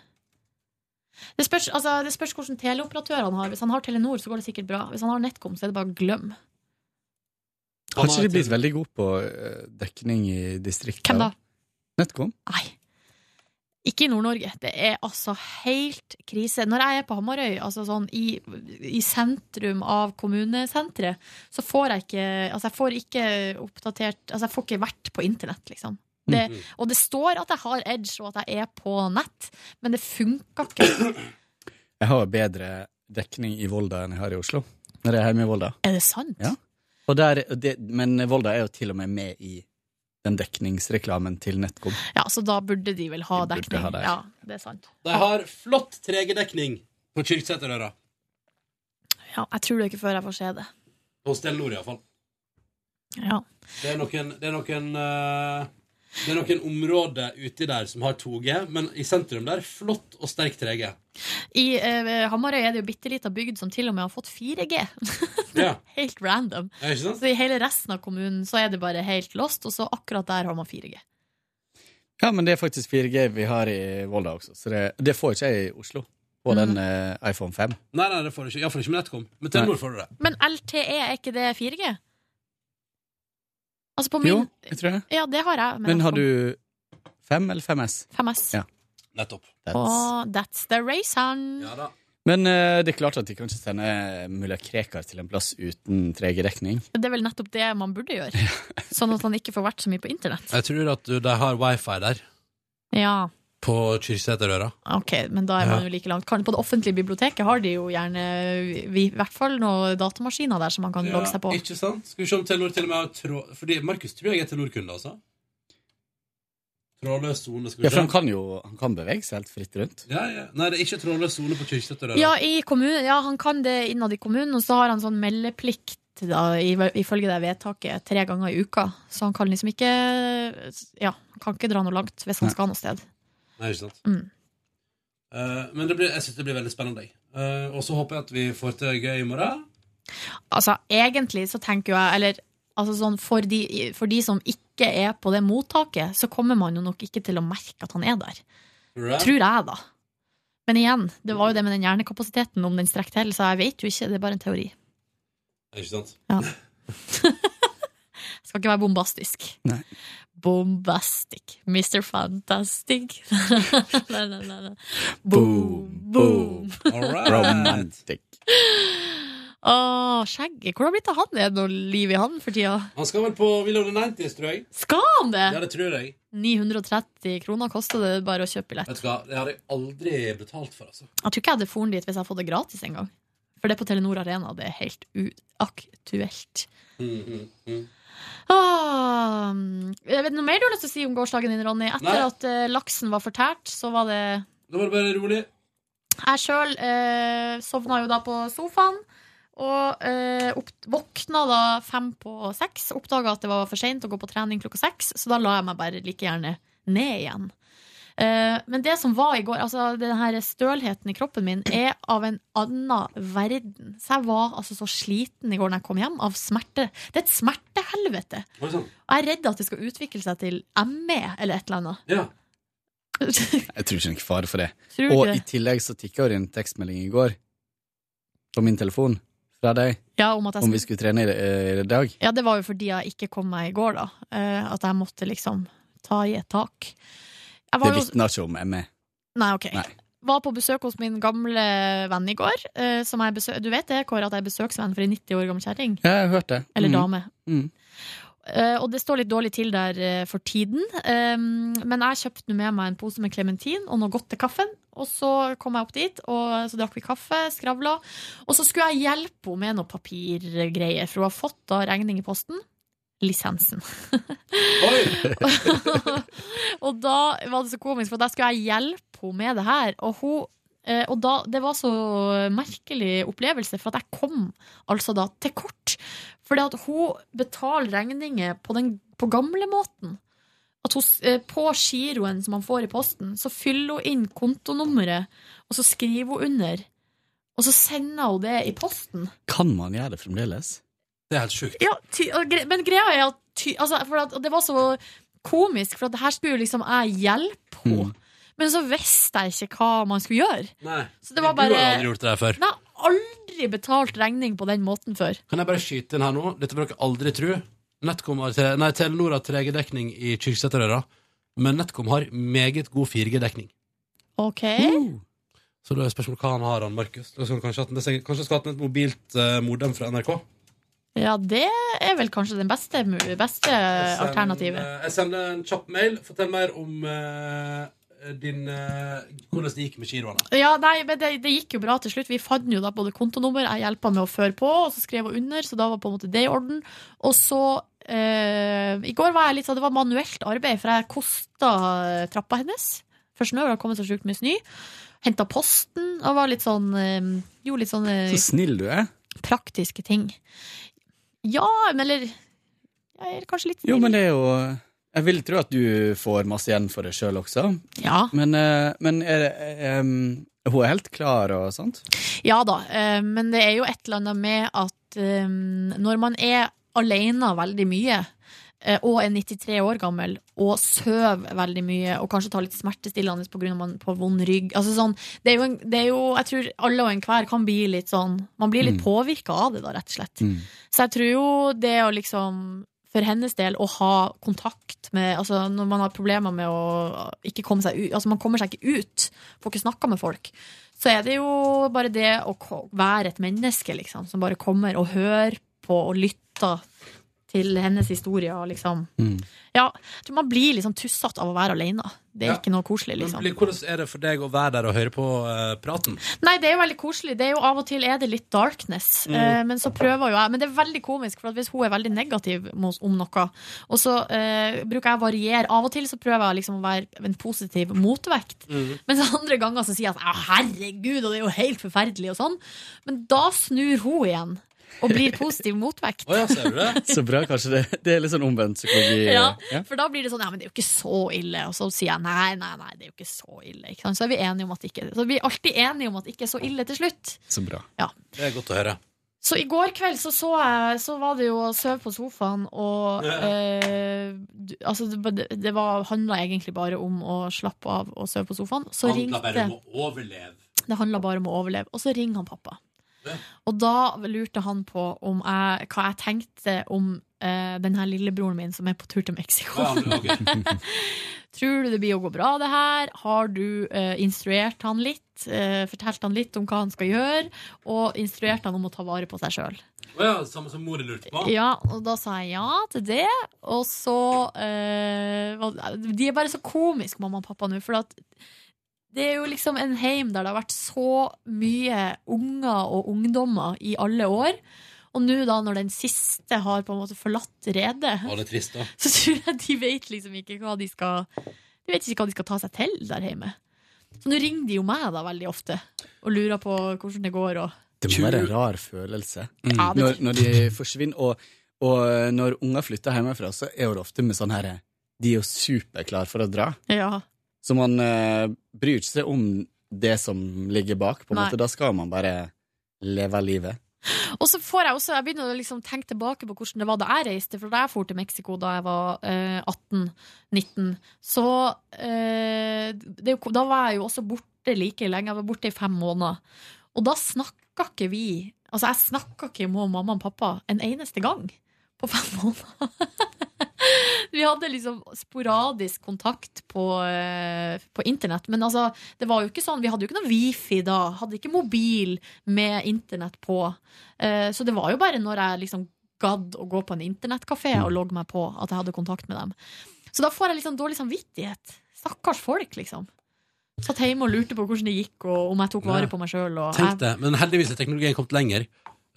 C: Det spørs, altså, det spørs hvilken teleoperatør han har. Hvis han har Telenor, så går det sikkert bra. Hvis han har NetCom, så er det bare å glemme.
N: Har ikke de blitt veldig gode på eh, dekning i distriktet?
C: Hvem da?
N: Netcom?
C: Ikke i Nord-Norge. Det er altså helt krise. Når jeg er på Hamarøy, altså sånn i, i sentrum av kommunesenteret, så får jeg ikke Altså, jeg får ikke oppdatert Altså, jeg får ikke vært på internett, liksom. Det,
N: Mm.
M: Mhm.
C: og det står at jeg har edge, og at jeg er på nett, men det funka ikke.
N: Jeg har bedre dekning i Volda enn jeg har i Oslo. Når jeg er hjemme i Volda.
C: Er det sant?
N: Ja. Og der, og det, men Volda er jo til og med med i den dekningsreklamen til Netcom.
C: Ja, så da burde de vel ha dekning.
N: ha det.
C: Ja, det er sant.
B: De har flott tregedekning på Kyrksæterøra.
C: Ja, jeg tror det ikke før jeg får se det.
B: Hos Telenor, iallfall.
C: Ja.
B: Det er noen, det er noen eh, det er noen områder uti der som har 2G, men i sentrum der flott og sterk 3G.
C: I eh, Hamarøy er det jo bitte lita bygd som til og med har fått 4G.
B: Ja.
C: helt random.
B: Ja, ikke sant?
C: Så I hele resten av kommunen så er det bare helt lost, og så akkurat der har man 4G.
N: Ja, men det er faktisk 4G vi har i Volda også, så det, det får ikke jeg i Oslo. På den eh, iPhone 5.
B: Nei, nei, det får du ikke. Iallfall ikke med Netcom. Med Telenor får du det.
C: Men LTE, er ikke det 4G? Altså på min
N: Jo, jeg tror det.
C: Ja, det har jeg. altså
N: Men har du 5 eller 5S?
C: 5S.
N: Ja.
B: Nettopp.
C: Oh, that's the racen!
B: Ja da.
N: Men eh, det er klart at de kan ikke sende mulla Krekar til en plass uten 3G-dekning.
C: Det er vel nettopp det man burde gjøre. Sånn at han ikke får vært så mye på internett.
B: Jeg tror at du, de har wifi der.
C: Ja.
B: På Kyrksæterøra.
C: Ok, men da er man
B: Ja.
C: jo like langt. Kan, på det offentlige biblioteket har de jo gjerne vi, i hvert fall noen datamaskiner der som man kan
B: Ja,
C: logge seg på.
B: Ikke sant? Skal vi se om Telenor til og med har tråd... Fordi Markus tror jeg er Telenor-kunde, altså. Trådløs sone, skal vi
N: Ja, for
B: se.
N: han kan jo han kan bevege seg helt fritt rundt.
B: Ja, ja. Nei, det er ikke trådløs sone på Kyrksæterøra.
C: Ja, i kommunen, ja, han kan det innad i kommunen, og så har han sånn meldeplikt. Da, i- ifølge det vedtaket tre ganger i uka. Så han kan liksom ikke Ja, han kan ikke dra noe langt hvis han skal noe sted.
B: Nei, ikke sant?
C: Mm.
B: Eh, men det blir, jeg synes det blir veldig spennende. jeg. Eh, og så håper jeg at vi får til gøy i morgen.
C: Altså, egentlig så tenker jo jeg Eller altså sånn for de, for de som ikke er på det mottaket, så kommer man jo nok ikke til å merke at han er der. Tror jeg, da. Men igjen, det var jo det med den hjernekapasiteten, om den strekker til, så jeg vet jo ikke. Det er bare en teori.
B: Ikke sant?
C: Ja. Skal ikke være bombastisk.
N: Nei.
C: Bombastic. Mr. Fantastic. nei, nei, nei, nei.
N: Boom,
C: boom.
N: Romantic.
C: Å, skjegget. Hvordan har det blitt av han? Er det noe liv i han for tida?
B: Han skal vel på Willow the 90s, tror jeg.
C: Skal han det?
B: Ja, det tror jeg.
C: 930 kroner koster det bare å kjøpe billett.
B: Vet du hva, Det har jeg aldri betalt for, altså.
C: Jeg tror ikke jeg hadde foren dit hvis jeg hadde fått det gratis en gang. For det er på Telenor Arena, det er helt uaktuelt.
B: Mm, mm, mm.
C: Ah, jeg vet noe mer du har lyst til å si om gårsdagen din, Ronny? Etter
B: Nei.
C: at eh, laksen var fortært, så var det
B: Da var det bare rolig.
C: Jeg sjøl eh, sovna jo da på sofaen. Og eh, opp, våkna da fem på seks. Oppdaga at det var for seint å gå på trening klokka seks, så da la jeg meg bare like gjerne ned igjen. Eh, men det som var i går, altså den her stølheten i kroppen min, er av en annen verden. Så jeg var altså så sliten i går når jeg kom hjem, av smerte. Det er et smertehelvete.
B: Var det sånn?
C: Og jeg er redd at det skal utvikle seg til ME eller et eller annet.
B: Ja.
N: Jeg tror ikke det er noen fare for det.
C: Tror du
N: Og
C: ikke
N: i
C: det?
N: tillegg så tikka det inn tekstmelding i går på min telefon fra deg
C: Ja, om at jeg
N: om vi
C: skulle-
N: skulle trene i, eh, i dag.
C: Ja, det var jo fordi jeg ikke kom meg i går, da. Eh, at jeg måtte liksom ta i et tak. Jeg
N: Det
C: var jo
N: vitner ikke om ME.
C: Nei, ok.
N: Nei.
C: Var på besøk hos min gamle venn i går. eh, som jeg besø du vet det, Kåre, at jeg er besøksvenn for ei 90 år gammel kjerring?
N: Ja, jeg hørte det.
C: Eller
N: Mm.
C: dame.
N: Mm.
C: Eh, og det står litt dårlig til der eh, for tiden. Um, men jeg kjøpte nå med meg en pose med klementin og noe godt til kaffen. Og så kom jeg opp dit, og så drakk vi kaffe, skravla. Og så skulle jeg hjelpe henne med noe papirgreier, for hun har fått da regning i posten. Lisensen. og da var det så komisk, for da skulle jeg hjelpe henne med det her. Og, hun, eh, og da, det var så merkelig opplevelse, for at jeg kom altså da til kort. Fordi at hun betaler regninger på, den- på gamlemåten. At hun, s- eh, på giroen som man får i posten, så fyller hun inn kontonummeret, og så skriver hun under. Og så sender hun det i posten.
N: Kan man gjøre det fremdeles?
B: Det er helt sjukt.
C: Ja, ty, og gre men greia er at, ty, altså, for at og Det var så komisk, for at det her skulle jo liksom jeg hjelpe henne. Men så visste jeg ikke hva man skulle gjøre.
B: Nei.
C: Så det var
B: Du har
C: bare
B: aldri gjort det der før.
C: Nei, aldri betalt regning på den måten før.
B: Kan jeg bare skyte inn her nå? Dette bør dere aldri tro. Netcom har tre, nei, Telenor har 3G-dekning i Kyrksæterøra, men Netcom har meget god 4G-dekning.
C: OK?
B: Eh? Mm. Så da er spørsmålet hva han har, han Markus. Da skulle han Kanskje hatt en- kanskje han skulle hatt et mobilt eh, modem fra NRK?
C: Ja, det er vel kanskje den beste, mu- beste
B: Send,
C: alternativet.
B: eh, Jeg sender en kjapp mail. Fortell mer om eh, din, eh, hvordan det gikk med giroene.
C: Ja, nei, men det, det gikk jo bra til slutt. Vi fant jo da både kontonummer, jeg hjelpa med å føre på, og så skrev hun under, så da var på en måte det i orden. Og så eh, I går var jeg litt sånn, det var manuelt arbeid, for jeg kosta trappa hennes. Først nå, det har kommet så sjukt mye snø. Henta posten og var litt sånn eh, Gjorde litt sånn eh,
N: Så snill du er.
C: praktiske ting. Ja, men eller Jeg er kanskje litt
N: Jo, men det er jo Jeg vil tro at du får masse igjen for det sjøl også.
C: Ja.
N: Men, eh, men er det eh, em, Hun er helt klar og sånt?
C: Ja da, eh, men det er jo et eller annet med at eh, når man er alene veldig mye, eh, og er 93 år gammel, og søver veldig mye, og kanskje tar litt smertestillende på grunn av man på vond rygg altså sånn, det, er jo en, det er jo, Jeg tror alle og enhver kan bli litt sånn Man blir litt
M: Mm.
C: påvirka av det, da, rett og slett. Så jeg tror jo det å liksom for hennes del å ha kontakt med altså Når man har problemer med å ikke komme seg ut Altså man kommer seg ikke ut, får ikke snakka med folk. Så er det jo bare det å ko- være et menneske, liksom, som bare kommer og hører på og lytter til hennes historie. Og liksom. ja, jeg tror man blir liksom tussete av å være alene. Det er
B: Ja.
C: ikke noe koselig.
B: Men
C: liksom
B: blir- hvordan er det for deg å være der og høre på eh, praten?
C: Nei, det er jo veldig koselig. Det er jo Av og til er det litt darkness.
B: Mm.
C: eh, men så prøver jo jeg. Men det er veldig komisk, for at hvis hun er veldig negativ mot- om noe, og så eh, bruker jeg å variere Av og til så prøver jeg liksom å være en positiv motvekt. Mens andre ganger så sier jeg sånn «Å, herregud, og det er jo helt forferdelig, og sånn. Men da snur hun igjen. Og blir positiv motvekt.
N: Så bra, kanskje det. Det er litt sånn omvendt psykologi.
C: Ja, for da blir det sånn Ja, men det er jo ikke så ille. Og så sier jeg nei, nei, nei, det er jo ikke så ille. Ikke sant? Så er vi enige om at det ikke Så vi er alltid enige om at det ikke er så ille til slutt.
N: Så bra.
B: Det er godt å høre.
C: Så i går kveld så, så jeg Så var det jo å sove på sofaen, og
B: Ja.
C: eh, du- Altså, det, ba- det var- handla egentlig bare om å slappe av og sove på sofaen. Så
B: Handler bare om
C: ringte
B: å overleve.
C: Det handla bare om å overleve. Og så ringer han pappa. Og da lurte han på om jeg, hva jeg tenkte om eh, den her lillebroren min som er på tur til Mexico. Tror du det blir å gå bra, det her? Har du eh, instruert han litt? Eh, fortalt han litt om hva han skal gjøre? Og instruert han om å ta vare på seg sjøl?
B: Å ja, samme som mor lurte på?
C: Ja, og da sa jeg ja til det. Og så eh, var- De er bare så komiske, mamma og pappa, nå. For at det er jo liksom en heim der det har vært så mye unger og ungdommer i alle år. Og nå, da, når den siste har på en måte forlatt redet,
B: Å, det er trist, da.
C: så tror jeg de vet liksom ikke hva de skal De vet ikke hva de skal ta seg til der hjemme. Så nå ringer de jo meg da veldig ofte og lurer på hvordan det går. og
N: Det må være en rar følelse
C: Ja, det-
N: Mm. når, når de forsvinner. Og, og eh, når unger flytter hjemmefra, så er det ofte med sånn her De er jo superklare for å dra.
C: Ja.
N: Så man eh, bryr ikke seg om det som ligger bak. På en
C: Nei.
N: måte. Da skal man bare leve livet.
C: Og så får jeg også, jeg begynner å liksom tenke tilbake på hvordan det var da jeg reiste, for da jeg for til Mexico da jeg var eh, 18-19, så eh, det, er jo- da var jeg jo også borte like lenge, jeg var borte i fem måneder. Og da snakka ikke vi, altså jeg snakka ikke med mamma og pappa en eneste gang på fem måneder. Vi hadde liksom sporadisk kontakt på, eh, på internett. Men altså, det var jo ikke sånn, vi hadde jo ikke noe wifi da. Hadde ikke mobil med internett på. Eh, Så det var jo bare når jeg liksom gadd å gå på en internettkafé og logge meg på, at jeg hadde kontakt med dem. Så da får jeg liksom dårlig samvittighet. Stakkars folk, liksom. Satt hjemme og lurte på hvordan det gikk, og om jeg tok vare
B: Ja.
C: på meg sjøl.
B: Tenk det. Men heldigvis er teknologien kommet lenger.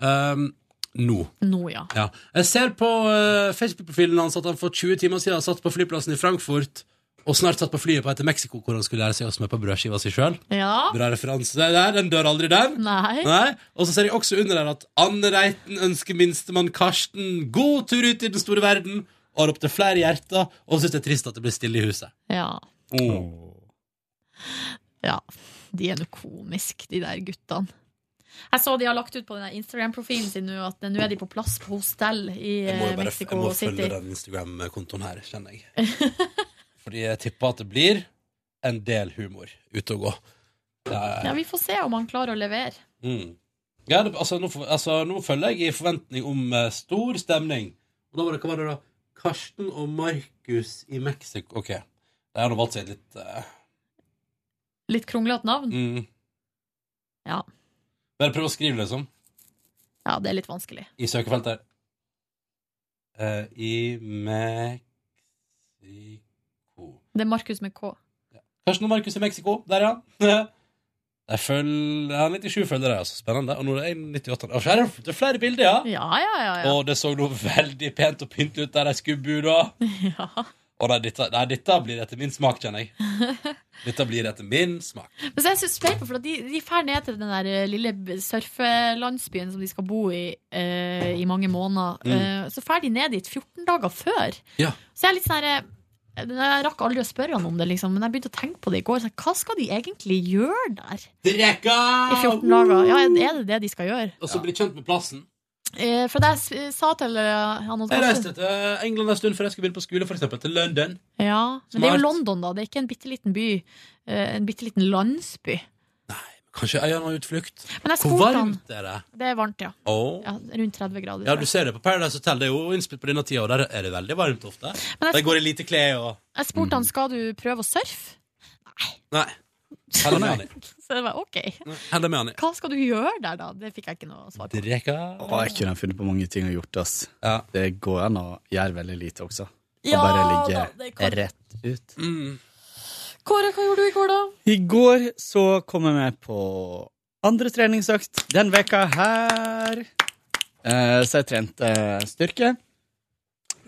B: Um, nå.
C: Nå, ja.
B: Ja. Jeg ser på eh, Facebook-profilen hans at han for 20 timer siden satt på flyplassen i Frankfurt, og snart satt på flyet på etter Mexico, hvor han skulle lære seg å smøre på brødskiva si sjøl.
C: Ja.
B: Bra referanse der. Den dør aldri, den.
C: Nei.
B: Nei. Og så ser jeg også under der at Anne Reiten ønsker minstemann Karsten god tur ut i den store verden, og har opptil flere hjerter, og syns det er trist at det blir stille i huset.
C: Ja.
B: Oh.
C: Ja, de er noe komisk, de der guttene. Jeg så de har lagt ut på den der Instagram-profilen sin nå at nå er de på plass på hostell i
B: Jeg må
C: eh,
B: jo bare jeg
C: Mexico
B: må
C: City.
B: følge den Instagram-kontoen her, kjenner jeg. Fordi jeg tipper at det blir en del humor ute og gå. Det er-
C: Ja, Vi får se om han klarer å levere.
B: mm. ja, det, altså, nå, får- altså, nå følger jeg i forventning om eh, stor stemning. Og da var det, hva var det da? Karsten og Markus i Mexico. Ok, det har nå valgt seg et litt eh,
C: Litt kronglete navn.
B: mm.
C: Ja.
B: Bare prøv å skrive, liksom,
C: ja, det er litt vanskelig.
B: i søkefeltet. Uh, I Mexico
C: Det er Markus med K.
B: Karsten og Markus i Mexico. Der, ja. Jeg følger, han er 97 følgere, altså. Spennende. Og nå er det 198. Å, her er det- Det er flere bilder, ja.
C: Ja, ja, ja. ja.
B: Og det så nå veldig pent og pyntelig ut der de skulle bo, da. Og nei, dette, nei, dette blir etter min smak, kjenner jeg. Dette blir etter min smak.
C: Men så er jeg så spent på, for at de, de drar ned til den der eh, lille b- surfelandsbyen som de skal bo i eh, i mange måneder.
B: Mm.
C: Eh, så drar de ned dit 14 dager før.
B: Ja.
C: Så jeg er litt sånn her, eh, Jeg rakk aldri å spørre han om det, liksom, men jeg begynte å tenke på det i går. Så hva skal de egentlig gjøre der?
B: Drekka!
C: I 14 dager. Ja, er det det de skal gjøre?
B: Og så bli kjent med plassen.
C: Eh, for det jeg s- eh, sa til eh, han og
B: Jeg reiste
C: Karsten
B: til England en stund før jeg skulle begynne på skole, for eksempel til London.
C: ja, Men det er
B: Smart.
C: jo London, da. Det er ikke en bitte liten by. Eh, en bitte liten landsby.
B: Kanskje jeg gjør noen utflukt.
C: Men jeg
B: Hvor
C: spurte han.
B: varmt er det?
C: Det er varmt, ja.
B: Åh.
C: ja rundt 30 grader.
B: Ja,
C: tror
B: du
C: jeg.
B: ser det på Paradise Hotel. Det er jo innspilt på denne tida, og der er det veldig varmt ofte.
C: Men jeg-
N: Mm.
B: Der går det lite klær og
C: Jeg spurte han skal du prøve å surfe.
B: Nei. Heller med han i.
C: Så det var OK.
B: Heller med han i.
C: Hva skal du gjøre der, da? Det fikk jeg ikke noe svar på.
B: Drekka
N: Å, jeg kunne ha funnet på mange ting å gjort, ass. Det går an å gjøre veldig lite også. Og
C: Ja
N: bare
C: da, det
N: ligge
C: kan-
N: rett ut.
B: Mm.
C: Kåre, hva gjorde du i går, da?
N: I går så kom jeg med på andre treningsøkt den veka her. Eh, så jeg trente styrke.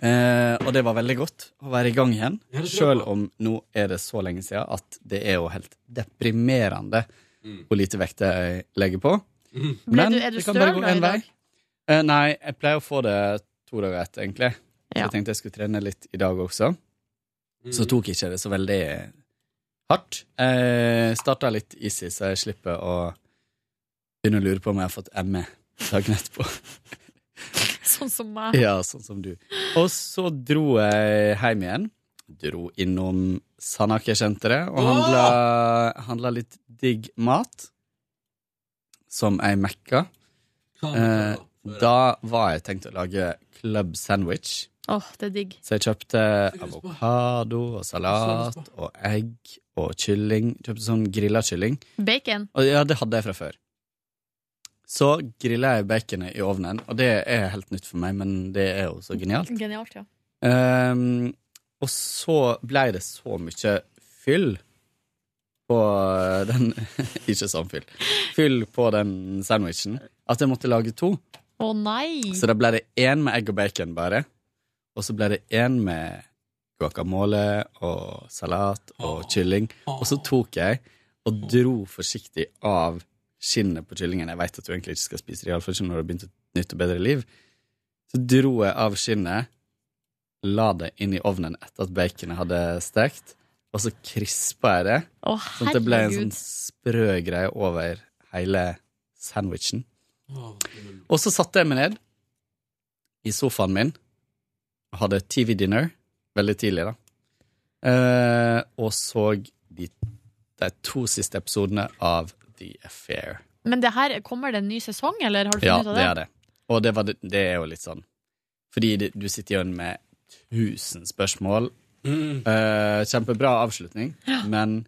N: Eh, og det var veldig godt å være i gang igjen. Selv om nå er det så lenge siden at det er jo helt deprimerende hvor lite vekt jeg legger på.
B: Mm.
C: Ble du- er du
N: det kan bare
C: støl
N: gå
C: da i
N: en
C: dag?
N: vei. Eh, nei, jeg pleier å få det to dager etter, egentlig. Så
C: Ja.
N: jeg tenkte jeg skulle trene litt i dag også. Så tok jeg ikke det så veldig hardt. Jeg starta litt easy, så jeg slipper å begynne å lure på om jeg har fått E ME dagen etterpå.
C: Sånn som meg.
N: Ja, sånn som du. Og så dro jeg hjem igjen. Dro innom Sandaker-senteret og handla, handla litt digg mat. Som jeg mekka.
C: Hva
N: Eh, da var jeg tenkt å lage club sandwich.
C: Åh, det er digg.
N: Så jeg kjøpte avokado og salat og egg og kylling. Kjøpte sånn grilla kylling.
C: Bacon.
N: Og ja, det hadde jeg fra før. Så grilla jeg baconet i ovnen, og det er helt nytt for meg, men det er jo så genialt.
C: Genialt, ja.
N: Ehm, og så ble det så mye fyll på den Ikke sånn fyll. Fyll på den sandwichen at jeg måtte lage to.
C: Å nei!
N: Så da ble det én med egg og bacon bare. Og så ble det én med guacamole og salat og kylling. Og så tok jeg og dro forsiktig av skinnet på kyllingen. Jeg veit at du egentlig ikke skal spise det, iallfall ikke når du har begynt et nytt og bedre liv. Så dro jeg av skinnet, la det inn i ovnen etter at baconet hadde stekt, og så krispa jeg det.
C: Å,
N: sånn at det ble en
C: herregud.
N: sånn sprø greie over hele sandwichen. Og så satte jeg meg ned i sofaen min og hadde TV-dinner veldig tidlig, da. Eh, og så de, de to siste episodene av The Affair.
C: Men det her, kommer det en ny sesong, eller har du
N: Ja,
C: funnet ut av
N: det er det. Og det, var, det det er jo litt sånn Fordi det, du sitter igjen med tusen spørsmål.
B: Mm.
N: Eh, kjempebra avslutning, men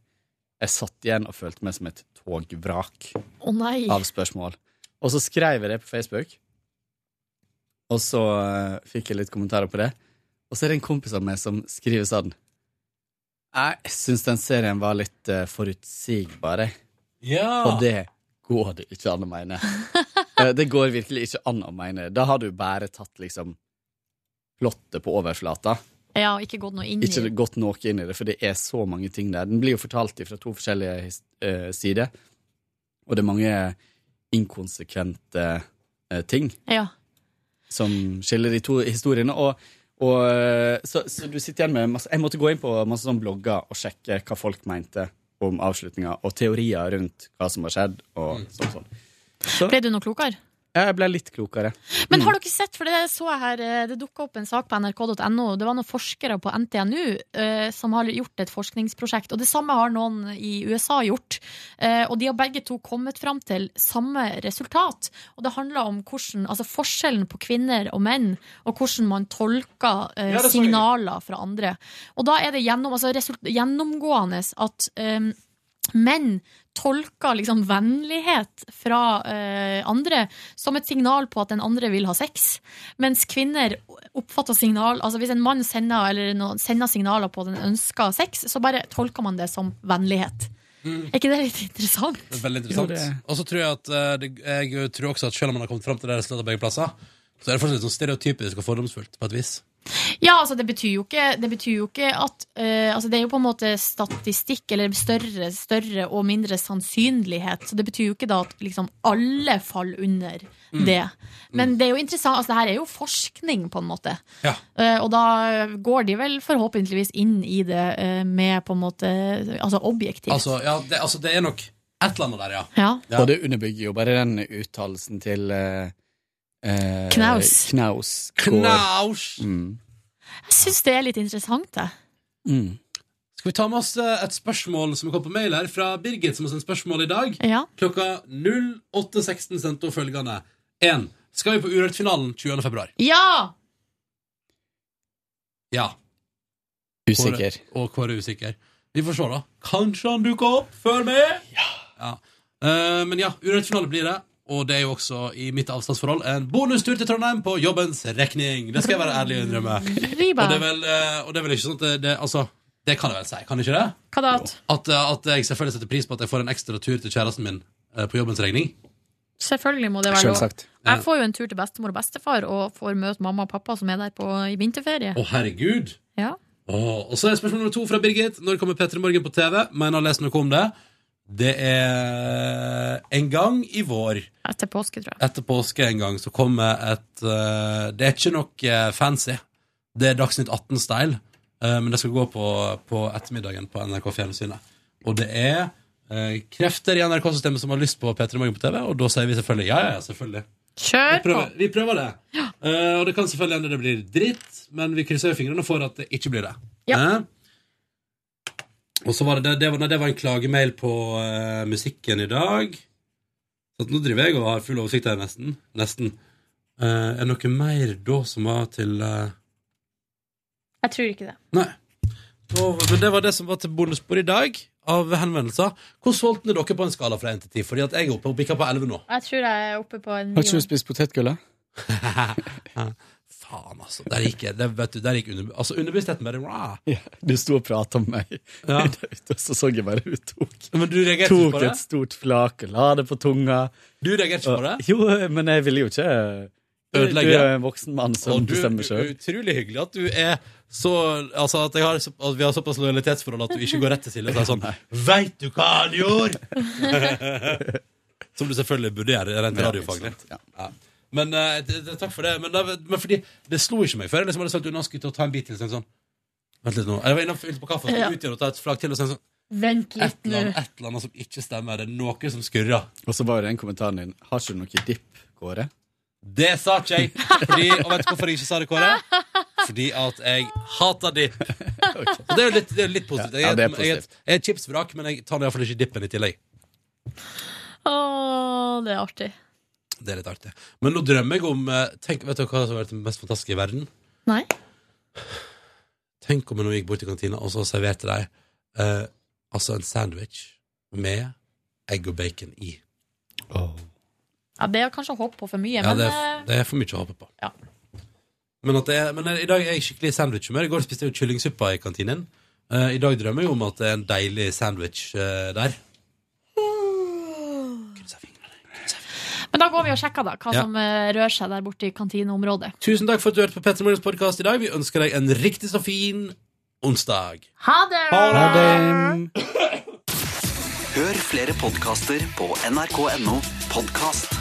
N: jeg satt igjen og følte meg som et togvrak
C: Å nei!
N: av spørsmål. Og så skrev jeg det på Facebook, og så eh, fikk jeg litt kommentarer på det. Og så er det en kompis av meg som skriver sånn Jeg syns den serien var litt eh, forutsigbar, jeg.
B: Ja.
N: Og det går det ikke an å mene. Eh, det går virkelig ikke an å mene. Da har du bare tatt liksom plottet på overflata.
C: Ja, og ikke gått noe inn i
N: Ikke gått noe inn i det, for det er så mange ting der. Den blir jo fortalt fra to forskjellige his- eh, sider, og det er mange inkonsekvente eh, ting
C: Ja.
N: som skiller de to historiene. Og, og, eh, så, så du sitter igjen med masse Jeg måtte gå inn på masse sånne blogger og sjekke hva folk mente om avslutninga, og teorier rundt hva som har skjedd, og sånn sånn. Så
C: Ble du noe klokere?
N: jeg ble litt klokere.
C: Men har dere sett, for det så jeg her, eh, det dukka opp en sak på nrk.no. Det var noen forskere på NTNU eh, som har gjort et forskningsprosjekt. Og det samme har noen i USA gjort. Eh, og de har begge to kommet fram til samme resultat. Og det handler om hvordan, altså forskjellen på kvinner og menn, og hvordan man tolker eh,
M: Ja, det så jeg.
C: signaler fra andre. Og da er det gjennom, altså, result, gjennomgående at eh, Menn tolker liksom vennlighet fra eh, andre som et signal på at den andre vil ha sex. Mens kvinner oppfatter signal Altså hvis en mann sender, eller noen, sender signaler på at den ønsker sex, så bare tolker man det som vennlighet.
B: Mm.
C: Er ikke det litt interessant?
B: Det er Veldig interessant.
C: Jo, det-
B: Og så tror jeg at eh, det, jeg tror også at selv om man har kommet fram til det resultatet begge plasser, så er det fortsatt litt sånn stereotypisk og fordomsfullt på et vis.
C: Ja, altså det betyr jo ikke, det betyr jo ikke at eh, altså Det er jo på en måte statistikk, eller større, større og mindre sannsynlighet. Så det betyr jo ikke da at liksom alle faller under
M: Mm.
C: det. Men det er jo interessant, altså det her er jo forskning, på en måte.
B: Ja.
C: Eh, og da går de vel forhåpentligvis inn i det eh, med på en måte Altså objektivt.
B: Altså, ja, det, altså, det er nok et eller annet der, ja.
C: Ja.
N: Og det underbygger jo bare den uttalelsen til eh, eh,
C: Knaus.
N: Knaus.
B: Knaus.
N: Mm.
C: Jeg syns det er litt interessant, det.
B: Skal vi ta med oss eh, et spørsmål som kom på mail her fra Birgit, som har sendt spørsmål i dag. Klokka 08.16 sendte hun følgende. 1. Skal vi på Urørt-finalen 20. februar?
C: Ja!
B: Ja.
N: Usikker.
B: Kåre, og Kåre er usikker. Vi får se, da. Kanskje han dukker opp før meg! Ja. Eh, men ja, urettfinale blir det. Og det er jo også i mitt avstandsforhold en bonustur til Trondheim på jobbens regning. Det skal jeg være ærlig og innrømme.
C: Riba.
B: Og det er vel, eh, og det er vel ikke sånn at det, det Altså, det kan jeg vel si, kan jeg ikke det?
C: Hva da? at-
B: At, eh, at jeg selvfølgelig setter pris på at jeg får en ekstra tur til kjæresten min eh, på jobbens regning.
C: Selvfølgelig må det være lov.
B: Selvsagt. Ja.
C: Jeg får jo en tur til bestemor og bestefar og får møte mamma og pappa som er der på, i vinterferie.
B: Å, herregud!
C: Ja.
B: Åh, og så er spørsmål nummer to fra Birgit. Når kommer P3 Morgen på TV? Mener har lest noe om det. Det er en gang i vår.
C: Etter påske, tror jeg.
B: Etter påske en gang så kommer et eh, Det er ikke noe eh, fancy. Det er Dagsnytt 18-style, eh, men det skal gå på, på ettermiddagen på NRK Fjernsynet. Og det er eh, krefter i NRK-systemet som har lyst på P3 Morgen på TV, og da sier vi selvfølgelig ja, ja, ja, selvfølgelig.
C: Kjør
B: Vi prøver, vi prøver det. Eh, og det kan selvfølgelig hende det blir dritt, men vi krysser jo fingrene for at det ikke blir det. Eh? Og så var det, det, det, var, nei, det var en klagemail på eh, musikken i dag. Så at nå driver jeg og har full oversikt her, nesten. nesten. Eh, er det noe mer da som var til eh,
C: Jeg tror ikke det.
B: Nei. Da, men det var det som var til bonusbordet i dag, av henvendelser. Hvordan solgte dere på en skala fra 1 til 10? Fordi at jeg er oppe og bikker på 11 nå.
C: Jeg tror jeg er oppe på en
N: Har ikke
C: million.
N: du spist potetgullet?
B: Faen, altså. Der gikk, jeg- der, vet du, der gikk under, altså, underbevisstheten bare rah.
N: Ja, du sto og prata med meg,
B: Ja.
N: Der ute, og så så jeg bare hun tok
B: Men du reagerte ikke på
N: Tok
B: det?
N: et stort flak og la det på tunga.
B: Du reagerte ikke på det?
N: Jo, men jeg ville jo ikke eh,
B: Ødelegge.
N: Du er jo en voksen mann som
B: Og du,
N: bestemmer
B: det er
N: sjøl.
B: utrolig hyggelig at du er så Altså at, jeg har, så- at vi har såpass lojalitetsforhold at du ikke går rett til Silje og sier sånn Veit du hva han gjorde?! Som du selvfølgelig burde gjøre rent
N: Ja,
B: radiofaglig. Ja. Men eh, det- det- takk for det. Men, da- men fordi det slo ikke meg før jeg liksom hadde sagt unna skutt og ta en bit til. så tenkte jeg Sånn. Vent litt nå. Jeg var innom fylte på kaffe og
C: Ja.
B: skulle ut igjen og ta et flak til. Og så tenkte jeg sånn
C: Vent
B: et
C: litt
B: eller,
C: nå.
B: annet, et eller annet som ikke stemmer. Det er noe som skurrer.
N: Og så var jo den kommentaren din Har ikke du noe dipp, Kåre?
B: Det sa ikke jeg! Fordi, og vet du hvorfor jeg ikke sa det, Kåre? Fordi at jeg hater dipp. Og det er jo litt, det er jo litt positivt. Jeg,
N: Ja,
B: er-
N: det
B: jeg,
N: er
B: er et- jeg er et chipsvrak, men jeg tar iallfall ikke dippen i tillegg.
C: Å, det er artig.
B: Det er litt artig. Men nå drømmer jeg om eh, tenk, Vet dere hva som har vært det mest fantastiske i verden?
C: Nei.
B: Tenk om jeg nå gikk bort til kantina, og så serverte de eh, altså en sandwich med egg og bacon i.
C: Ja, det er kanskje å håpe på for mye,
B: Ja,
C: men eh,
B: det er, det er for mye å håpe på. Men, at det er, men i dag er jeg skikkelig i sandwichhumør. I går spiste jeg jo kyllingsuppa i kantinen. Eh, I dag drømmer jeg om at det er en deilig sandwich eh, der.
C: Men da går vi og sjekker da, hva
B: Ja.
C: som eh, rører seg der borte i kantineområdet.
B: Tusen takk for at du hørte på Petter Morgens podkast i dag. Vi ønsker deg en riktig så fin onsdag.
C: Ha det!
A: Hør flere podkaster på nrk.no podkast.